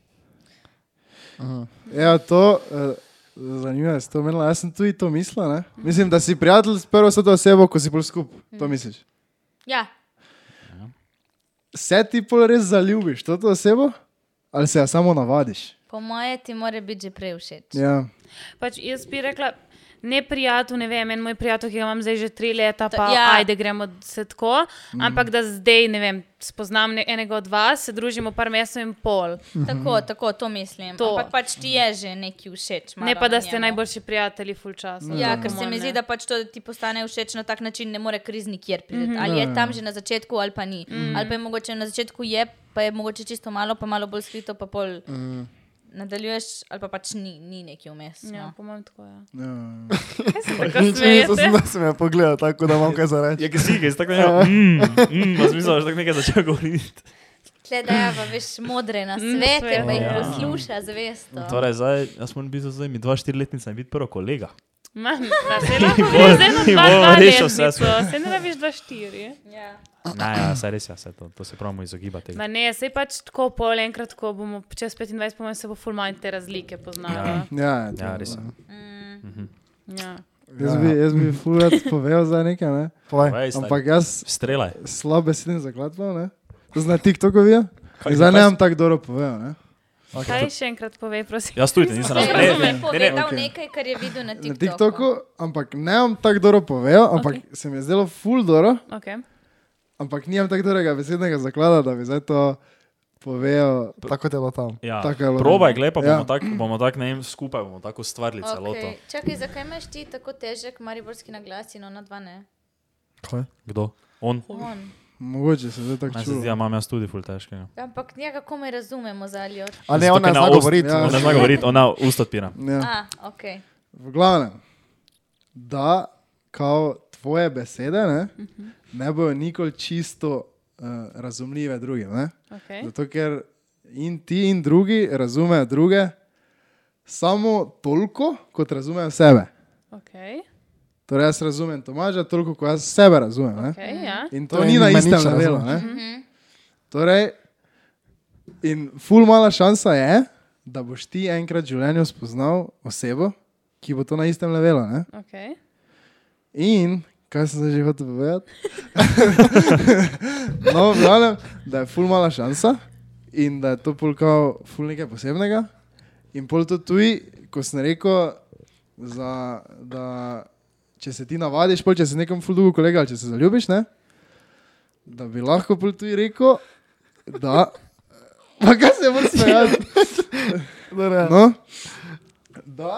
Speaker 5: Ja, to. Uh, Zanimivo je, si to menila. Jaz sem tudi to mislila. Ne? Mislim, da si prijatelj s prvo soto osebo, ko si bolj skup. To misliš.
Speaker 2: Ja,
Speaker 5: Se ti pol res zaljubiš, to, to osebo, ali se jo samo navadiš?
Speaker 2: po moje ti mora biti že prej všeč.
Speaker 5: Ja.
Speaker 1: Pač jaz bi rekla, ne prijatelj, ne vem, en moj prijatelj, ki ga imam zdaj že tri leta,
Speaker 2: To-
Speaker 1: pa
Speaker 2: ja.
Speaker 1: ja. ajde gremo se tako.
Speaker 4: Mhm.
Speaker 1: Mm. Ampak da zdaj, ne vem, spoznam ne, enega od vas, se družimo par mesecev in pol.
Speaker 4: Mhm.
Speaker 2: Tako, tako, to mislim.
Speaker 1: To.
Speaker 2: Ampak pač ti je že neki všeč.
Speaker 1: Ne
Speaker 2: malo
Speaker 1: pa,
Speaker 2: na
Speaker 1: da ste
Speaker 2: njemu.
Speaker 1: najboljši prijatelji full čas.
Speaker 2: Ja, ker se mi zdi, da pač to da ti postane všeč na tak način, ne more kriz nikjer priti. Ali
Speaker 4: Ja.
Speaker 2: je tam že na začetku, ali pa ni. Ali pa je mogoče na začetku je, pa je mogoče čisto malo, pa malo bolj skrito, pa pol
Speaker 4: Mhm.
Speaker 2: nadaljuješ, ali pa pač ni, ni neki vmes.
Speaker 1: Ja,
Speaker 2: No.
Speaker 1: po mojem tako je. Ja.
Speaker 5: Ja.
Speaker 1: Kaj se tako
Speaker 3: Nič nisem,
Speaker 1: smejete?
Speaker 3: sem- da sem me pogledal, tako da imam kaj za reči.
Speaker 4: Ja, ki si, ki si tako nekaj, mm, mm, pa smisel, da si tako nekaj začel govoriti.
Speaker 2: Tle da je pa veš modre na
Speaker 1: svete,
Speaker 2: svete, pa jih
Speaker 4: ja.
Speaker 2: posluša zvesto.
Speaker 4: Torej, zdaj, jaz moram biti z njimi dva, štiri letnica in biti prvo kolega.
Speaker 1: Ma, na zelo poveš, zdaj na
Speaker 4: Ni
Speaker 1: dva,
Speaker 4: bolj,
Speaker 1: dva
Speaker 4: rešil vse
Speaker 1: letnico.
Speaker 4: skupaj.
Speaker 1: Se ne rabiš dva, štiri.
Speaker 2: Ja.
Speaker 4: Ne, ja, saj res, ja, saj to, to se pravimo izogibati.
Speaker 1: Ma ne, sej pač tako pol enkrat, ko bomo čez 25, po mojem, se bo full manj te razlike poznalo.
Speaker 5: Ja,
Speaker 4: Ja, res. ja.
Speaker 1: Ja.
Speaker 5: Jaz bi, jaz bi furat povedal za nekaj, ne?
Speaker 3: Povej.
Speaker 4: Povej, staj.
Speaker 5: ampak jaz
Speaker 4: Strelaj.
Speaker 5: slabe sedim za klatvo, no, ne? To zna TikToku vijo.
Speaker 4: Kaj,
Speaker 5: Zdaj ne
Speaker 4: kaj
Speaker 5: vem tako dobro povedal, ne?
Speaker 1: Okay. Kaj še enkrat povej, prosim?
Speaker 4: Jaz tudi Ja, nisem razumel.
Speaker 2: Razumem,
Speaker 4: Ne, ne,
Speaker 2: povedal
Speaker 5: okej.
Speaker 2: nekaj, kar je videl na TikToku.
Speaker 5: Na TikToku, ampak ne vem tako dobro povedal, ampak okay. se mi je zdelo full dobro,
Speaker 1: Okay.
Speaker 5: ampak nimam tako dobrega besednega zaklada, da bi zdaj to povedal.
Speaker 3: Tako te je bilo tam.
Speaker 4: Ja,
Speaker 5: Tako je bilo.
Speaker 4: probaj, gled, pa bomo
Speaker 5: Ja.
Speaker 4: tako, bomo tak, ne vem, skupaj bomo tako ustvarili celoto.
Speaker 2: Čakaj, zakaj imaš ti tako težek mariborski naglas in ona dva ne?
Speaker 3: Kaj?
Speaker 4: Kdo? On?
Speaker 2: On.
Speaker 5: Mogoče se zdaj tako
Speaker 4: Meni se
Speaker 5: čuti.
Speaker 4: zdi, da imam jaz tudi ful težkega.
Speaker 2: Ampak njega komaj razumemo za ali od.
Speaker 3: A ne,
Speaker 4: Zato,
Speaker 3: ona
Speaker 4: ker
Speaker 3: ne
Speaker 4: na
Speaker 3: zna
Speaker 4: ost-
Speaker 3: govoriti.
Speaker 5: Ja.
Speaker 4: Ona zna govoriti, ona ust odpira.
Speaker 5: Ja.
Speaker 2: A, ok.
Speaker 5: V glavnem, da kao tvoje besede ne,
Speaker 2: Mhm.
Speaker 5: ne bojo nikoli čisto uh, razumljive drugim. Ne?
Speaker 1: Okay.
Speaker 5: Zato ker in ti in drugi razumejo druge samo toliko, kot razumejo sebe.
Speaker 1: Okay.
Speaker 5: Torej, jaz razumem Tomaža toliko, kot jaz sebe razumem. ne.
Speaker 1: Okay,
Speaker 2: Mhm.
Speaker 1: ja.
Speaker 5: In to
Speaker 3: Torej,
Speaker 5: ni na
Speaker 3: nima nič
Speaker 5: istem
Speaker 3: ne
Speaker 5: levelu.
Speaker 3: razumeš.
Speaker 5: Torej, in ful mala šansa je, da boš ti enkrat v življenju spoznal osebo, ki bo to na istem levelu. Ne?
Speaker 1: Okay.
Speaker 5: In, kaj sem zdaj že hotel povedati? no, glavnem, da je ful mala šansa in da je to pol kao ful nekaj posebnega. In pol to tuji, ko sem rekel, za, da če se ti navadiš, pol če si nekom ful dolgo kolega ali če se zaljubiš, ne? da bi lahko pol tuji rekel, da. Pa kaj se moraš smejati? No, da,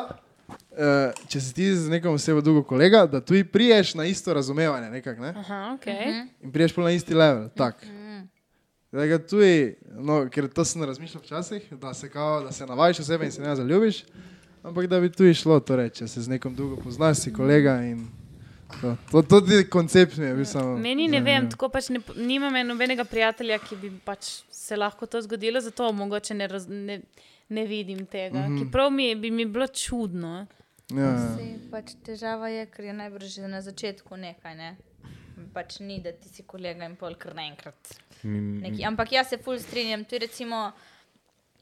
Speaker 5: eh, če si ti z nekom osebo dolgo kolega, da tu priješ na isto razumevanje. Nekak, ne?
Speaker 1: Aha, okay.
Speaker 2: Mhm.
Speaker 5: In priješ pol na isti level. Tak.
Speaker 1: Mhm.
Speaker 5: Da ga tu je, no, ker to sem razmišljal včasih, da se, kao, da se navajiš osebe in se ne zaljubiš, ampak da bi tu išlo, torej, če se z nekom dolgo poznaš, si kolega in to. To, to ti koncept mi je bil samo.
Speaker 1: Meni ne vem,
Speaker 5: zanimiv.
Speaker 1: tako pač ne, po- nimam nobenega prijatelja, ki bi pač se lahko to zgodilo, zato mogoče ne, raz, ne, ne vidim tega. Mm -hmm. Prav mi je, bi mi bilo čudno.
Speaker 5: Ja, ja.
Speaker 2: Sej, pač težava je, ker je najbrž že na začetku nekaj, ne? Pač ni, da ti si kolega in pol kar naenkrat.
Speaker 4: Mm,
Speaker 2: Neki. Ampak jaz se ful strinjam, tu je recimo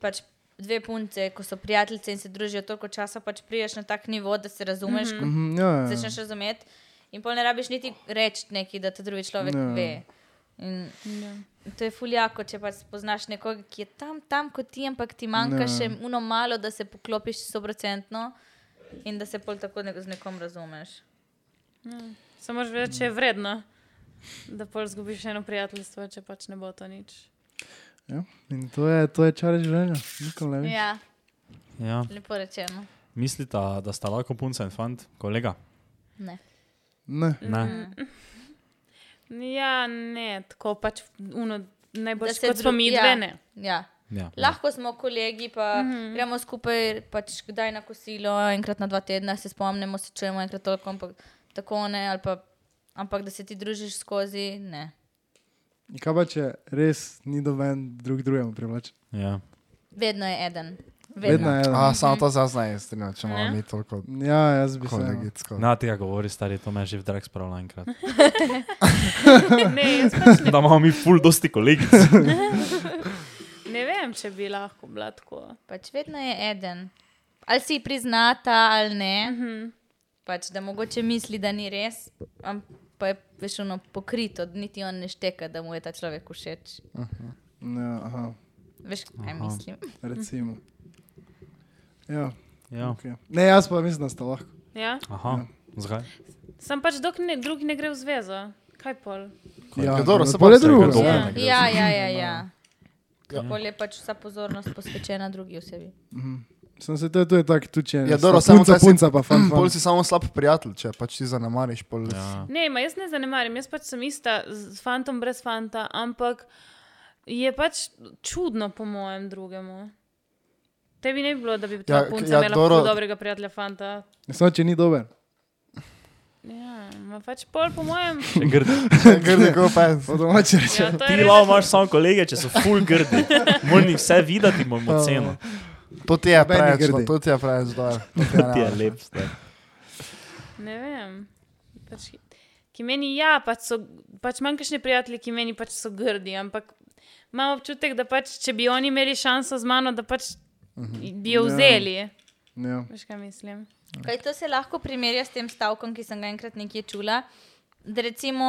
Speaker 2: pač dve punce, ko so prijateljice in se družijo toliko časa, pač priješ na tak nivo, da se razumeš, mm -hmm.
Speaker 5: Mhm, ja, ja.
Speaker 2: začneš razumeti. In pol ne rabiš niti reči neki, da te drugi človek
Speaker 5: Ja.
Speaker 2: no. ve. In to je fuljako, če pač spoznaš nekoga, ki je tam, tam kot ti, ampak ti manjka
Speaker 5: Ja.
Speaker 2: no. še uno malo, da se poklopiš 100% in da se pol tako ne, z nekom razumeš.
Speaker 1: Samo že vedeti, če je vredno, da pol zgubiš eno prijateljstvo, če pač ne bo to nič.
Speaker 5: Ja. In to je, to je čar življenja, nikoli ne veš.
Speaker 2: Ja,
Speaker 4: Ja.
Speaker 2: lepo rečeno.
Speaker 4: Mislite, da sta lahko punca in fant, kolega?
Speaker 2: Ne.
Speaker 5: Ne.
Speaker 4: Ne.
Speaker 1: Ja, ne, tako pač uno, najbolj
Speaker 2: Da se
Speaker 1: kot smo
Speaker 2: dru-
Speaker 1: mi
Speaker 2: ja.
Speaker 1: dve, ne.
Speaker 2: Ja.
Speaker 1: Mm.
Speaker 4: Ja.
Speaker 2: Lahko smo kolegi, pa mm -hmm. gremo skupaj, pač kdaj na kosilo, enkrat na dva tedna se spomnimo, se čujemo enkrat toliko, ampak tako ne. ali Pa, ampak da se ti družiš skozi, ne.
Speaker 5: In Kaj pa če res ni doben drug drugemu privlačen?
Speaker 4: Ja.
Speaker 2: Vedno je eden.
Speaker 5: Vedno
Speaker 2: Vedno.
Speaker 5: je. eden.
Speaker 3: A, samo to se jaz ne strinjam, če imamo mi toliko
Speaker 5: Ja, jaz bi se. ja.
Speaker 3: kolegitsko.
Speaker 4: Na tega govori, stari, to me je že v drag spravila enkrat.
Speaker 1: Ne, jaz pač ne,
Speaker 4: Da imamo mi ful dosti kolegic.
Speaker 1: ne vem, če bi lahko bila tako.
Speaker 2: Pač vedno je eden. Ali si priznata ali ne. Mm -hmm. Pač da mogoče misli, da ni res, am- pa je veš ono pokrito, niti on ne šteka, da mu je ta človek všeč.
Speaker 5: Ja, aha,
Speaker 2: Veš, kaj Aha. mislim.
Speaker 5: recimo. Ja,
Speaker 4: Ja.
Speaker 5: okay. Ne, jaz pa mislim, da sta lahko.
Speaker 1: Ja?
Speaker 4: Aha, zakaj?
Speaker 1: Sem pač, dok ne, drugi ne gre v zvezo. Kaj pol?
Speaker 5: Ja,
Speaker 3: Ja, dobro,
Speaker 5: no,
Speaker 3: se
Speaker 5: pol je
Speaker 3: pač
Speaker 5: drugo.
Speaker 4: nekaj
Speaker 5: Ja.
Speaker 4: dobre. nekdo
Speaker 2: Ja, ja, ja. ja. Kako je pač vsa pozornost posvečena drugi osebi.
Speaker 5: Sem se to, to je tako tuče.
Speaker 3: Ja, dobro, samo
Speaker 5: punca,
Speaker 3: kaj si-
Speaker 5: punca pa fan.
Speaker 3: Pol si samo slab prijatelj, če pač ti zanemariš. Pol...
Speaker 4: Ja.
Speaker 1: Ne, ma jaz ne zanemarim, jaz pač sem ista z z fantom brez fanta, ampak je pač čudno, po mojem, drugemu. Tebi ne bi bilo, da bi ta
Speaker 3: Ja,
Speaker 1: ja, punca ja,
Speaker 3: ja,
Speaker 1: imela
Speaker 3: Doro-
Speaker 1: Doro... dobrega prijatelja fanta.
Speaker 5: Samo če ni dober.
Speaker 1: Ja, ma pač pol, po mojem.
Speaker 4: Še grdi.
Speaker 3: Grdi, ko pa je.
Speaker 5: Po domače reče.
Speaker 1: Ja, to je
Speaker 4: Ti
Speaker 1: res,
Speaker 4: lao imaš samo kolege, če so ful grdi. Morni vse videti, imamo ceno.
Speaker 3: To ti je
Speaker 5: Noben ni
Speaker 3: preveč,
Speaker 5: grdi.
Speaker 3: to ti je preveč, da.
Speaker 4: Ti je lep. stari.
Speaker 1: Ne vem. Pač, ki meni ja, pač, so, pač imam kakšne prijatelje, ki meni pač so grdi, ampak imam občutek, da pač, če bi oni imeli šanso z mano, da pač
Speaker 3: Mhm.
Speaker 1: bi jo
Speaker 5: Ja.
Speaker 1: vzeli.
Speaker 5: Ja.
Speaker 1: Veš, kaj mislim?
Speaker 2: Kaj to se lahko primerja s tem stavkom, ki sem ga enkrat nekje čula? Da recimo,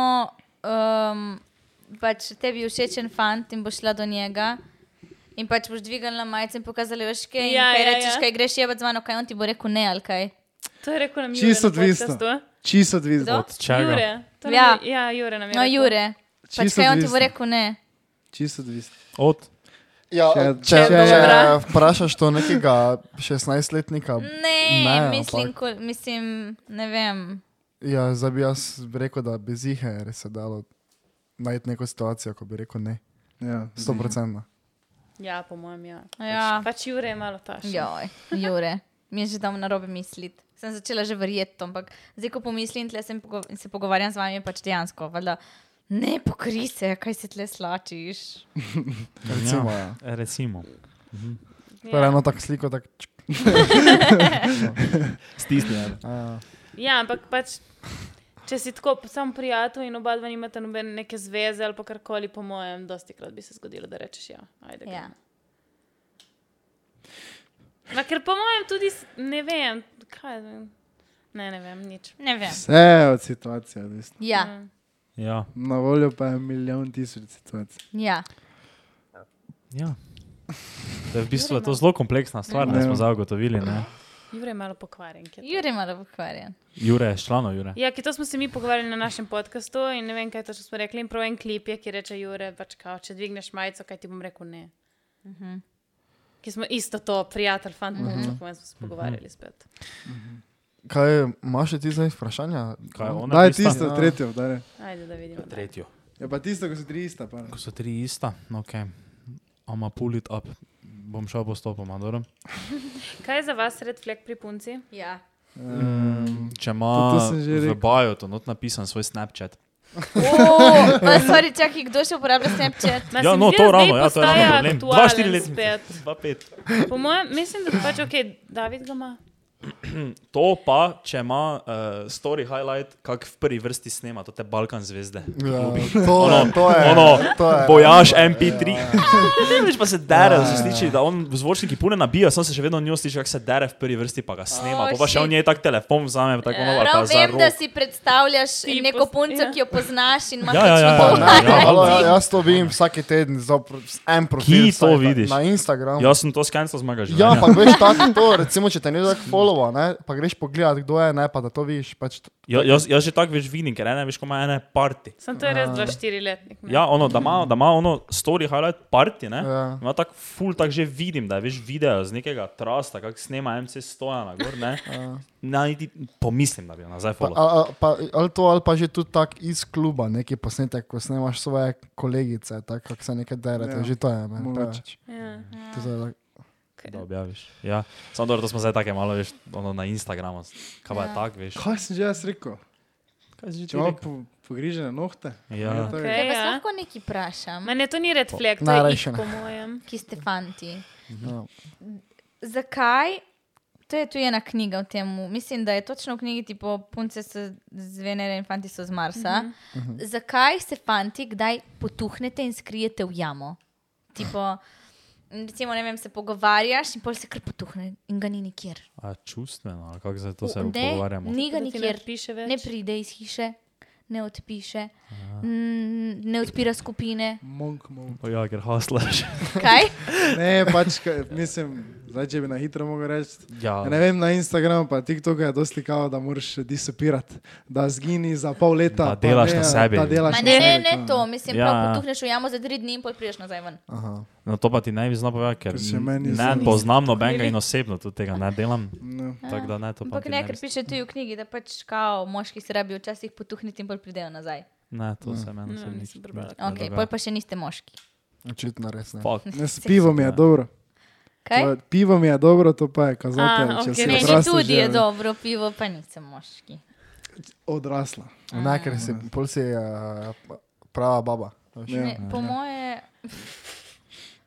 Speaker 2: um, pač tebi je všečen fant in boš šla do njega. In pač boš dvignila majico in pokazala veške, in
Speaker 1: Ja,
Speaker 2: ja, kaj
Speaker 1: ja,
Speaker 2: ja, rečeš,
Speaker 1: ja.
Speaker 2: ja. kaj greš je z mano, kaj on ti bo rekel ne ali kaj.
Speaker 1: To je rekel nam
Speaker 5: Čisto
Speaker 1: Jure na
Speaker 5: odvisno.
Speaker 1: podcastu.
Speaker 5: Čisto odvisno.
Speaker 2: Kdo?
Speaker 4: Od čega?
Speaker 1: Jure. to nam
Speaker 2: Ja.
Speaker 1: je- ja, Jure nam je.
Speaker 2: No,
Speaker 1: rekel.
Speaker 2: Jure, pač
Speaker 5: Čisto
Speaker 2: kaj on ti
Speaker 5: odvisno.
Speaker 2: bo rekel ne.
Speaker 5: Čisto odvisno.
Speaker 4: Od.
Speaker 3: Ja,
Speaker 5: Če-
Speaker 3: če, če,
Speaker 5: če-
Speaker 3: če vprašaš to nekega 16-letnika,
Speaker 2: Ne,
Speaker 3: Ne,
Speaker 2: ne mislim,
Speaker 3: ampak-
Speaker 2: ko, mislim, ne vem.
Speaker 3: ja, zdaj bi jaz rekel, da bi zihe res se dalo najti neko situacijo, ko bi rekel ne.
Speaker 4: Mhm.
Speaker 5: Ja.
Speaker 3: 100%.
Speaker 1: Ja, po mojem, ja.
Speaker 2: Ja.
Speaker 1: Pač Jure je malo tašen.
Speaker 2: Joj, Jure, mi je že tam narobe misliti. Sem začela že verjeti, ampak zdaj, ko pomislim, tle sem pogo in se pogovarjam z vami, je pač dejansko. Valjda, ne pokri se, kaj se tle slačiš.
Speaker 3: Recimo, ja.
Speaker 4: Recimo.
Speaker 3: Ja. Eno tako sliko, tako čk,
Speaker 4: Stisnjen.
Speaker 1: Ja, ampak pač, če si tako sam prijatelj in oba dva nimata nobene neke zveze ali pa karkoli, po mojem, dosti krat bi se zgodilo, da rečeš ja. Ajde, gremo.
Speaker 2: Ja.
Speaker 1: Ma, ker po mojem tudi s- ne vem, kaj je. Ne, ne vem, nič. Mm.
Speaker 2: Ne vem.
Speaker 5: Vse je od situacije odvisno.
Speaker 2: Ja,
Speaker 4: Ja.
Speaker 5: Na voljo pa je milijon tisoč situacij.
Speaker 2: ja.
Speaker 4: ja. To je v bistvu
Speaker 1: no.
Speaker 4: je to zelo kompleksna stvar, da smo
Speaker 5: Ja.
Speaker 4: zdaj ugotovili. Ne?
Speaker 1: Jure je malo pokvarjen. ker-
Speaker 2: Jure je malo pokvarjen.
Speaker 4: Jure je člano, Jure.
Speaker 1: Ja, ki to smo se mi pogovarjali na našem podkastu in ne vem, kaj točno smo rekli. In prav en klip je, ki reče: Jure, pač kao, če dvigneš majico, kaj ti bom rekel ne. Uh -huh.
Speaker 4: Mhm.
Speaker 1: Ki smo isto to, prijatelj, fant, uh -huh. kako smo se
Speaker 4: Mhm.
Speaker 1: pogovarjali spet.
Speaker 3: kaj imaš še ti zdaj vprašanja?
Speaker 4: Kaj
Speaker 2: No.
Speaker 4: je ona?
Speaker 5: Daj no.
Speaker 4: ista?
Speaker 5: tisto,
Speaker 3: Ja.
Speaker 5: tretjo, daj.
Speaker 1: Ajde, da vidimo.
Speaker 4: Tretjo.
Speaker 5: Ja, pa tisto, ko so tri ista. Pa.
Speaker 4: Ko so tri ista, ok. Ama pull it up. Bom šel postopoma, dobro.
Speaker 1: Kaj je za vas red flag pri punci?
Speaker 2: Ja.
Speaker 4: Um,
Speaker 5: to-
Speaker 4: Če ima
Speaker 5: to sem že
Speaker 4: v
Speaker 5: rekel.
Speaker 4: baju to not napisan svoj Snapchat.
Speaker 2: Sorry, čakaj, kdo še uporablja Snapchat?
Speaker 1: Ma,
Speaker 4: Ja,
Speaker 1: se mi
Speaker 4: no,
Speaker 1: zdi,
Speaker 4: to
Speaker 1: da zdaj
Speaker 4: ravno, ja, to je
Speaker 1: postaja
Speaker 4: ravno problem. Dva,
Speaker 1: aktualen
Speaker 4: štiri leta.
Speaker 1: spet.
Speaker 4: Pa pet.
Speaker 1: Po mojem, mislim, da pač ok, David ga ima.
Speaker 4: To pa, če ima uh, story highlight, kak v prvi vrsti snema, to te Balkan zvezde.
Speaker 3: Ja, to,
Speaker 4: Ono-
Speaker 3: to je.
Speaker 4: ono,
Speaker 3: to je
Speaker 4: Bojaš
Speaker 3: ja,
Speaker 4: MP3,
Speaker 3: ja.
Speaker 4: ne veš pa se dere, da se sliši, da on zvočniki pune nabija, sam se še vedno njo sliši, kako se dere v prvi vrsti, pa ga snema,
Speaker 2: Oh,
Speaker 4: pa pa še
Speaker 2: shit.
Speaker 4: on je tak telefon vzame, tako ono, ali pa
Speaker 2: Prav
Speaker 4: za
Speaker 2: Eh, vem, da
Speaker 4: rok.
Speaker 2: si predstavljaš
Speaker 1: Ti
Speaker 2: neko
Speaker 1: pos-
Speaker 2: punco,
Speaker 1: ja.
Speaker 2: ki jo poznaš in imaš
Speaker 4: Ja, ja, ja,
Speaker 3: Pa
Speaker 4: ja,
Speaker 3: ne, pa,
Speaker 4: ja.
Speaker 3: halo, ja, jaz to vidim vsak teden, za pr- s en profil.
Speaker 4: Kje to
Speaker 3: sajta,
Speaker 4: vidiš?
Speaker 3: Na Instagramu.
Speaker 4: Jaz sem to skenil z mega
Speaker 3: Ja,
Speaker 4: življenja.
Speaker 3: pa greš tako to, recimo, če te nekdo tako followa, ne, pa greš pogledat, kdo je, ne, pa da to vidiš. Pač, t-
Speaker 4: Ja, jaz, jaz že tako veš vidim, ker ena veš, ko ima ene parti.
Speaker 1: Sem to je res 24-letnik. ne.
Speaker 4: Ja, ono, da ima, da ima ono story highlight parti, ne?
Speaker 3: Ja.
Speaker 4: Ima tak full, tak že vidim, da je veš video z nekega trasta, kak snema MC stoja na gor, ne?
Speaker 5: Ja.
Speaker 4: Na, niti pomislim, da bi jo nazaj
Speaker 3: pa,
Speaker 4: follow.
Speaker 3: a, a, pa, ali to, ali pa že tu tak iz kluba, neki posnetek, ko snemaš svoje kolegice, tako kako se nekaj derete,
Speaker 5: Ja,
Speaker 3: ja, že to je. Ne,
Speaker 5: mogoče.
Speaker 3: preveč.
Speaker 1: Ja.
Speaker 3: To je tako-
Speaker 4: Da objaviš. Ja. Samo dobro, to smo zdaj take malo, veš, ono na Instagramu. Kaj pa je tak, veš?
Speaker 5: Kaj sem že jaz rekel?
Speaker 4: Kaj si že
Speaker 5: Če imamo po, pogrižene nohte.
Speaker 4: Ja.
Speaker 5: Tako.
Speaker 1: Okej.
Speaker 2: Ja, vas
Speaker 1: Ja.
Speaker 2: lahko nekaj vprašam,
Speaker 1: Mene to ni red flag, to je ich,
Speaker 3: Najrajše ne.
Speaker 1: po mojem.
Speaker 2: ki ste fanti.
Speaker 4: No.
Speaker 3: ja.
Speaker 2: Zakaj? To je tu ena knjiga o tem. Mislim, da je točno v knjigi tipo punce so z Venere in fanti so z Marsa.
Speaker 1: Mhm.
Speaker 2: Uh
Speaker 4: Mhm.
Speaker 2: -huh. Zakaj se fanti kdaj potuhnete in skrijete v jamo? Tipo, recimo, ne vem, se pogovarjaš in pol se kar potuhne in ga ni nikjer.
Speaker 4: A čustveno, ali kako se to se
Speaker 2: U, ne,
Speaker 4: pogovarjamo?
Speaker 2: Ni ga
Speaker 1: Da ti ne
Speaker 2: nikjer.
Speaker 1: piše več.
Speaker 2: Ne pride iz hiše, ne odpiše, mm, ne odpira skupine.
Speaker 5: Monk, monk.
Speaker 4: O Ja, ker haslaš.
Speaker 2: Kaj?
Speaker 5: Ne, pač, kaj, mislim, zdaj, če bi na hitro mogel reči.
Speaker 4: Ja.
Speaker 5: Ne vem, na Instagramu pa TikToku je dosti kao, da moraš disapirati, da zgini za pol leta.
Speaker 4: Da
Speaker 5: pa
Speaker 4: delaš
Speaker 5: ne,
Speaker 4: na sebi.
Speaker 5: Da delaš
Speaker 2: Ma
Speaker 5: na
Speaker 2: ne, ne,
Speaker 5: sebi,
Speaker 2: ne, to mislim,
Speaker 4: Ja,
Speaker 2: ja. prav
Speaker 4: ja.
Speaker 2: potuhneš v jamo za tri dni in pol priješ nazaj ven.
Speaker 3: Aha.
Speaker 4: No to pa ti naj bi znal povedati, ker
Speaker 5: Ker se meni
Speaker 4: ne
Speaker 5: zdi-
Speaker 4: poznam nobenega in osebno tudi tega ne delam.
Speaker 5: Ne.
Speaker 2: Ja.
Speaker 4: Tako da ne, to pa
Speaker 2: Ampak
Speaker 4: ti
Speaker 2: ne,
Speaker 4: ne bi
Speaker 2: ker piše tudi v knjigi, da pač kao moški se rabijo včasih potuhniti in pol pridejo nazaj.
Speaker 4: Ne, to se meni
Speaker 1: No,
Speaker 4: osebno nič
Speaker 1: nisem prebrala.
Speaker 4: ne
Speaker 2: Ok,
Speaker 4: dogaja.
Speaker 2: pol pa še niste moški.
Speaker 3: Očitno res ne.
Speaker 4: Fuck.
Speaker 5: Ne, s pivom je dobro. To
Speaker 2: Kaj?
Speaker 5: je- Pivo mi je dobro, to pa je kazatelj.
Speaker 1: A,
Speaker 5: če
Speaker 1: ok.
Speaker 5: si
Speaker 1: Meni
Speaker 2: Meni
Speaker 5: odrasel
Speaker 2: tudi
Speaker 5: že
Speaker 2: je dobro pivo, pa nisem moški.
Speaker 5: Odrasla.
Speaker 3: Ne, ker si,
Speaker 5: Mm.
Speaker 3: pol si uh, prava baba. veš.
Speaker 5: Ja.
Speaker 2: Ne, po moje,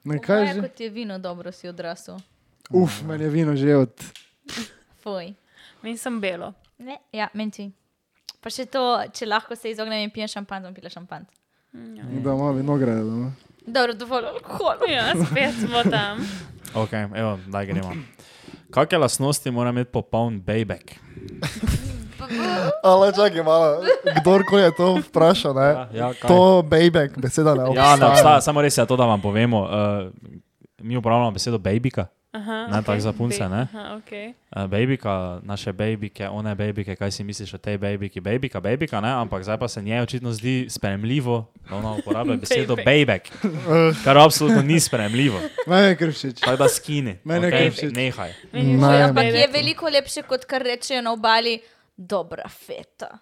Speaker 5: Ne,
Speaker 2: po
Speaker 5: kaj
Speaker 2: moje
Speaker 5: že?
Speaker 2: kot je vino, dobro si odrasel.
Speaker 5: Uf, meni je vino že od.
Speaker 2: Fuj.
Speaker 1: In sem belo.
Speaker 2: Ne, ja, meni tudi. Pa še to, če lahko se izognem in pijem šampan, bom pila šampan. Ja,
Speaker 5: Da ima vinograde doma.
Speaker 2: Dobro, dovolj alkohola.
Speaker 1: Ja, spet smo tam.
Speaker 4: Ok, evo, daj gremo. Kakšne lastnosti mora imeti popoln bejbek?
Speaker 3: Ale čakaj malo, kdorkoli je to vprašal, ne.
Speaker 4: Ja, kaj?
Speaker 3: To bejbek, beseda ne
Speaker 4: ja,
Speaker 3: obstaja.
Speaker 4: ne obstaja, samo res je to, da vam povemo. Uh, mi uporabljamo besedo bejbika,
Speaker 1: Aha,
Speaker 4: ne tako za punce, ne?
Speaker 1: Aha, okay.
Speaker 4: Uh, bejbika, naše bejbike, one bejbike, kaj si misliš o tej bejbiki? Bejbika, bejbika, ne? Ampak zdaj pa se njej očitno zdi spremljivo, da ona uporablja besedo bejbek, kar absolutno ni spremljivo.
Speaker 5: Meni je krvšič.
Speaker 4: Tako da skini.
Speaker 5: Mene
Speaker 4: okej?
Speaker 5: krši.
Speaker 4: Nehaj.
Speaker 1: Meni
Speaker 3: Ne,
Speaker 1: je
Speaker 2: Ampak
Speaker 1: všeč
Speaker 2: je veliko lepše, kot kar rečejo na obali, dobra feta.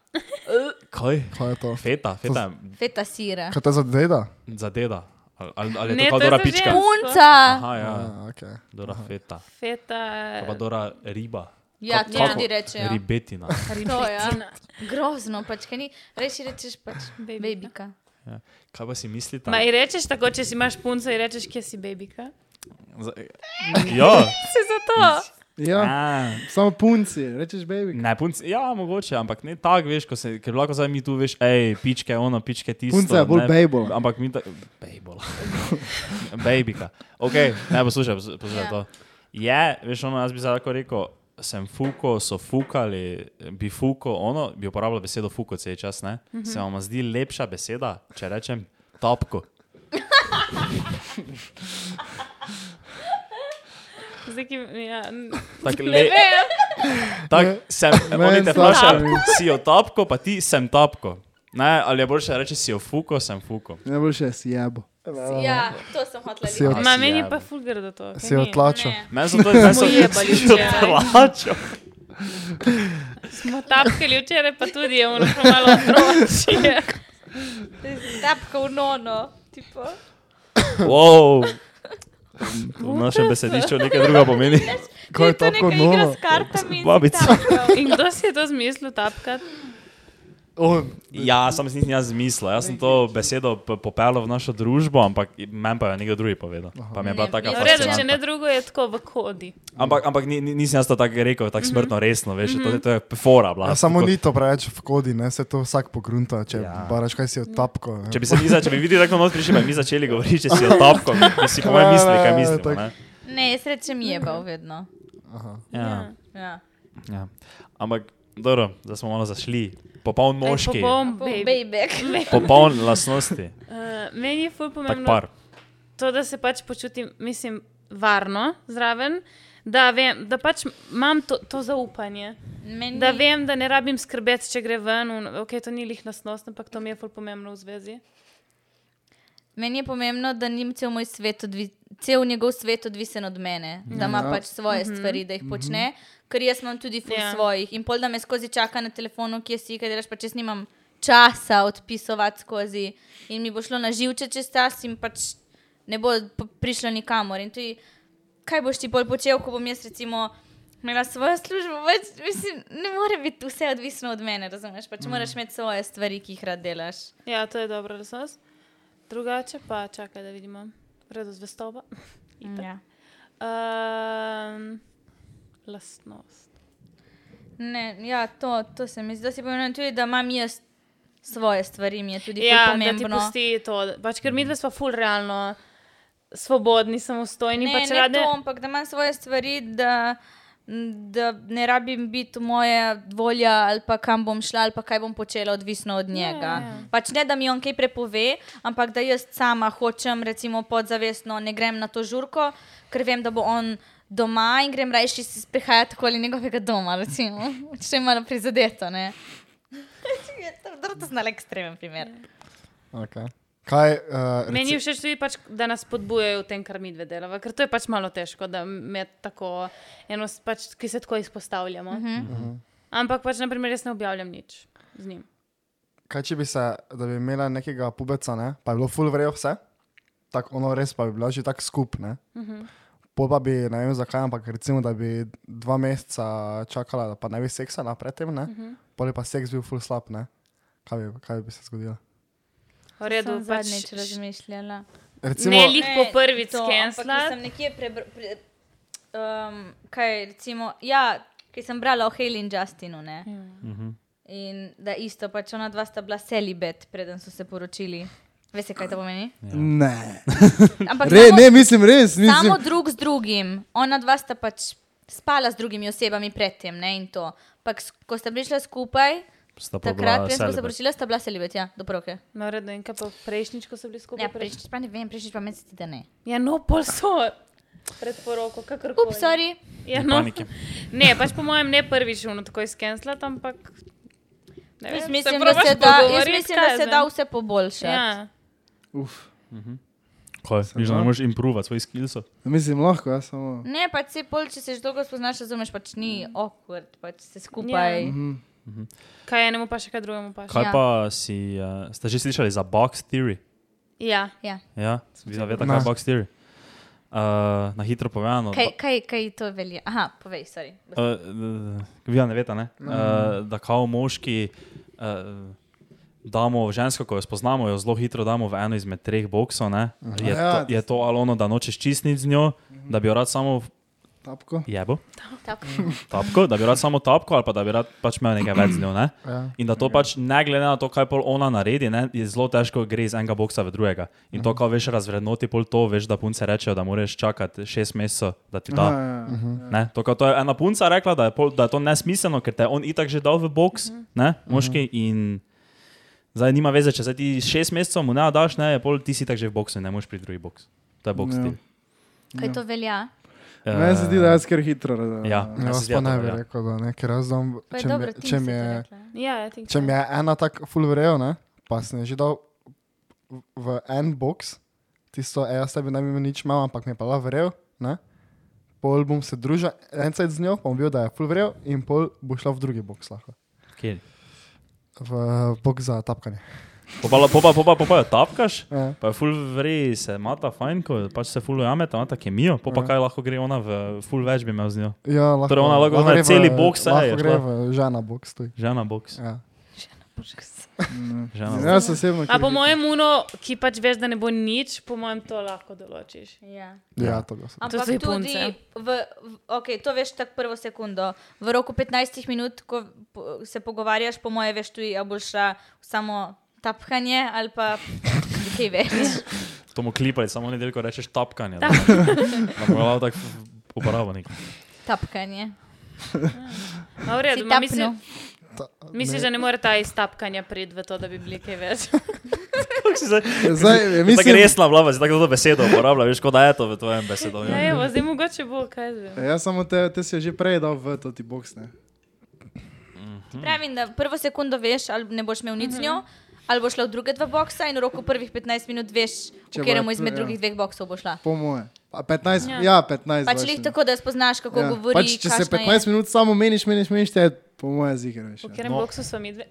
Speaker 4: Kaj?
Speaker 3: Kaj je to?
Speaker 4: Feta, feta
Speaker 2: Feta sira.
Speaker 3: Kaj to za deda?
Speaker 4: je za deda. Ali, ali, ali je
Speaker 1: Ne,
Speaker 4: to
Speaker 1: to je
Speaker 4: kadora
Speaker 1: za
Speaker 4: pička?
Speaker 1: žensko.
Speaker 2: Punca!
Speaker 4: Aha, ja.
Speaker 3: A, okay.
Speaker 4: Dora feta,
Speaker 1: feta.
Speaker 4: pa pa Dora riba.
Speaker 2: Ja,
Speaker 4: Kako-
Speaker 2: to
Speaker 4: kako?
Speaker 2: tudi rečejo.
Speaker 4: Ribetina.
Speaker 2: To, ja.
Speaker 1: Ribetina.
Speaker 2: Grozno, pač kaj ni. Reči rečeš pač
Speaker 1: Bejbika.
Speaker 2: bebika.
Speaker 4: Ja. Kaj pa si mislite?
Speaker 1: Ma in rečeš tako, če si imaš punco in rečeš, kje si bebika.
Speaker 4: Ja,
Speaker 1: Si zato.
Speaker 5: Ja,
Speaker 4: A,
Speaker 5: samo punci, rečeš, baby.
Speaker 4: ne, punce, ja, mogoče, ampak ne tako, veš, ko se, ker lahko zdaj mi tu veš, hej, pičke, ono, pičke tisto.
Speaker 5: Punca je bolj
Speaker 4: ne,
Speaker 5: bejbola.
Speaker 4: Ampak mi tako, bejbola. Bejbika. Ok, ne, poslušaj, pos- poslušaj
Speaker 2: Ja.
Speaker 4: ja. to. Je, veš, ono, jaz bi zdaj tako rekel, sem fuko, so fukali, bi fuko, ono, bi uporabljal besedo fuko cel čas, ne? Mm -hmm. Se vam zdi lepša beseda, če rečem tapko.
Speaker 1: Zdaj, ki, ja, n-
Speaker 4: Tak, le, tak, sem,
Speaker 5: Ne,
Speaker 4: oni te
Speaker 5: slabo.
Speaker 4: vprašajo, si jo tapko, pa ti sem tapko. Ne, ali je boljše reči, si jo fuko, sem fuko.
Speaker 5: Najboljše je si jebo.
Speaker 2: Ja, to sem hotela
Speaker 3: Si od,
Speaker 4: A
Speaker 1: ma
Speaker 4: Eh. si ja.
Speaker 1: meni
Speaker 4: jebe.
Speaker 1: pa fulgar do to. kaj
Speaker 3: si
Speaker 1: ni?
Speaker 3: odtlačil.
Speaker 4: Meni so to zdaj so
Speaker 1: jebali
Speaker 4: si jo
Speaker 1: včeraj.
Speaker 4: tlačil.
Speaker 1: Smo tapkali včeraj, pa tudi je ono prav malo Ja. otročje.
Speaker 2: Tapka v nono. Tipo.
Speaker 4: Wow. V našem besedišču nekaj druga pomeni.
Speaker 3: Kaj je
Speaker 2: to
Speaker 3: tako
Speaker 2: neka igra
Speaker 3: novo?
Speaker 2: s kartami. in si
Speaker 4: Babica.
Speaker 2: tapkal.
Speaker 1: In kdo si je to zmislil tapkati?
Speaker 3: Oh,
Speaker 4: Ja, sam si nisem jaz zmislil. Jaz sem to besedo p- popeljal v našo družbo, ampak meni pa je nekdo drugi povedal. Pa mi je bila
Speaker 2: Ne, ja,
Speaker 4: taka
Speaker 1: V redu, če ne
Speaker 4: fascinantna.
Speaker 1: drugo, je tako v kodi.
Speaker 4: Ampak, ampak ni, ni- nisem jaz to tako rekel, tako
Speaker 1: Mhm.
Speaker 4: smrtno resno, veš, to, to je fora. Bila,
Speaker 3: ja, samo
Speaker 4: Tako-
Speaker 3: ni to preveč v kodi, ne se to vsak pogrunta, če
Speaker 4: Ja.
Speaker 3: ja. baraš kaj si od tapko. ne.
Speaker 4: Če bi se mi, za- če bi videli, kako noč prišli, bi mi začeli govoriti, če si je topko, bi si po mojem mislili, kaj mislimo.
Speaker 3: Ja, Tako.
Speaker 4: ne.
Speaker 2: Ne, jaz rečem jebal vedno.
Speaker 4: Ja,
Speaker 2: Ja.
Speaker 4: ja. Ampak, dobro, da smo malo zašli. Popoln moški,
Speaker 1: Bom, baby.
Speaker 2: Bejbek.
Speaker 4: popoln lasnosti,
Speaker 1: Uh, meni je ful
Speaker 4: tak
Speaker 1: pomembno,
Speaker 2: no-
Speaker 4: par.
Speaker 1: to, da se pač počutim, mislim, varno zraven, da, vem, da pač imam to, to zaupanje.
Speaker 2: Meni...
Speaker 1: Da vem, da ne rabim skrbeti, če gre ven. v- Ok, to ni lih nasnost, ampak to mi je ful pomembno v zvezi.
Speaker 2: Meni je pomembno, da ni cel moj svet, odvi, cel njegov svet odvisen od mene, da ima pač svoje stvari, da jih počne, ker jaz imam tudi ful
Speaker 1: Ja.
Speaker 2: svojih. In pol da me skozi čaka na telefonu, kje si, kaj delaš, pa če nimam časa odpisovati skozi in mi bo šlo na živce čez čas in pač ne bo p- prišlo nikamor. In tudi, kaj boš ti bolj počel, ko bom jaz recimo. Imela svojo službo, več, mislim, ne more biti vse odvisno od mene, razumete? Pač moraš imeti svoje stvari, ki jih rad delaš.
Speaker 1: Ja, to je dobro, resnost. Drugače pa čakaj, da vidimo. Redo zvestoba.
Speaker 2: Ja.
Speaker 1: Um, lastnost.
Speaker 2: Ne, ja, to, to se mi zdi, da si pomeni tudi, da imam jaz svoje stvari, mi je tudi ful
Speaker 1: Ja, da ti
Speaker 2: pomembno.
Speaker 1: pusti to. Pač, ker mi dve smo ful realno svobodni, samostojni.
Speaker 2: ne,
Speaker 1: pač
Speaker 2: ne
Speaker 1: rade...
Speaker 2: to, ampak da imam svoje stvari, da, da ne rabim biti moja volja ali pa kam bom šla ali pa kaj bom počela, odvisno od njega. Ja, ja. Pač ne, da mi on kaj prepove, ampak da jaz sama hočem, recimo podzavestno, ne grem na to žurko, ker vem, da bo on. Doma in grem rajši se sprehajati okoli njegovega doma, recimo. če je malo prizadeto. ne. to je znal ekstremen primer.
Speaker 3: Okay. Kaj, uh,
Speaker 1: Meni je všeč tudi, pač, da nas podbujajo v tem, kar mi dve delava, ker to je pač malo težko, da me tako eno, s- pač, ki se tako izpostavljamo.
Speaker 2: Mhm.
Speaker 1: Uh -huh.
Speaker 4: Mhm.
Speaker 1: Ampak pač, naprimer, jaz ne objavljam nič z njim.
Speaker 3: Kaj če bi se, da bi imela nekega pubeca, ne? pa bi bilo full vrejo vse, tako ono res pa bi bila že tako skupna. Uh
Speaker 2: Mhm.
Speaker 3: -huh. Pol pa bi, ne vem zakaj, ampak recimo, da bi dva meseca čakala, da pa ne bi seksala predtem, ne? Uh
Speaker 2: Mhm.
Speaker 3: -huh. Pol je pa seks bil full slab, ne? Kaj bi, kaj bi se zgodilo?
Speaker 1: V redu,
Speaker 2: Sem
Speaker 1: pač,
Speaker 2: zadnjič razmišljala.
Speaker 3: Recimo,
Speaker 1: ne lih po
Speaker 2: Ne,
Speaker 1: prvi
Speaker 2: to, ampak
Speaker 1: skensla.
Speaker 2: Sem nekje prebral, pre, um, kaj recimo, ja, ki sem brala o Haley in Justinu. Ne? In da isto, pač ona dva sta bila celibet, preden so se poročili. Veste, kaj to pomeni?
Speaker 5: Ne.
Speaker 2: Ampak
Speaker 5: Re,
Speaker 2: samo,
Speaker 5: ne, mislim res, mislim.
Speaker 2: samo drug z drugim. Ona dva sta pač spala z drugimi osebami predtem, ne in to. Ampak s- ko sta prišla skupaj,
Speaker 4: Sta pa bila
Speaker 2: takrat, preden smo se
Speaker 4: celibate.
Speaker 2: poročila, sta bila celibet, ja, do roke.
Speaker 1: No, v redu, in kaj pa prejšnjič, ko so bili skupaj.
Speaker 2: Ja, prejšič pa ne vem, prejšič pa meni se zdi, da ne.
Speaker 1: ja no, pol so. Pred poroko, kakorkoli.
Speaker 2: Up, sorry.
Speaker 1: Ja,
Speaker 4: Ni
Speaker 1: no.
Speaker 4: panike.
Speaker 1: Ne, pač po mojem ne prvič uno tako izkensla, ampak. ne vem,
Speaker 2: Jaz
Speaker 1: se
Speaker 2: mislim, da
Speaker 1: probaš
Speaker 2: se da, jaz
Speaker 1: pogovoriti,
Speaker 2: mislim,
Speaker 1: kaj
Speaker 2: da
Speaker 1: jaz
Speaker 2: se
Speaker 1: vem.
Speaker 2: da vse poboljšati.
Speaker 1: Ja.
Speaker 5: Uf.
Speaker 4: Kaj, viš, da ne moreš improvati svojih skillsov.
Speaker 5: Mislim lahko, jaz samo.
Speaker 2: Ne, pač se pol, če se že dolgo spoznaš, razumeš, pač ni awkward, pač se skupaj.
Speaker 3: Mm.
Speaker 2: Ja.
Speaker 5: mhm,
Speaker 1: Kaj enemu pa še, kaj drugemu pa še.
Speaker 4: Kaj
Speaker 2: Ja.
Speaker 4: pa si, uh, ste že slišali za box theory?
Speaker 1: Ja.
Speaker 2: Ja.
Speaker 4: Ja, vi zavete,
Speaker 3: Ne.
Speaker 4: kaj je box theory. Uh, na hitro povedano.
Speaker 2: Kaj, kaj, kaj to velja? Aha, povej, sorry.
Speaker 4: Uh, uh, vi ja ne veste, ne? Uh, da kao moški uh, damo žensko, ko jo spoznamo, jo zelo hitro damo v eno izmed treh boksov. ne. Je,
Speaker 5: Ja,
Speaker 4: to, je to ali ono, da nočeš čistiti z njo, da bi jo rad samo
Speaker 5: Tapko.
Speaker 4: jebo,
Speaker 2: Tako.
Speaker 4: tapko, da bi rad samo tapko ali pa da bi rad pač imel nekaj več z njo. Ne?
Speaker 3: Ja.
Speaker 4: In da to pač ne glede na to, kaj pol ona naredi, ne, je zelo težko gre iz enega boksa v drugega. In to, ko veš, razvrednoti pol to, veš, da punce rečejo, da moraš čakati šest mesecev, da ti da.
Speaker 5: Aha, ja.
Speaker 4: Ne, to, kar to je ena punca rekla, da je, pol, da je to nesmiselno, ker te je on itak že dal v box, uh -huh. ne, moški. Uh -huh. In zdaj nima veze, če se ti šest mesecev mu ne daš, ne, je pol ti si tak že v boxu in ne moreš priti v drugi box. To je box
Speaker 5: Ja.
Speaker 4: stil.
Speaker 2: Kaj to velja?
Speaker 4: Ja.
Speaker 5: Meni se zdi, da jaz kar hitro razumem.
Speaker 4: Ja.
Speaker 3: Ne,
Speaker 4: Ja,
Speaker 3: jaz
Speaker 4: se
Speaker 3: pa
Speaker 4: zdi,
Speaker 3: ne
Speaker 4: da
Speaker 3: bi
Speaker 4: velja.
Speaker 3: rekel, da ne, ker jaz znam,
Speaker 2: Pa je
Speaker 3: če,
Speaker 2: dobro,
Speaker 3: mi-
Speaker 2: ti
Speaker 3: če, mi je,
Speaker 1: Ja, I think
Speaker 3: če
Speaker 1: so.
Speaker 3: mi je ena tako full vrejo, ne? pa sem jo že dal v- v en box, tisto, e, jaz tebi ne bi imel nič imel, ampak mi je pa bila vrejo, ne? pol bom se družil, en cajt z njo, pa bom bil, da je full vrejo in pol bo šla v drugi box lahko.
Speaker 4: Kjer?
Speaker 3: V box za tapkanje.
Speaker 4: Popa, popa, popa, popa jo tapkaš,
Speaker 3: Ja.
Speaker 4: pa je full vrej, se mata fajn, ko pač se full ujameta, mata kemijo,
Speaker 5: Ja.
Speaker 4: popa kaj lahko gre ona v full več bi imel z njo.
Speaker 3: Ja, lahko,
Speaker 4: Torej ona lahko na
Speaker 3: gre v-
Speaker 4: celi boks, eh,
Speaker 3: lahko
Speaker 4: je
Speaker 3: gre
Speaker 4: šla.
Speaker 3: v žena box. Tudi.
Speaker 4: Žena box.
Speaker 3: Ja.
Speaker 4: Žena.
Speaker 5: Jaz
Speaker 1: A
Speaker 5: osebno. ker-
Speaker 1: po mojem uno, ki pač veš, da ne bo nič, po mojem to lahko določiš.
Speaker 2: Ja.
Speaker 3: Ja, to ga sem.
Speaker 1: To
Speaker 2: Ampak
Speaker 1: so
Speaker 2: tudi,
Speaker 1: Japonce.
Speaker 2: v, v, okay, to veš tako prvo sekundo. V roku 15 minut, ko po- se pogovarjaš, po moje veš tudi, a boš šla v samo tapkanje ali pa kaj več.
Speaker 4: To mu klipali, samo nedeljko rečeš tapkanje. Da bo malo tako uporabnik.
Speaker 2: Tapkanje.
Speaker 1: Ma v redu,
Speaker 2: Si
Speaker 1: ma misli,
Speaker 2: tapnil.
Speaker 1: misliš, da ne more ta iz tapkanja priti v to, da bi bili kaj več.
Speaker 5: Zdaj,
Speaker 4: Ja, Mislim,
Speaker 5: mislim,
Speaker 4: tako resna vlava, si tako to besedo uporablja, veš, kot da je to v tvojem
Speaker 1: Ja,
Speaker 4: besedovnju.
Speaker 1: evo, zdaj mogoče bo, kaj jaz vem.
Speaker 5: E, Jaz samo te, te si jo že prej dal v to ti boks. Ne?
Speaker 2: Pravim, da prvo sekundo veš, ali ne boš imel
Speaker 1: Mhm.
Speaker 2: nič z njo, ali boš šla v druge dva boksa in v roku prvih 15 minut veš,
Speaker 5: Če
Speaker 2: v
Speaker 5: bo
Speaker 2: katerem
Speaker 5: je
Speaker 2: izmed
Speaker 5: pr- ja.
Speaker 2: drugih dveh boksov boš šla.
Speaker 5: Po moje. Pa 15, ja, ja 15.
Speaker 2: Pač
Speaker 5: vaš,
Speaker 2: lih
Speaker 5: ne.
Speaker 2: tako, da spoznaš, kako
Speaker 5: Ja.
Speaker 2: govori.
Speaker 5: Pač, če se
Speaker 2: kakšna je.
Speaker 5: 15 minut samo meniš, meniš, meniš, te je po moje ja. zikar.
Speaker 1: V katerem
Speaker 4: No.
Speaker 1: boksu smo mi dve?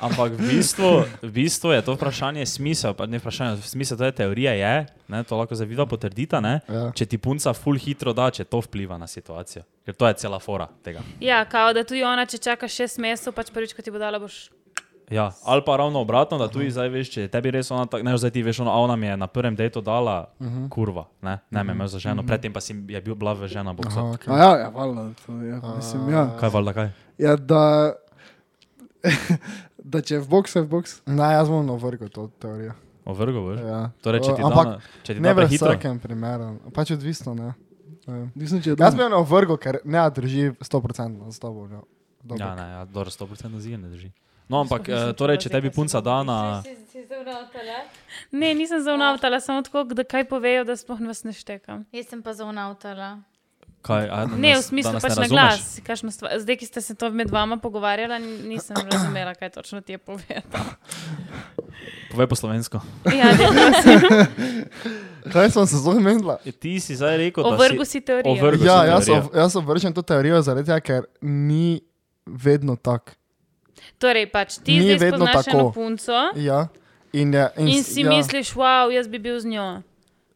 Speaker 4: Ampak v bistvu, v bistvu je to vprašanje smisel, pa ne vprašanje, smisel to je teorija, je, ne, to lahko zaviva potrdita, ne,
Speaker 3: Ja.
Speaker 4: če ti punca full hitro da, če to vpliva na situacijo. Ker to je cela fora tega.
Speaker 1: Ja, kao da tudi ona, če čakaš šest mesecev, pač prvič, ko ti bo dala, boš.
Speaker 4: Ja, ali pa ravno obratno, da tu zdaj veš, če je tebi res ona tako, ne, zdaj ti veš, ona, a ona mi je na prvem dejtu dala uh -huh. kurva, ne, ne me je imel za ženo, uh -huh. predtem pa si je bil bila v žena boksa. Uh -huh.
Speaker 5: A ja, ja, valjda, to je, mislim, ja.
Speaker 4: Kaj valjda kaj?
Speaker 5: ja da, da če je v boks, je v boks.
Speaker 3: Ne, jaz bom navrgel to teorijo.
Speaker 4: Ovrgo boš?
Speaker 3: Ja.
Speaker 4: Torej, če
Speaker 3: Eh,
Speaker 4: ti da,
Speaker 3: Ampak
Speaker 4: na- če ti
Speaker 3: ne
Speaker 4: da
Speaker 3: v
Speaker 4: prehitro.
Speaker 3: vsakem primeru, pač odvisno. Ne. Ne.
Speaker 5: Mislim, če je
Speaker 3: Jaz
Speaker 5: dobro.
Speaker 3: bi jo navrgel, ker ne drži 100% s tabo. Ja.
Speaker 4: Ja, ne, ja, dobro, 100% zige ne drži. No, ampak,
Speaker 1: Mislim,
Speaker 4: eh,
Speaker 1: če
Speaker 4: torej,
Speaker 1: pa
Speaker 4: če
Speaker 1: zdaj,
Speaker 4: tebi
Speaker 1: ko si
Speaker 4: punca da na...
Speaker 1: Ne, nisem zaunavtala, samo tako, da kaj povejo, da sploh vas ne štekam.
Speaker 2: Jaz sem pa zaunavtala.
Speaker 4: Kaj, a,
Speaker 1: Ne, v
Speaker 4: nas-
Speaker 1: smislu
Speaker 4: da nas
Speaker 1: pač
Speaker 4: ne
Speaker 1: na
Speaker 4: razumeš?
Speaker 1: glas. kakšno stvar- Zdaj, ki ste se to med vama pogovarjala, n- nisem razumela, kaj točno ti je povedal.
Speaker 4: Povej po slovensko.
Speaker 1: Ja,
Speaker 3: Kaj sem se zelo menila?
Speaker 4: E, Ti si zdaj rekel, da
Speaker 1: Ovrgu
Speaker 4: si...
Speaker 1: si teorijo.
Speaker 4: Ovrgu si
Speaker 3: Ja, jaz,
Speaker 4: teorijo.
Speaker 3: ov- jaz ovrčem to teorijo zaradi tega, ker ni vedno tako.
Speaker 1: Torej, pač ti
Speaker 3: Ni
Speaker 1: Ni zdaj
Speaker 3: vedno
Speaker 1: spoznaš
Speaker 3: tako.
Speaker 1: eno punco
Speaker 3: Ja. In, je, in,
Speaker 1: in
Speaker 3: s-
Speaker 1: si
Speaker 3: ja.
Speaker 1: ja. misliš, wow, jaz bi bil z njo.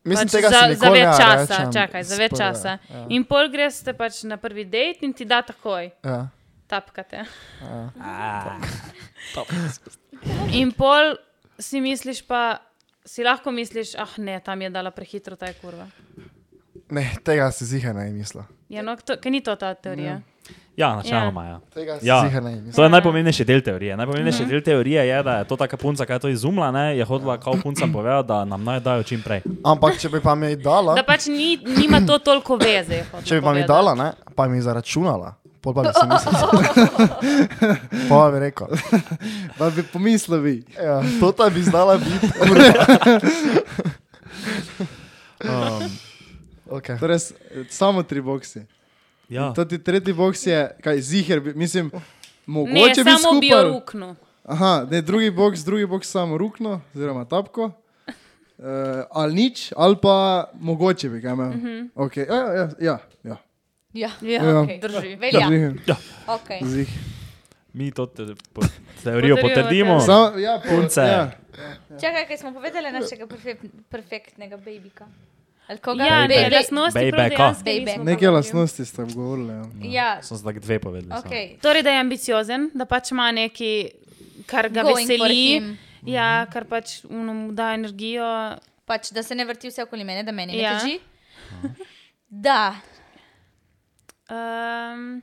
Speaker 3: Mislim,
Speaker 1: pač
Speaker 3: tega si
Speaker 1: za,
Speaker 3: nikoli
Speaker 1: za več
Speaker 3: ne
Speaker 1: časa,
Speaker 3: rečem
Speaker 1: čakaj, za več
Speaker 3: sprva,
Speaker 1: časa.
Speaker 3: Ja.
Speaker 1: In pol greš te pač na prvi dejt in ti da takoj,
Speaker 3: Ja.
Speaker 1: tapkate. In pol si misliš pa, si lahko misliš, ah ne, tam je dala prehitro ta je kurva.
Speaker 3: Ne, tega si zihar ne misla.
Speaker 1: Ja, no, to, ker ni to ta teorija.
Speaker 4: Ja, načeloma,
Speaker 1: Ja.
Speaker 4: ja.
Speaker 3: Tega si
Speaker 4: Ja.
Speaker 3: zihar ne misla.
Speaker 4: To je najpomembnejši del teorije. Najpomembnejši
Speaker 1: Mhm.
Speaker 4: del teorije je, da je to taka punca, ki je to izumila, ne, je hodila kao punca povedati, da nam naj dajo čim prej.
Speaker 3: Ampak če bi pa mi dala,
Speaker 1: Da pač ni, nima to toliko veze. je hotel
Speaker 3: če bi pa mi
Speaker 1: povedati.
Speaker 3: dala, no. ne, pa mi zaračunala. Pol pa bi si mislila. pa bi rekel.
Speaker 5: Pa bi pomislil, vi.
Speaker 3: Ja, to ta bi znala biti.
Speaker 5: Um,
Speaker 3: Okay.
Speaker 5: torej, s- samo tri boksi.
Speaker 4: Ja.
Speaker 5: To ti tretji boks je, kaj ziger, mislim,
Speaker 1: Ne,
Speaker 5: mogoče bi
Speaker 1: samo bi jo
Speaker 5: skupaj.
Speaker 1: ruknil.
Speaker 5: Aha, ne, drugi boks, drugi boks samo rukno, oziroma tapko. Uh, ali nič, ali pa mogoče bi ga imel. Uh
Speaker 1: Mhm.
Speaker 5: -huh. okay. ja, ja, ja, ja.
Speaker 2: Ja,
Speaker 1: Ja,
Speaker 5: Ja.
Speaker 1: okay. drži.
Speaker 2: velja.
Speaker 5: Zih-
Speaker 2: Okay.
Speaker 5: Zih.
Speaker 4: Mi to te, po, teorijo potrdimo.
Speaker 1: teorijo.
Speaker 5: Samo, ja, po,
Speaker 4: Punce.
Speaker 5: Ja.
Speaker 2: Čakaj, kaj smo povedali našega perfek- perfektnega babika. Ali koga?
Speaker 1: Ja,
Speaker 4: Baby.
Speaker 1: ne,
Speaker 2: Baby.
Speaker 1: lasnosti
Speaker 4: Baby,
Speaker 1: prav
Speaker 4: ka?
Speaker 1: dejansko
Speaker 2: Baby.
Speaker 1: nismo
Speaker 5: Neke
Speaker 1: govorili.
Speaker 5: lastnosti ste govorili. Ja.
Speaker 2: Ja,
Speaker 4: Sem se tako dve
Speaker 5: no.
Speaker 4: povedali. samo.
Speaker 2: okay.
Speaker 1: Torej, da je ambiciozen, da pač ima neki, kar ga
Speaker 2: Going for
Speaker 1: veseli.
Speaker 2: him.
Speaker 1: Ja, kar pač ono mu da energijo.
Speaker 2: Pač, da se ne vrti vse okoli mene, da meni ja.
Speaker 1: Ja.
Speaker 2: ne teži. Da,
Speaker 1: Um,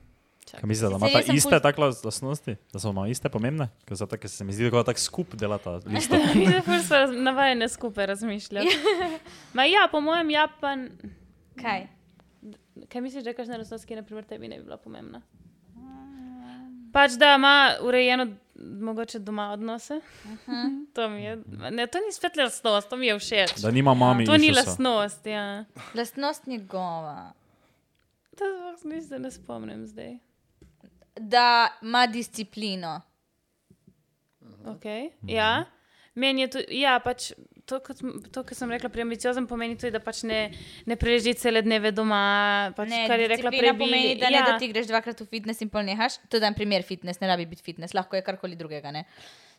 Speaker 4: Kaj Mislite, da
Speaker 2: Sicer
Speaker 4: imata
Speaker 2: jaz sem
Speaker 4: iste
Speaker 2: ful-
Speaker 4: take las- lastnosti, da so ima iste pomembne? Ker zato, ker se mi zdi, da tako skup delata lista.
Speaker 1: Zelo smo raz- navajene skupaj razmišljati. Ma ja, po mojem, ja, pa. n-
Speaker 2: kaj?
Speaker 1: Kaj misliš, da je kakšna lastnost, ki naprimer, tebi ne bi bila pomembna? Pač da ima urejeno, mogoče doma odnose. to, mi je, ne, to ni svetla lastnost, to mi je všeč.
Speaker 4: Da nima mami.
Speaker 1: To ni
Speaker 4: issuesa.
Speaker 1: lastnost, ja.
Speaker 2: Lastnost njegova.
Speaker 1: To sploh nisem, da ne spomnim zdaj.
Speaker 2: Da ima disciplino.
Speaker 1: Okay. Ja. Meni je to, ja, pač to, kot m- to, kar sem rekla, pri ambiciozen pomeni tudi, da pač ne, ne preleži cele dneve doma. Pač,
Speaker 2: Ne,
Speaker 1: kar je rekla
Speaker 2: disciplina
Speaker 1: prej,
Speaker 2: pomeni,
Speaker 1: Billy.
Speaker 2: da, ja.
Speaker 1: ja.
Speaker 2: ne, da ti greš dvakrat v fitness in pol nehaš. To je en primer fitness, ne rabi biti fitness, lahko je karkoli drugega. Ne?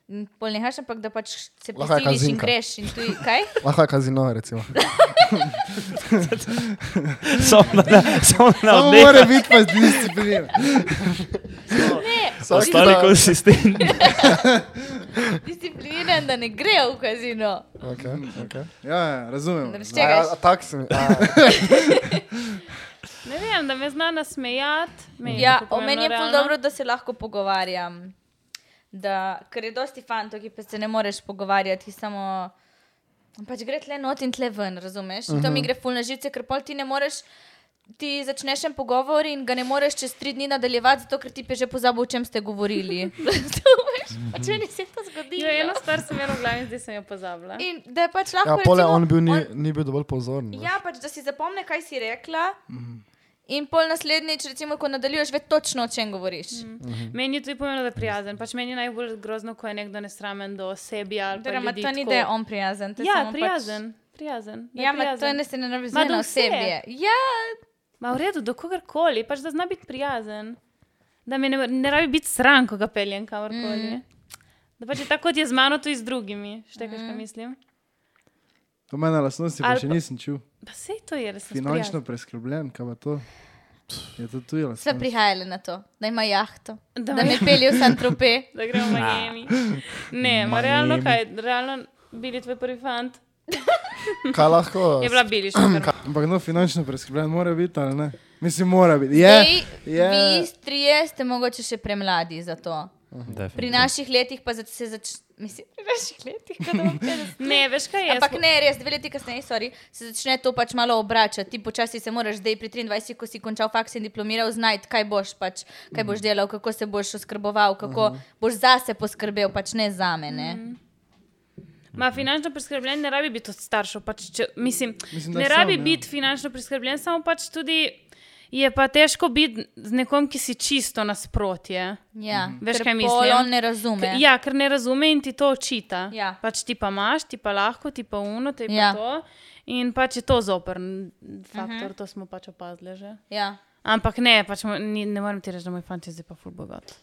Speaker 2: In Pol nehaš, ampak da pač se
Speaker 3: Lahko je
Speaker 2: prisiliš in
Speaker 3: kazinka.
Speaker 2: greš. In tuj, kaj?
Speaker 3: Lahko je kazino, recimo.
Speaker 4: Samo da ne, samo da ne
Speaker 5: Samo
Speaker 4: odneha.
Speaker 5: mora biti pa discipliniran.
Speaker 3: Vsak
Speaker 7: Ostali
Speaker 3: dan.
Speaker 7: konsistentni.
Speaker 2: Discipliniran, da ne grejo v kazino.
Speaker 3: Okay, okay.
Speaker 5: Ja, ja, razumem.
Speaker 2: Da
Speaker 3: A,
Speaker 2: ščegaš.
Speaker 3: ja, tak sem. A,
Speaker 1: Ne vem, da me zna nasmejati. me je
Speaker 2: Ja,
Speaker 1: tako
Speaker 2: o meni je
Speaker 1: pomembno,
Speaker 2: pa
Speaker 1: realno.
Speaker 2: dobro, da se lahko pogovarjam. Da, ker je dosti fantov, ki pa se ne moreš pogovarjati, ki samo. Pač gre tle not in tle ven, razumeš? Uh -huh. To
Speaker 3: Mhm.
Speaker 2: mi gre fulno živce, ker pol ti ne moreš. Ti začneš en pogovor in ga ne moreš čez tri dni nadaljevati, zato ker ti je že pozabil, o čem ste govorili. Razumeš? pač meni se je to zgodilo.
Speaker 1: Jo, eno stvar sem imela v glavi, zdaj sem jo pozabila.
Speaker 2: In da je pač lahko.
Speaker 3: ja, pole
Speaker 2: recimo,
Speaker 3: on, bil, ni, ni bil dovolj pozoren. veš.
Speaker 2: Ja, pač da si zapomni, kaj si rekla.
Speaker 3: Mhm.
Speaker 2: In pol naslednjič, recimo, ko nadaljuješ, ve točno, o čem govoriš.
Speaker 1: Mhm.
Speaker 2: Mhm.
Speaker 1: Meni je tudi pomembno, da je prijazen. Pač meni je najbolj grozno, ko je nekdo nesramen do osebja. ali pa
Speaker 2: Drama,
Speaker 1: ljudi
Speaker 2: Torej, to ni,
Speaker 1: tako.
Speaker 2: da je on prijazen. to je
Speaker 1: Ja,
Speaker 2: samo
Speaker 1: prijazen. prijazen da
Speaker 2: Pač,
Speaker 1: je
Speaker 2: ja, ma to
Speaker 1: prijazen.
Speaker 2: ne se ne
Speaker 1: Ma
Speaker 2: navizuje
Speaker 1: do
Speaker 2: na
Speaker 1: vse.
Speaker 2: osebje. Ja,
Speaker 1: Ma v redu, do kogarkoli, pač da zna biti prijazen. Da me ne, ne rabi biti sram, ko ga peljem kamorkoli. Mm. Da pač je tako, kot je z mano, tudi z drugimi. Štekaš, mm. kaj mislim?
Speaker 5: To mene lastnosti pa
Speaker 1: Ali
Speaker 5: še
Speaker 1: pa-
Speaker 5: nisem čutil.
Speaker 1: Pa sej to je resno.
Speaker 5: Finančno preskrbljen, kaj pa to? Je to tuja
Speaker 2: sva
Speaker 5: lastnost.
Speaker 2: prihajala na to, da ima jahto,
Speaker 1: Da,
Speaker 2: da
Speaker 1: da,
Speaker 2: me pelje v San Trope.
Speaker 1: da gremo v Miami. Ne, ma realno kaj, realno bili tvoj prvi fant.
Speaker 3: Kaj lahko?
Speaker 1: Je bila bili še prva.
Speaker 5: Ampak no, finančno preskrbljen mora biti ali ne? Mislim, mora biti. Je,
Speaker 2: Zdaj,
Speaker 5: je.
Speaker 2: Vi trije ste mogoče še premladi za to.
Speaker 5: Mhm.
Speaker 2: Pri naših letih pa zač- se začne. Mislim, pri naših letih, kot da bom 50.
Speaker 1: Ne, veš kaj je.
Speaker 2: Ampak ne, res, dve leti kasneje sorry, se začne to pač malo obračati. Ti počasi se moraš zdaj pri 23, ko si končal faks in diplomiral, znati, kaj boš, pač, kaj
Speaker 5: Mhm.
Speaker 2: boš delal, kako se boš oskrboval, kako boš zase poskrbel, pač ne za
Speaker 1: Mhm.
Speaker 2: mene.
Speaker 1: Ma finančno preskrbljen ne rabi biti od staršev. Pač, če, mislim,
Speaker 5: Mislim,
Speaker 1: mislim,
Speaker 5: da
Speaker 1: ne
Speaker 5: sam,
Speaker 1: rabi
Speaker 5: ja.
Speaker 1: sam, biti ja. finančno preskrbljen, samo pač tudi je pa težko biti z nekom, ki si čisto nasprotje.
Speaker 2: Ja,
Speaker 1: Veš,
Speaker 2: ker
Speaker 1: kaj
Speaker 2: pol
Speaker 1: mislim?
Speaker 2: On ne razume.
Speaker 1: K- Ja, ker ne razume in ti to očita.
Speaker 2: Ja.
Speaker 1: Pač ti pa imaš, ti pa lahko, ti pa uno, ti
Speaker 2: Ja.
Speaker 1: ja. pa to. In pač je to zoprn
Speaker 2: Mhm.
Speaker 1: faktor, uh -huh. to smo pač opazili že.
Speaker 2: Ja.
Speaker 1: Ampak ne, pač mo- ni, ne morem ti reči, da moj fant je zdaj pa ful bogat.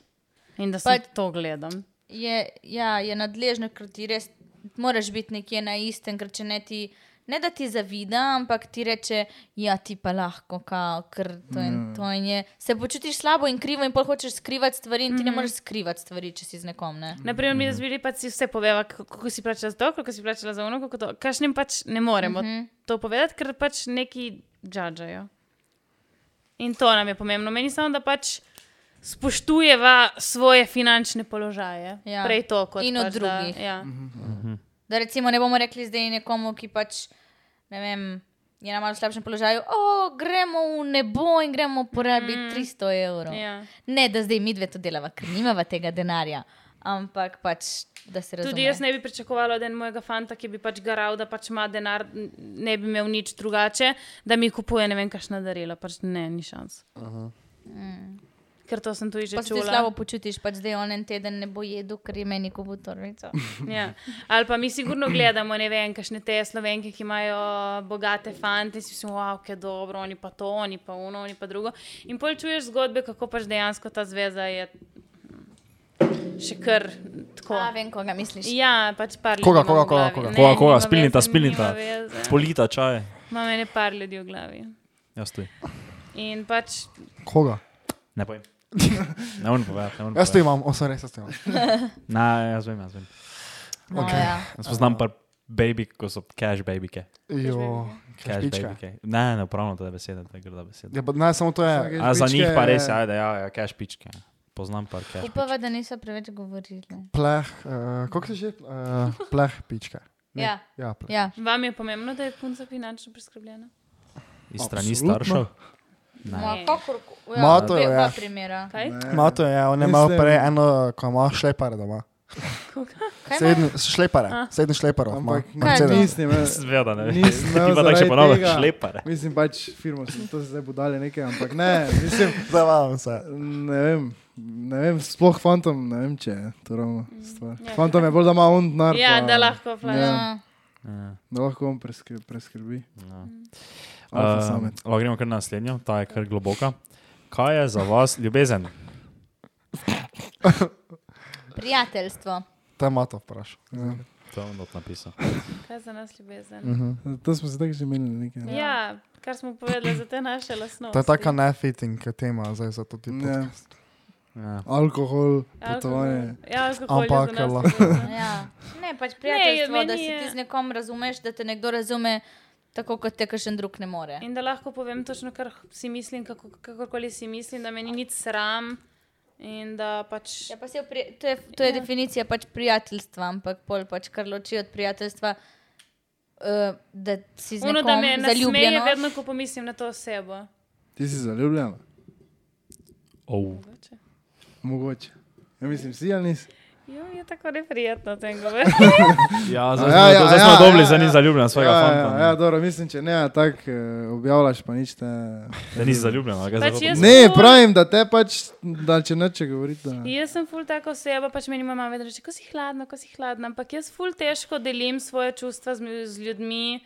Speaker 1: In da se
Speaker 2: Pač-
Speaker 1: to gledam.
Speaker 2: Je, ja, je nadležno, ker ti res moraš biti nekje na istem, ker če ne ti. Ne da ti zavida, ampak ti reče, ja, ti pa lahko, kao, ker to in to. In je, se počutiš slabo in krivo, in pol hočeš skrivati stvari, in ti ne
Speaker 1: Mhm.
Speaker 2: moreš skrivati stvari, če si z nekom. Ne?
Speaker 1: Naprimer, mi z Vili pač si vse poveva, kako, kako si plačala za to, kako si plačala za ono, kako to. Kašnim pač ne moremo uh
Speaker 2: Mhm.
Speaker 1: -huh. to povedati, ker pač neki džadžajo. In to nam je pomembno. Meni samo, da pač spoštujeva svoje finančne položaje. Ja.
Speaker 2: Ja.
Speaker 1: Prej to kot
Speaker 2: In
Speaker 1: pač,
Speaker 2: od drugih. Mhm.
Speaker 1: Da, ja.
Speaker 2: Da recimo ne bomo rekli zdaj nekomu, ki pač ne vem. Je na malo slabšem položaju, o, gremo v nebo in gremo
Speaker 1: Mhm.
Speaker 2: porabiti mm. 300 evrov.
Speaker 1: Ja.
Speaker 2: Ne, da zdaj mi dve to delava, ker nimava tega denarja, ampak pač, da se razume.
Speaker 1: Tudi jaz ne bi pričakovala od enega mojega fanta, ki bi pač garal, da pač ima denar, n- ne bi imel nič drugače, da mi kupuje ne vem, kakšna darila. Pač ne, ni šans. Uh -huh. mm. Ker to sem tudi že
Speaker 2: Mhm. Pa se ti
Speaker 1: čula.
Speaker 2: slabo počutiš, pač zdaj on en teden ne bo jedel, ker je meni kupu torbico.
Speaker 1: Ja. Ali pa mi sigurno gledamo, ne vem, kakšne te slovenke, ki imajo bogate fante, si smo, wow, kaj dobro, oni pa to, oni pa uno, oni pa drugo. In pol čuješ zgodbe, kako pač dejansko ta zveza je mm, še kar tako.
Speaker 2: Ja, vem, koga misliš.
Speaker 1: Ja, pač par ljudi.
Speaker 3: Koga,
Speaker 1: imam
Speaker 3: koga,
Speaker 1: v glavi.
Speaker 3: koga, koga?
Speaker 1: Ne,
Speaker 7: Koga, koga,
Speaker 1: nima
Speaker 7: spilnita,
Speaker 1: veze, nima
Speaker 7: spilnita.
Speaker 1: veze.
Speaker 7: Polita čaj. Ja,
Speaker 1: Imam ene par ljudi v glavi.
Speaker 7: Jaz tu.
Speaker 1: In pač
Speaker 3: Koga?
Speaker 7: Ne povem. Ne morem povedati. ne morem
Speaker 3: Jaz to
Speaker 7: povedati.
Speaker 3: imam, osem res jaz to imam.
Speaker 7: Ne, jaz vem, jaz vem.
Speaker 2: No, ja.
Speaker 7: Jaz poznam par baby, ko so cash babike.
Speaker 3: Jo, kaj
Speaker 7: Cash
Speaker 3: pička.
Speaker 7: babike. Ne, ne, upravno to je beseda, to je grda beseda.
Speaker 3: Ja, pa ne, samo to je.
Speaker 5: Vsake-
Speaker 7: A za njih pa
Speaker 5: pičke-
Speaker 7: res, ajde, ja, ja, cash pičke. Poznam par cash.
Speaker 2: Upava, da niso preveč govorili.
Speaker 3: Pleh, uh, kako se že? Uh, pleh pička. Ne,
Speaker 2: Ja.
Speaker 3: ja pleh.
Speaker 2: Ja.
Speaker 1: vam je pomembno, da je punca finančno preskrbljena.
Speaker 7: Iz strani
Speaker 3: Absolutno.
Speaker 7: staršev.
Speaker 2: Ma, kakor, ja,
Speaker 3: Ma, to je,
Speaker 2: je,
Speaker 3: ja.
Speaker 2: dva primera.
Speaker 1: Kaj?
Speaker 3: No, to je, on je
Speaker 5: Mislim-
Speaker 3: imel prej eno, ko ima šlepare doma.
Speaker 2: Kaj ima?
Speaker 3: Sedem šlepare, sedem šleparov. ima.
Speaker 5: Ampak
Speaker 2: Kaj je to?
Speaker 3: Mercedes.
Speaker 5: nisem imel.
Speaker 7: Zveda, ne vem.
Speaker 5: Nisem imel
Speaker 7: Ti pa tako še
Speaker 5: zaradi
Speaker 7: ponavljaš
Speaker 5: tega-
Speaker 7: šlepare.
Speaker 5: Mislim pač firmo, sem to se zdaj budale nekaj, ampak ne, mislim,
Speaker 3: Zabavam se.
Speaker 5: ne vem. Ne vem, sploh fantom, ne vem, če je to ravno stvar. Fantom je bolj, da ima on denar.
Speaker 1: Mm, Ja,
Speaker 5: pa-
Speaker 1: da lahko plača.
Speaker 5: Ja,
Speaker 2: Ja.
Speaker 5: da lahko on preskri, preskrbi.
Speaker 7: No.
Speaker 1: Mm.
Speaker 5: Alfa
Speaker 7: Ehm,
Speaker 5: samec.
Speaker 7: lahko gremo kar na naslednjo, ta je kar globoka. Kaj je za vas ljubezen?
Speaker 2: Prijateljstvo.
Speaker 3: To je mato vprašal.
Speaker 5: Ja.
Speaker 7: To je not napisal.
Speaker 1: Kaj za nas ljubezen?
Speaker 5: To smo se tako že menili nekaj. ne?
Speaker 1: Ja, kar smo povedali za te naše lastnosti.
Speaker 3: To je taka nefitting tema zdaj za to ti
Speaker 5: Ja.
Speaker 3: podcast.
Speaker 4: Ja.
Speaker 5: Alkohol,
Speaker 1: Alkohol.
Speaker 5: potovanje.
Speaker 1: Ja, alkohol je
Speaker 3: Ampak
Speaker 1: za nas
Speaker 3: lahko-
Speaker 1: sigurno.
Speaker 2: Ja. Ne, pač prijateljstvo,
Speaker 1: meni
Speaker 2: ne, da se
Speaker 1: je-
Speaker 2: ti z nekom razumeš, da te nekdo razume tako, kot te kakšen drug ne more.
Speaker 1: In da lahko povem točno, kar si mislim, kako, kakorkoli si mislim, da me ni nič sram. In da pač.
Speaker 2: Ja, pa saj v pri, to je, to je ja. definicija pač prijateljstva, ampak pol pač kar loči od prijateljstva, uh, da si z
Speaker 1: Ono,
Speaker 2: nekom
Speaker 1: da me nasmeje,
Speaker 2: zaljubljen.
Speaker 1: vedno, ko pomislim na to osebo.
Speaker 5: Ti si zaljubljena?
Speaker 7: Oh.
Speaker 5: Mogoče. Ja, mislim, si ali nisi?
Speaker 1: Jo, je tako neprijetno, tem govorim.
Speaker 7: Ja,
Speaker 5: A
Speaker 7: zdaj
Speaker 5: ja,
Speaker 7: smo,
Speaker 5: ja,
Speaker 7: zdaj smo
Speaker 5: ja,
Speaker 7: dobili,
Speaker 5: ja,
Speaker 7: zdaj ni
Speaker 5: ja.
Speaker 7: zaljubljen svojega
Speaker 5: ja,
Speaker 7: fanta.
Speaker 5: Ja, ja, dobro, mislim, če ne, tako eh, objavljaš, pa nič te.
Speaker 7: Da nisi zaljubljen, ali ga
Speaker 1: Pač
Speaker 7: zdaj
Speaker 1: jaz-
Speaker 5: Ne, pravim, da te pač, da če neče govoriti. Da...
Speaker 7: Ja.
Speaker 1: Jaz sem ful tako oseba, pač meni moja mama vedno reče, ko si hladna, ko si hladna. Ampak jaz ful težko delim svoje čustva z, z ljudmi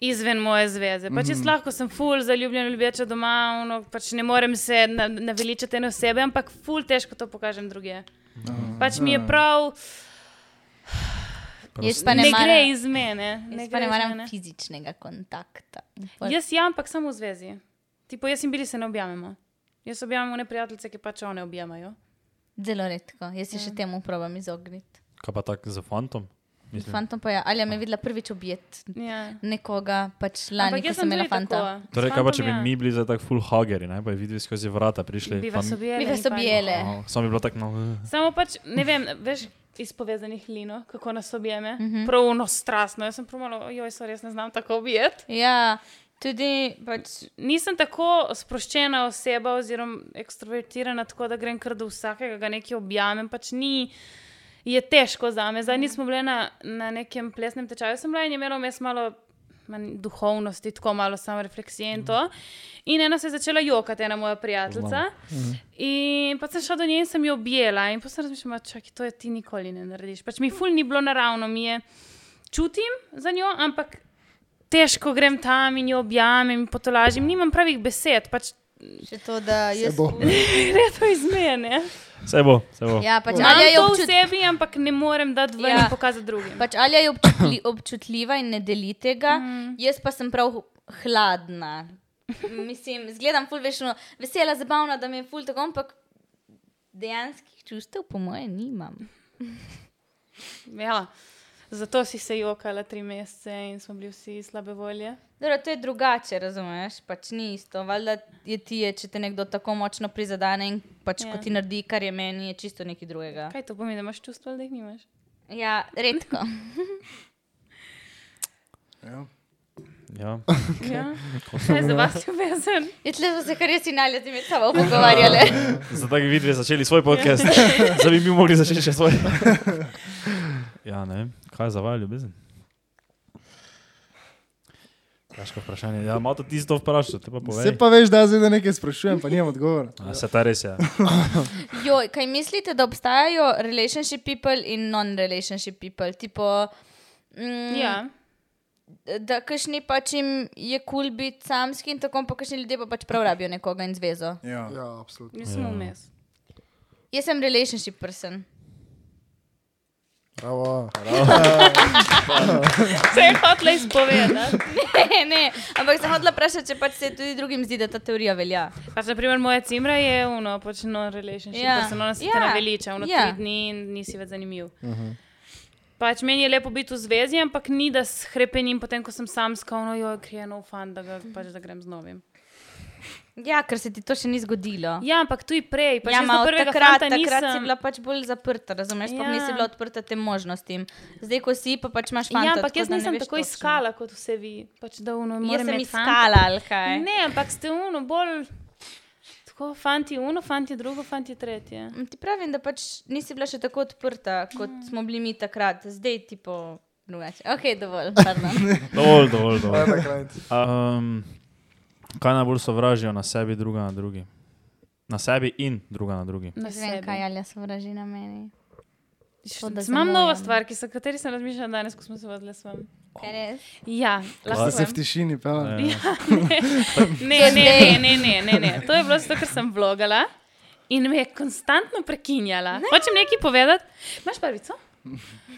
Speaker 1: izven moje zveze. Pač
Speaker 7: Mhm.
Speaker 1: jaz lahko sem ful zaljubljen, ljubeča doma, ono, pač ne morem se na- naveličati ene osebe, ampak ful težko to pokažem druge.
Speaker 7: No,
Speaker 1: Pač mi je prav,
Speaker 2: Jaz pa
Speaker 1: ne,
Speaker 2: ne
Speaker 1: ne gre
Speaker 2: maram,
Speaker 1: iz mene. Ne
Speaker 2: jaz pa
Speaker 1: gre
Speaker 2: ne
Speaker 1: iz
Speaker 2: maram
Speaker 1: mene.
Speaker 2: fizičnega kontakta.
Speaker 1: Jaz ja, ampak samo v zvezi. Tipo, jaz in bili se ne objamemo. Jaz objamem one prijateljice, ki pač one objamajo.
Speaker 2: Zelo redko, jaz se
Speaker 1: Ja.
Speaker 2: še temu probam izogniti.
Speaker 7: Kaj pa tako za fantom? Mislim.
Speaker 2: Fantom pa je, ali je me videla prvič objet
Speaker 1: Ja.
Speaker 2: nekoga, pač lani,
Speaker 1: Ampak
Speaker 2: ko
Speaker 1: jaz
Speaker 2: sem
Speaker 1: sem
Speaker 2: imela
Speaker 1: tudi
Speaker 2: fanta.
Speaker 1: tako. S
Speaker 7: Torej, kaj pa
Speaker 1: fantom
Speaker 7: če bi
Speaker 1: ja.
Speaker 7: mi bili zdaj tako full huggerji, ne pa bi videli skozi vrata prišli.
Speaker 1: Bi
Speaker 7: pa
Speaker 1: vas
Speaker 7: mi-
Speaker 1: objeli.
Speaker 2: Mi pa
Speaker 1: in
Speaker 2: so
Speaker 1: pa-
Speaker 2: bijele.
Speaker 7: No, Samo bi bilo tako, no,
Speaker 1: Samo pač, ne vem, veš, iz povezanih lino, kako nas objeme. Mm -hmm. Pravno strastno. Jaz sem promalo, joj, so res ne znam tako objeti.
Speaker 2: Ja, tudi pač.
Speaker 1: Nisem tako sproščena oseba oziroma ekstrovertirana, tako da grem kar do vsakega, ga nekaj objamem. Pač ni, je težko za me. Zadnji smo bili na, na nekem plesnem tečaju, sem bila in je imela vmes malo. manj Duhovnosti, tako malo samo refleksije in to. In ena se je začela jokati, ena moja prijateljica. In pa sem šla do nje in sem jo objela. In pa sem razmišljala, čakaj, to je ti nikoli ne narediš. Pač mi ful ni bilo naravno, mi je čutim za njo, ampak težko grem tam in jo objamem in potolažim. Nimam pravih besed, pač
Speaker 2: Še to, da jaz.
Speaker 5: bo.
Speaker 1: gre to iz mene.
Speaker 7: se bo, se bo.
Speaker 2: Ja, pač,
Speaker 1: Imam
Speaker 2: ali je
Speaker 1: to v
Speaker 2: občut,
Speaker 1: sebi, ampak ne morem dati ven
Speaker 2: Ja.
Speaker 1: ja. in pokazati drugim.
Speaker 2: pač Alja je občutli, občutljiva in ne deli tega, mm. jaz pa sem prav hladna. Mislim, zgledam ful vešno, vesela, zabavna, da mi je ful tako, ampak dejanskih čustev, po moje, nimam.
Speaker 1: Ja. Zato si se jokala tri mesece in smo bili vsi slabe volje.
Speaker 2: Dobro, to je drugače, razumeš? Pač ni isto. Valjda je ti, je, če te nekdo tako močno prizadene in pač
Speaker 1: Ja.
Speaker 2: yeah. ko ti naredi, kar je meni, je čisto nekaj drugega.
Speaker 1: Kaj to pomeni, da imaš čustva, ali da jih nimaš?
Speaker 2: Ja, redko.
Speaker 7: Ja.
Speaker 1: Ja. Kaj je za vas ljubezen?
Speaker 2: Je tle smo se kar jaz in Alja z tabo pogovarjali.
Speaker 7: Zato bi videli začeli svoj podcast, zdaj bi mi mogli začeti še svoj. Ja, ne vem, kaj je za vaju ljubezen. Težko vprašanje. Ja, malo ti to vprašaj, te pa povej.
Speaker 5: Se pa veš, da jaz zdaj nekaj sprašujem, pa nimam odgovora.
Speaker 7: A, se ta res je.
Speaker 2: Joj, kaj mislite, da obstajajo relationship people in non-relationship people? Tipo, mm,
Speaker 1: Ja.
Speaker 2: Da, kakšni pač jim je kul cool biti samski in tako, pa kakšni ljudje pa pač prav rabijo nekoga in zvezo.
Speaker 5: Ja.
Speaker 3: Ja, absolutno.
Speaker 1: Mi smo vmes.
Speaker 2: Jaz sem relationship person.
Speaker 3: Bravo.
Speaker 1: Se je hotel izpovedati.
Speaker 2: ne, ne, ampak sem hodila vprašati, če pač se tudi drugim zdi, da ta teorija velja.
Speaker 1: Pač, na primer, moja cimra je uno, pač non-relationship,
Speaker 2: Ja.
Speaker 1: yeah. se ona se
Speaker 2: Ja.
Speaker 1: yeah. naveliča, uno
Speaker 2: Ja.
Speaker 1: yeah. tri dni in nisi več zanimiv. Uh -huh. Pač meni je lepo biti v zvezi, ampak ni da s hrepenim, potem ko sem sam no, skovno, jo krije nov fan, da, ga, pač, da grem z novim.
Speaker 2: Ja, ker se ti to še ni zgodilo.
Speaker 1: Ja, ampak tu je prej, pač
Speaker 2: ja,
Speaker 1: ja,
Speaker 2: ma,
Speaker 1: do
Speaker 2: od
Speaker 1: prvega
Speaker 2: takrat,
Speaker 1: fanta
Speaker 2: takrat si
Speaker 1: nisem.
Speaker 2: bila pač bolj zaprta, razumeš? Ja.
Speaker 1: Ja.
Speaker 2: Nisi bila odprta tem možnostim. Zdaj, ko si, pa pač imaš fanta,
Speaker 1: Ja, ampak
Speaker 2: tako
Speaker 1: jaz
Speaker 2: da ne
Speaker 1: nisem
Speaker 2: veš
Speaker 1: tako
Speaker 2: točno.
Speaker 1: iskala kot vse vi. Pač, da, uno,
Speaker 2: Jaz
Speaker 1: moram
Speaker 2: sem
Speaker 1: imeti fanta.
Speaker 2: iskala, ali kaj.
Speaker 1: Ne, ampak ste uno bolj. Tako, fanti uno, fanti drugo, fanti tretje.
Speaker 2: Mm, Ti pravim, da pač nisi bila še tako odprta, kot mm. smo bili mi takrat, zdaj ti po drugače. Ok, dovolj. pardon.
Speaker 7: Dovolj, dovolj, dovolj.
Speaker 3: Ajde, krajc.
Speaker 7: Um, kaj najbolj sovražijo na sebi, druga na drugi? Na sebi in druga na drugi.
Speaker 1: Na
Speaker 2: Ne vem,
Speaker 1: sebi.
Speaker 2: kaj Alja sovraži na meni.
Speaker 1: Š-
Speaker 2: To, da
Speaker 1: Imam novo
Speaker 2: zamujam.
Speaker 1: stvar, ki so- o kateri sem razmišljala danes, ko smo se vodili s vami.
Speaker 2: Kaj res?
Speaker 1: Ja,
Speaker 5: Da
Speaker 1: lahko
Speaker 5: se v
Speaker 1: povem.
Speaker 5: tišini pela.
Speaker 7: Ja.
Speaker 1: Ne, ne, ne, ne, ne, ne, ne. To je bilo zato, ker sem vlogala in me je konstantno prekinjala. Ne. Hočem nekaj povedati. Imaš prvico?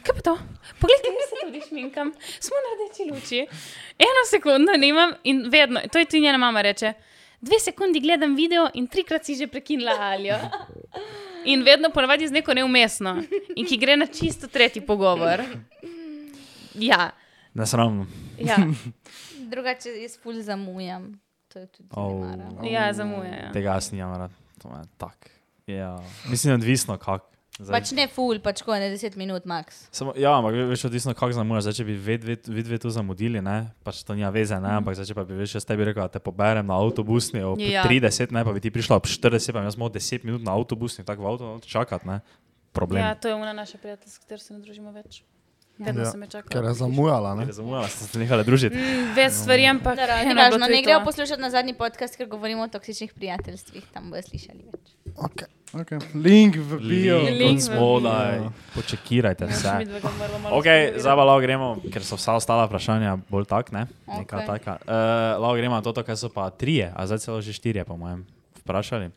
Speaker 1: Kaj pa to? Poglej, kaj se tudi šminkam. Smo na rdeči luči. Eno sekundo nimam in vedno, to je tudi njena mama reče. Dve sekundi gledam video in trikrat si že prekinila alijo. In vedno ponavadi z neko neumestno, in ki gre na čisto tretji pogovor. Ja,
Speaker 4: Nesramno.
Speaker 1: ja,
Speaker 2: Drugače jaz ful zamujam. To je tudi
Speaker 4: Au.
Speaker 2: oh. mara.
Speaker 1: ja zamuja. Ja.
Speaker 4: Tega jaz nimam rad. To je tak. Ja. Mislim, odvisno kako. Zdaj-
Speaker 2: Pač ne ful, pač ko ne 10 minut max.
Speaker 4: Samo, ja, ampak ve- veš, odvisno kako zamujaš. Zdaj, če bi vi dve, vi dve tu zamudili, ne, pač to nima veze, ne, ampak zdaj, če pa bi veš, jaz tebi rekel, da te poberem na avtobusni ob
Speaker 1: Mhm. Ja.
Speaker 4: ja. 30, ne, pa bi ti prišla ob 40, pa bi jaz smo 10 minut na avtobusni, tako v avto čakati, ne, problem.
Speaker 1: ja,
Speaker 4: Ja.
Speaker 1: to je ona naša prijateljica, s katero se ne družimo več. Vedno
Speaker 3: Ja,
Speaker 1: ja. sem me čakala.
Speaker 3: Ker je zamujala, ne?
Speaker 4: Zamujala ste se nehala družiti.
Speaker 1: Mm, Več
Speaker 4: Ja.
Speaker 1: stvari, ampak eno bo
Speaker 2: Važno,
Speaker 1: tudi no,
Speaker 2: ne
Speaker 1: to.
Speaker 2: grejo poslušati na zadnji podcast, ker govorimo o toksičnih prijateljstvih, tam bojo slišali več.
Speaker 3: Okay.
Speaker 7: Ja.
Speaker 5: Okay. Link v bio.
Speaker 1: Link
Speaker 4: Link
Speaker 1: v
Speaker 4: spodaj, počekirajte
Speaker 1: Ja,
Speaker 4: vse.
Speaker 1: midva ga morava malo
Speaker 4: Ok,
Speaker 1: spreveriti.
Speaker 4: zdaj pa lahko gremo, ker so vsa ostala vprašanja bolj tak, ne? Neka
Speaker 2: Okej.
Speaker 4: okay. taka. Uh, lahko gremo na to, kar so pa trije, a zdaj celo že štirje, po mojem, vprašali.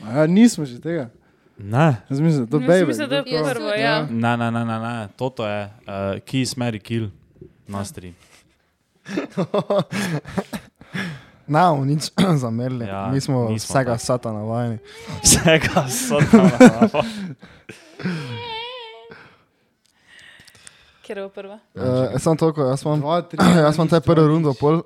Speaker 5: Ja, nismo že tega.
Speaker 4: Ne.
Speaker 5: Jaz mislim, da to
Speaker 1: Jaz
Speaker 5: baby.
Speaker 1: Mislim, da je
Speaker 2: Jaz
Speaker 1: prvo,
Speaker 2: tudi.
Speaker 1: ja.
Speaker 4: Ne, ne, ne, ne, ne. toto je, uh, ki smeri kill, nas tri.
Speaker 3: Na, nič zamerili.
Speaker 4: Ja,
Speaker 3: Ja, Mi smo
Speaker 4: nismo
Speaker 3: vsega
Speaker 4: tak.
Speaker 3: satana vajeni.
Speaker 4: Vsega so tam.
Speaker 1: Ker je prva.
Speaker 3: Uh, samo toliko, jaz imam,
Speaker 5: Dva, tri,
Speaker 3: jaz imam te prvo rundo pol,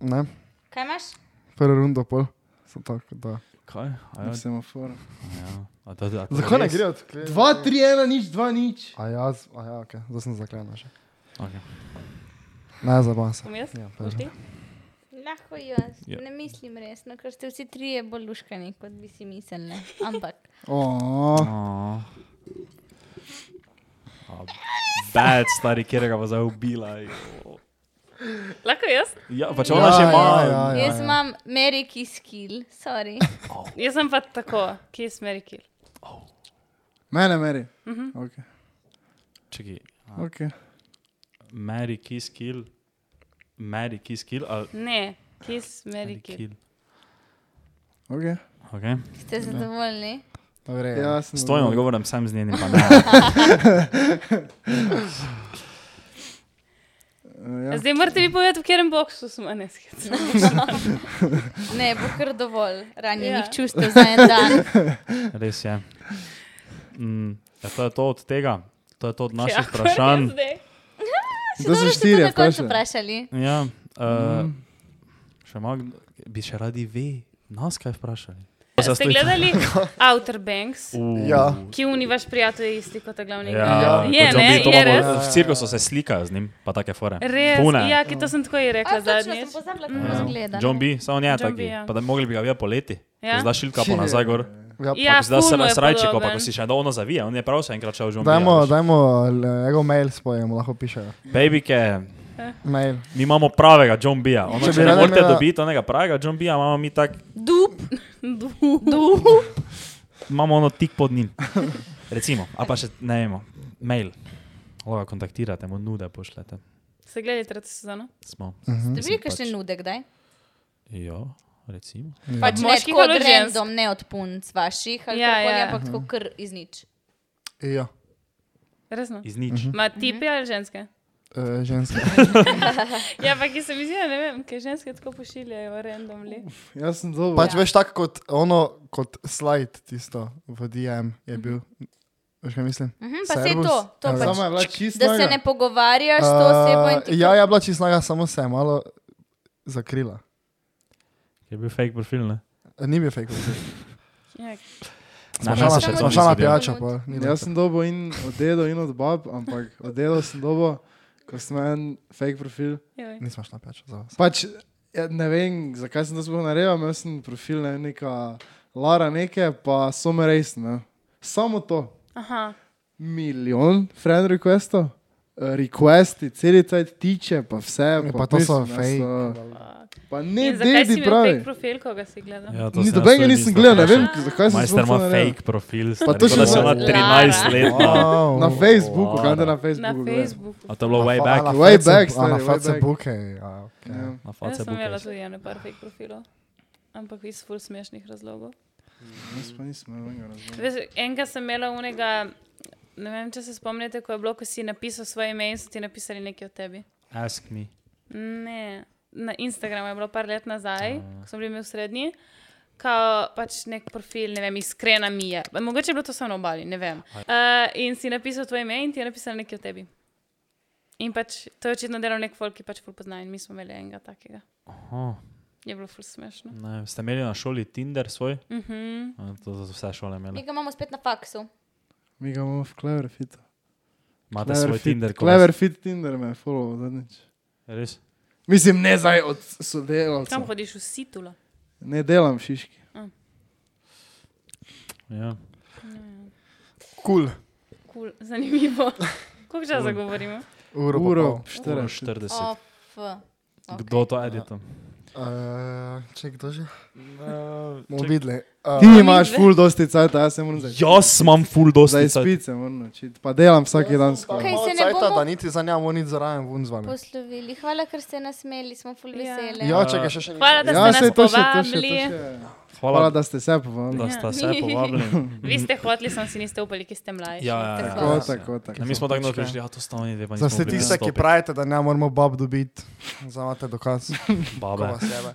Speaker 3: ne,
Speaker 2: Kaj imaš?
Speaker 3: prvo rundo pol. Sem Tako, da.
Speaker 4: Kaj? A ja,
Speaker 5: Semafor.
Speaker 4: ja. A to, a to
Speaker 3: Zakaj ne
Speaker 4: res?
Speaker 3: gre odkleniti?
Speaker 5: 2, 3, 1, nič, 2, nič.
Speaker 3: A jaz, a ja, ok, zdaj sem zaklenil še.
Speaker 4: Okej.
Speaker 3: Ne, zabavam se.
Speaker 1: Bom jaz?
Speaker 3: Ja,
Speaker 1: Boš ti?
Speaker 2: Lahko jaz.
Speaker 4: Ja.
Speaker 2: Ne mislim resno, ker ste vsi trije bolj luškani, kot bi si mislili. Ampak
Speaker 5: Oh.
Speaker 4: Aw. A Bad, stari, kjer ga bo zdaj ubila.
Speaker 1: Lahko jaz?
Speaker 4: Ja, pač ona še ima.
Speaker 2: ja, jaz ja. imam meriki skill, sorry.
Speaker 1: Jaz sem pa tako, ki je smeri kill.
Speaker 5: Mene, meri. Okay.
Speaker 4: Čekaj,
Speaker 5: Okay.
Speaker 4: Mary Kiss Kill. Mary Kiss Kill. Ali
Speaker 1: Ne, ki je smeri kill.
Speaker 4: kill.
Speaker 5: Okay.
Speaker 4: Okay.
Speaker 2: Ste zadovoljni?
Speaker 3: Dobre, ja.
Speaker 5: Ja, sem
Speaker 4: S tvojim
Speaker 5: dobil.
Speaker 4: odgovorom sem z njenim. pa ne.
Speaker 5: Eh, Ja.
Speaker 1: Zdaj morate vi povedati, v katerem boksu smo, ne skicam.
Speaker 2: Ne, bo kar dovolj ranjenih
Speaker 1: Ja.
Speaker 2: ja. čustev za en dan.
Speaker 4: Res je. Mm, ja, to je to od tega, to je to
Speaker 1: Ja,
Speaker 4: od naših vprašanj.
Speaker 5: To so štiri,
Speaker 2: Kako ste
Speaker 5: vprašaj.
Speaker 2: vprašali?
Speaker 4: Ja, uh,
Speaker 3: Mm.
Speaker 4: še malo, kdo- bi še radi ve, nas kaj vprašali.
Speaker 1: Ste gledali Outer Banks,
Speaker 3: Ja.
Speaker 1: ki uni vaš prijatelj je isti kot ta glavni igralec?
Speaker 4: Ja,
Speaker 1: je,
Speaker 4: kot
Speaker 1: ne,
Speaker 4: zombi, to
Speaker 1: je
Speaker 4: pa bo-
Speaker 1: res.
Speaker 4: V cirku so se slikajo z njim, pa take fore.
Speaker 1: Res,
Speaker 4: Pune.
Speaker 1: ja, ki to sem tako i rekla
Speaker 2: A, točno, sem
Speaker 1: zadnjič. Ja.
Speaker 2: pozabila, kako sem gledala.
Speaker 4: John B., samo ne
Speaker 1: John
Speaker 4: taki.
Speaker 1: B, ja.
Speaker 4: Pa da bi mogli bi ga videti poleti.
Speaker 1: Ja.
Speaker 4: Ja. Zdaj šilka pa nazaj gor.
Speaker 3: Ja,
Speaker 1: Ja,
Speaker 4: Zdaj
Speaker 1: ful
Speaker 4: se
Speaker 1: mu je
Speaker 4: razrajčiko, pa
Speaker 1: podoben.
Speaker 4: ko si še dolno zavija, on je prav se enkrat šel v John B.
Speaker 3: Dajmo, ja.
Speaker 4: veš.
Speaker 3: dajmo eh, njegov mail spojemo, lahko pišejo.
Speaker 4: Babike,
Speaker 3: Mail.
Speaker 4: mi imamo pravega John B. Ono,
Speaker 3: Če
Speaker 4: če
Speaker 3: bi
Speaker 4: ne
Speaker 3: rada
Speaker 4: morete
Speaker 3: imela-
Speaker 4: dobiti onega pravega John B., imamo mi tak
Speaker 2: Dup,
Speaker 1: Du.
Speaker 4: imamo ono tik pod njim. Recimo, a pa še ne vemo, mail. Lahko ga kontaktirate, mu nude pošljete.
Speaker 1: Se gledali tretjo sezono?
Speaker 4: Smo.
Speaker 5: Mhm.
Speaker 2: ste bili kakšne
Speaker 4: pač-
Speaker 2: nude, kdaj?
Speaker 4: Ja, recimo.
Speaker 2: Pač ne
Speaker 1: Moških
Speaker 2: tako
Speaker 1: ali
Speaker 2: od
Speaker 1: žensk?
Speaker 2: random, ne od punc vaših, ali
Speaker 1: Ja,
Speaker 2: ja, ja.
Speaker 1: ja.
Speaker 2: ampak tako kar iz nič.
Speaker 3: Ja,
Speaker 1: Resno.
Speaker 4: Iz nič.
Speaker 5: Mhm.
Speaker 1: Ma tipi ali ženske?
Speaker 3: e, ženske.
Speaker 1: Ja, pa ki se mi zdi, da ne vem, kaj ženske tako pošiljajo randomly.
Speaker 5: Jaz sem dobil.
Speaker 2: Ja.
Speaker 3: Pač veš tako kot ono, kot slide tisto v DM je bil. Veš kaj mislim?
Speaker 2: Mhm, pa se je to,
Speaker 3: Servus.
Speaker 2: to
Speaker 3: Ja.
Speaker 2: pač,
Speaker 5: Sama je bila čista.
Speaker 2: da se ne pogovarjaš s to osebo in
Speaker 3: Eh,
Speaker 2: ti
Speaker 3: ja, ja, bila čistnaga, samo se je malo zakrila.
Speaker 4: Je bil fake profil, ne?
Speaker 3: Eh, Ni bil fake.
Speaker 1: Ja,
Speaker 4: Ne,
Speaker 3: Smašala
Speaker 4: meni
Speaker 3: še,
Speaker 4: se
Speaker 2: samo
Speaker 3: smašala
Speaker 4: ni zgodilo.
Speaker 3: pijača, pa ni
Speaker 5: Jaz sem dobil in od dedo in od bab, ampak od dedo sem dobil, ko sem imel en fake profil.
Speaker 1: joj.
Speaker 3: Nismo šla pijača za vas.
Speaker 5: Pač ja, ne vem, zakaj sem to sploh naredil, imel sem profil ne, vem, neka Lara neke, pa some res. Ne. Samo to.
Speaker 1: Aha.
Speaker 5: Milijon friend requestov, eh, requesti, celice tiče, pa vse.
Speaker 3: Ja, pa to so
Speaker 5: mislim, da
Speaker 3: fake.
Speaker 5: Pa ne,
Speaker 1: In zakaj si
Speaker 5: dedi
Speaker 1: imel fake
Speaker 5: pravi.
Speaker 1: profil, koga si gledal?
Speaker 4: Ja, to
Speaker 5: Ni
Speaker 4: sem jaz
Speaker 5: dobenega
Speaker 4: tudi
Speaker 5: nisem
Speaker 4: mislil.
Speaker 5: gledal, ne vem, zakaj sem
Speaker 4: Majster
Speaker 5: sploh to
Speaker 4: ima
Speaker 5: naredil.
Speaker 4: fake profil,
Speaker 5: Pa
Speaker 4: stari,
Speaker 5: to še
Speaker 4: to
Speaker 5: Ja.
Speaker 4: da se
Speaker 5: zna-
Speaker 4: ona 13 let.
Speaker 3: Wow.
Speaker 5: Na Facebooku, kaj da na
Speaker 1: Na
Speaker 5: Facebooku. gledam.
Speaker 1: Facebooku.
Speaker 4: ja. A to je
Speaker 5: Ja,
Speaker 4: bilo way back.
Speaker 3: A na
Speaker 5: Way
Speaker 3: face-
Speaker 5: back,
Speaker 3: A na
Speaker 5: stari, way
Speaker 3: face
Speaker 5: back.
Speaker 3: buke. ja, okej.
Speaker 5: Ja.
Speaker 4: Na
Speaker 1: Jaz
Speaker 4: face
Speaker 1: sem imela
Speaker 4: book.
Speaker 1: tudi eno par fake profilov, ampak iz ful smešnih razlogov.
Speaker 5: Jaz pa nisem imel nobenega razloga.
Speaker 1: Veš, enega sem imela unega, ne vem, če se spomnite, ko je bilo, ko si napisal svoje ime in so ti napisali nekaj o tebi.
Speaker 4: Ask me.
Speaker 1: Ne, na Instagramu je bilo par let nazaj, ko sem bila v srednji. kao pač nek profil, ne vem, iskrena mi je. Mogoče je bilo to samo na obali, ne vem. Uh, in si napisal tvoje ime in ti je napisal nekaj o tebi. In pač to je očitno delal nek folk, ki pač ful pozna in mi smo imeli enega takega.
Speaker 4: Aha,
Speaker 1: Je bilo ful smešno.
Speaker 4: ne, ste imeli na šoli Tinder svoj?
Speaker 1: Uh -huh.
Speaker 4: A, To so vse šole
Speaker 2: Mi
Speaker 4: imele.
Speaker 2: ga imamo spet na faksu.
Speaker 5: Mi ga imamo v Cleverfitu.
Speaker 4: Imate svoj Tinder, ko vas-
Speaker 5: Cleverfit Tinder me je follow zadnjič.
Speaker 4: Res?
Speaker 5: Mislim, ne zdaj od
Speaker 1: Kam
Speaker 5: sodelavcev.
Speaker 1: hodiš v situlo?
Speaker 5: Ne delam v šiški.
Speaker 4: Ja.
Speaker 3: Kul, cool.
Speaker 1: Cool. Zanimivo. Koliko časa govorimo?
Speaker 3: uro. pa
Speaker 5: Uro
Speaker 3: pol.
Speaker 5: 40.
Speaker 4: 40.
Speaker 2: Of, okay.
Speaker 4: Kdo to edita?
Speaker 3: Uh, če kdo že? Bomo
Speaker 4: Uh,
Speaker 3: videli. Uh,
Speaker 5: Ti imaš ful dosti cajta, jaz se moram začeti.
Speaker 4: Ja. jaz imam full dosti.
Speaker 5: Zdaj spit se moram naučiti, pa delam vsak dan
Speaker 2: Kaj,
Speaker 5: skoraj.
Speaker 2: se ne
Speaker 3: Cajta,
Speaker 2: bomo-
Speaker 3: da niti za njamo, niti za rajem vun z vami.
Speaker 2: Poslovili. Hvala, ker ste nas imeli, smo ful
Speaker 1: Ja.
Speaker 2: veseli.
Speaker 3: Ja, čakaj, še še
Speaker 1: Hvala, da ste
Speaker 5: Ja,
Speaker 1: nas
Speaker 5: sej to še, to še, to
Speaker 1: povabili.
Speaker 5: še. Hvala,
Speaker 4: Hvala, da,
Speaker 5: da ste se povabili.
Speaker 4: da ste se povabili.
Speaker 1: Vi ste hoteli, sam si niste upali, ki ste mlajši.
Speaker 4: Ja, ja, ja.
Speaker 5: Tako, tako, tako.
Speaker 4: Ne, mi smo tako prišli, a to sta oni dve. pa
Speaker 3: Za
Speaker 4: nismo
Speaker 3: vse
Speaker 4: bili na
Speaker 3: tiste, ki
Speaker 4: stopi."
Speaker 3: pravite, da ne moramo bab dobiti, zamate dokaz.
Speaker 4: Babe.
Speaker 3: Kova sebe.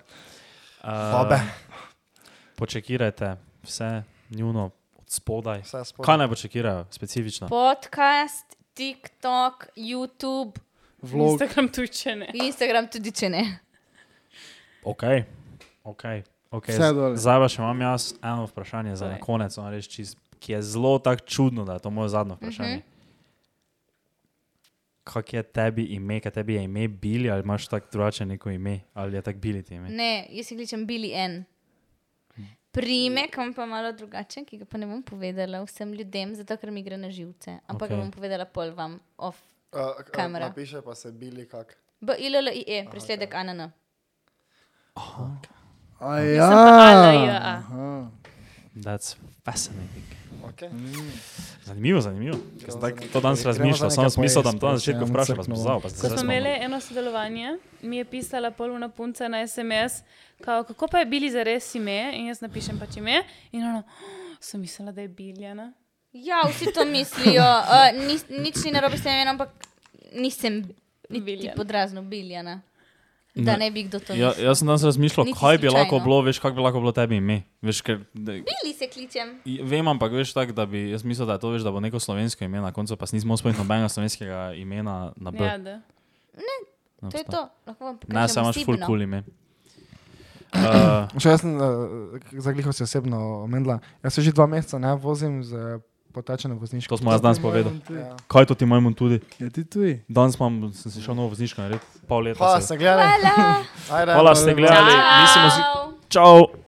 Speaker 4: Eh,
Speaker 3: Babe,
Speaker 4: Počekirajte vse njuno od spodaj.
Speaker 3: vse spodaj.
Speaker 4: Kaj naj počekirajo, specifično?
Speaker 2: Podcast, TikTok, YouTube,
Speaker 5: Vlog.
Speaker 1: Instagram tudi če ne.
Speaker 2: Instagram tudi če ne.
Speaker 4: Ok, ok. okay.
Speaker 5: Vse
Speaker 4: z-
Speaker 5: dol.
Speaker 4: Zdaj pa še imam jaz eno vprašanje za na
Speaker 1: Povej.
Speaker 4: konec, ono res čist, ki je zelo tako čudno, da je to moje zadnje vprašanje. Uh -huh. Kak je tebi ime, kaj tebi je ime Bili ali imaš tako drugače neko ime ali je tako Bili ti ime?
Speaker 2: Ne, jaz se kličem Billy N. Primek imam pa malo drugačen, ki ga pa ne bom povedala vsem ljudem, zato ker mi gre na živce. Ampak okay. ga
Speaker 4: Okej.
Speaker 2: bom povedala pol vam. Off.
Speaker 3: Uh, k-
Speaker 2: Kamera.
Speaker 3: Napiše pa se bili kak.
Speaker 2: B, I, L, L, I, E, presledek okay. ANN.
Speaker 5: A
Speaker 1: ALJ.
Speaker 5: ja. Aha.
Speaker 4: That's fascinating.
Speaker 3: Okay.
Speaker 2: Mm.
Speaker 4: Zanimivo, zanimivo. Ker sem tako to danes
Speaker 3: Gremo za
Speaker 4: razmišljal, samo
Speaker 3: neka
Speaker 4: sem mislil, da bom to na
Speaker 3: poizkus,
Speaker 4: začetku
Speaker 3: ja,
Speaker 4: vprašal, pa
Speaker 3: bom
Speaker 4: sem
Speaker 3: crknil.
Speaker 4: pozabil. pa sem
Speaker 1: Ko
Speaker 4: zdaj
Speaker 1: smo
Speaker 4: spomnil.
Speaker 1: imeli eno sodelovanje, mi je pisala polna punca na SMS, kao, kako pa je bili za res ime, in jaz napišem pač ime. In ono, "Oh, sem mislila, da je biljana.
Speaker 2: Ja, vsi to mislijo. Uh, ni, nič ni narobe s tem imenom, ampak nisem
Speaker 1: Biljan.
Speaker 2: niti podrazno Biljana. Da
Speaker 4: Ne.
Speaker 2: ne bi kdo to
Speaker 4: Ja,
Speaker 2: mislil.
Speaker 4: jaz sem danes razmišljal,
Speaker 2: Niti
Speaker 4: kaj bi lahko
Speaker 2: slučajno.
Speaker 4: bilo, veš, kako bi lahko bilo tebi ime. Veš, ker, da,
Speaker 2: Bili se kličem.
Speaker 4: Vem, ampak veš tako, da bi, jaz mislim, da je to veš, da bo neko slovensko ime na koncu, pa si nismo spomnili nobenega slovenskega imena na B.
Speaker 1: Ja, da.
Speaker 4: Na
Speaker 2: To je
Speaker 4: obstaja.
Speaker 2: to. Lahko vam pokažem.
Speaker 4: Ne, samo imaš full
Speaker 2: osebno.
Speaker 4: cool ime. Uh,
Speaker 3: Še jaz sem, uh, zagliho si osebno omenila, jaz se že dva meseca ne vozim z potečeno vozniško.
Speaker 4: to smo jaz danes
Speaker 5: Ti
Speaker 4: povedali.
Speaker 5: moram tudi.
Speaker 3: Ja.
Speaker 4: Kaj to ti imamo tudi?
Speaker 5: Je ti tuji?
Speaker 4: Danes imam, sem si šel novo vozniško narediti, pol leta.
Speaker 3: Hvala,
Speaker 4: se-
Speaker 3: ste gledali.
Speaker 2: Hvala.
Speaker 3: Ajde.
Speaker 4: Hvala, ste gledali. Mislimo si.
Speaker 2: Ciao.
Speaker 4: Čau!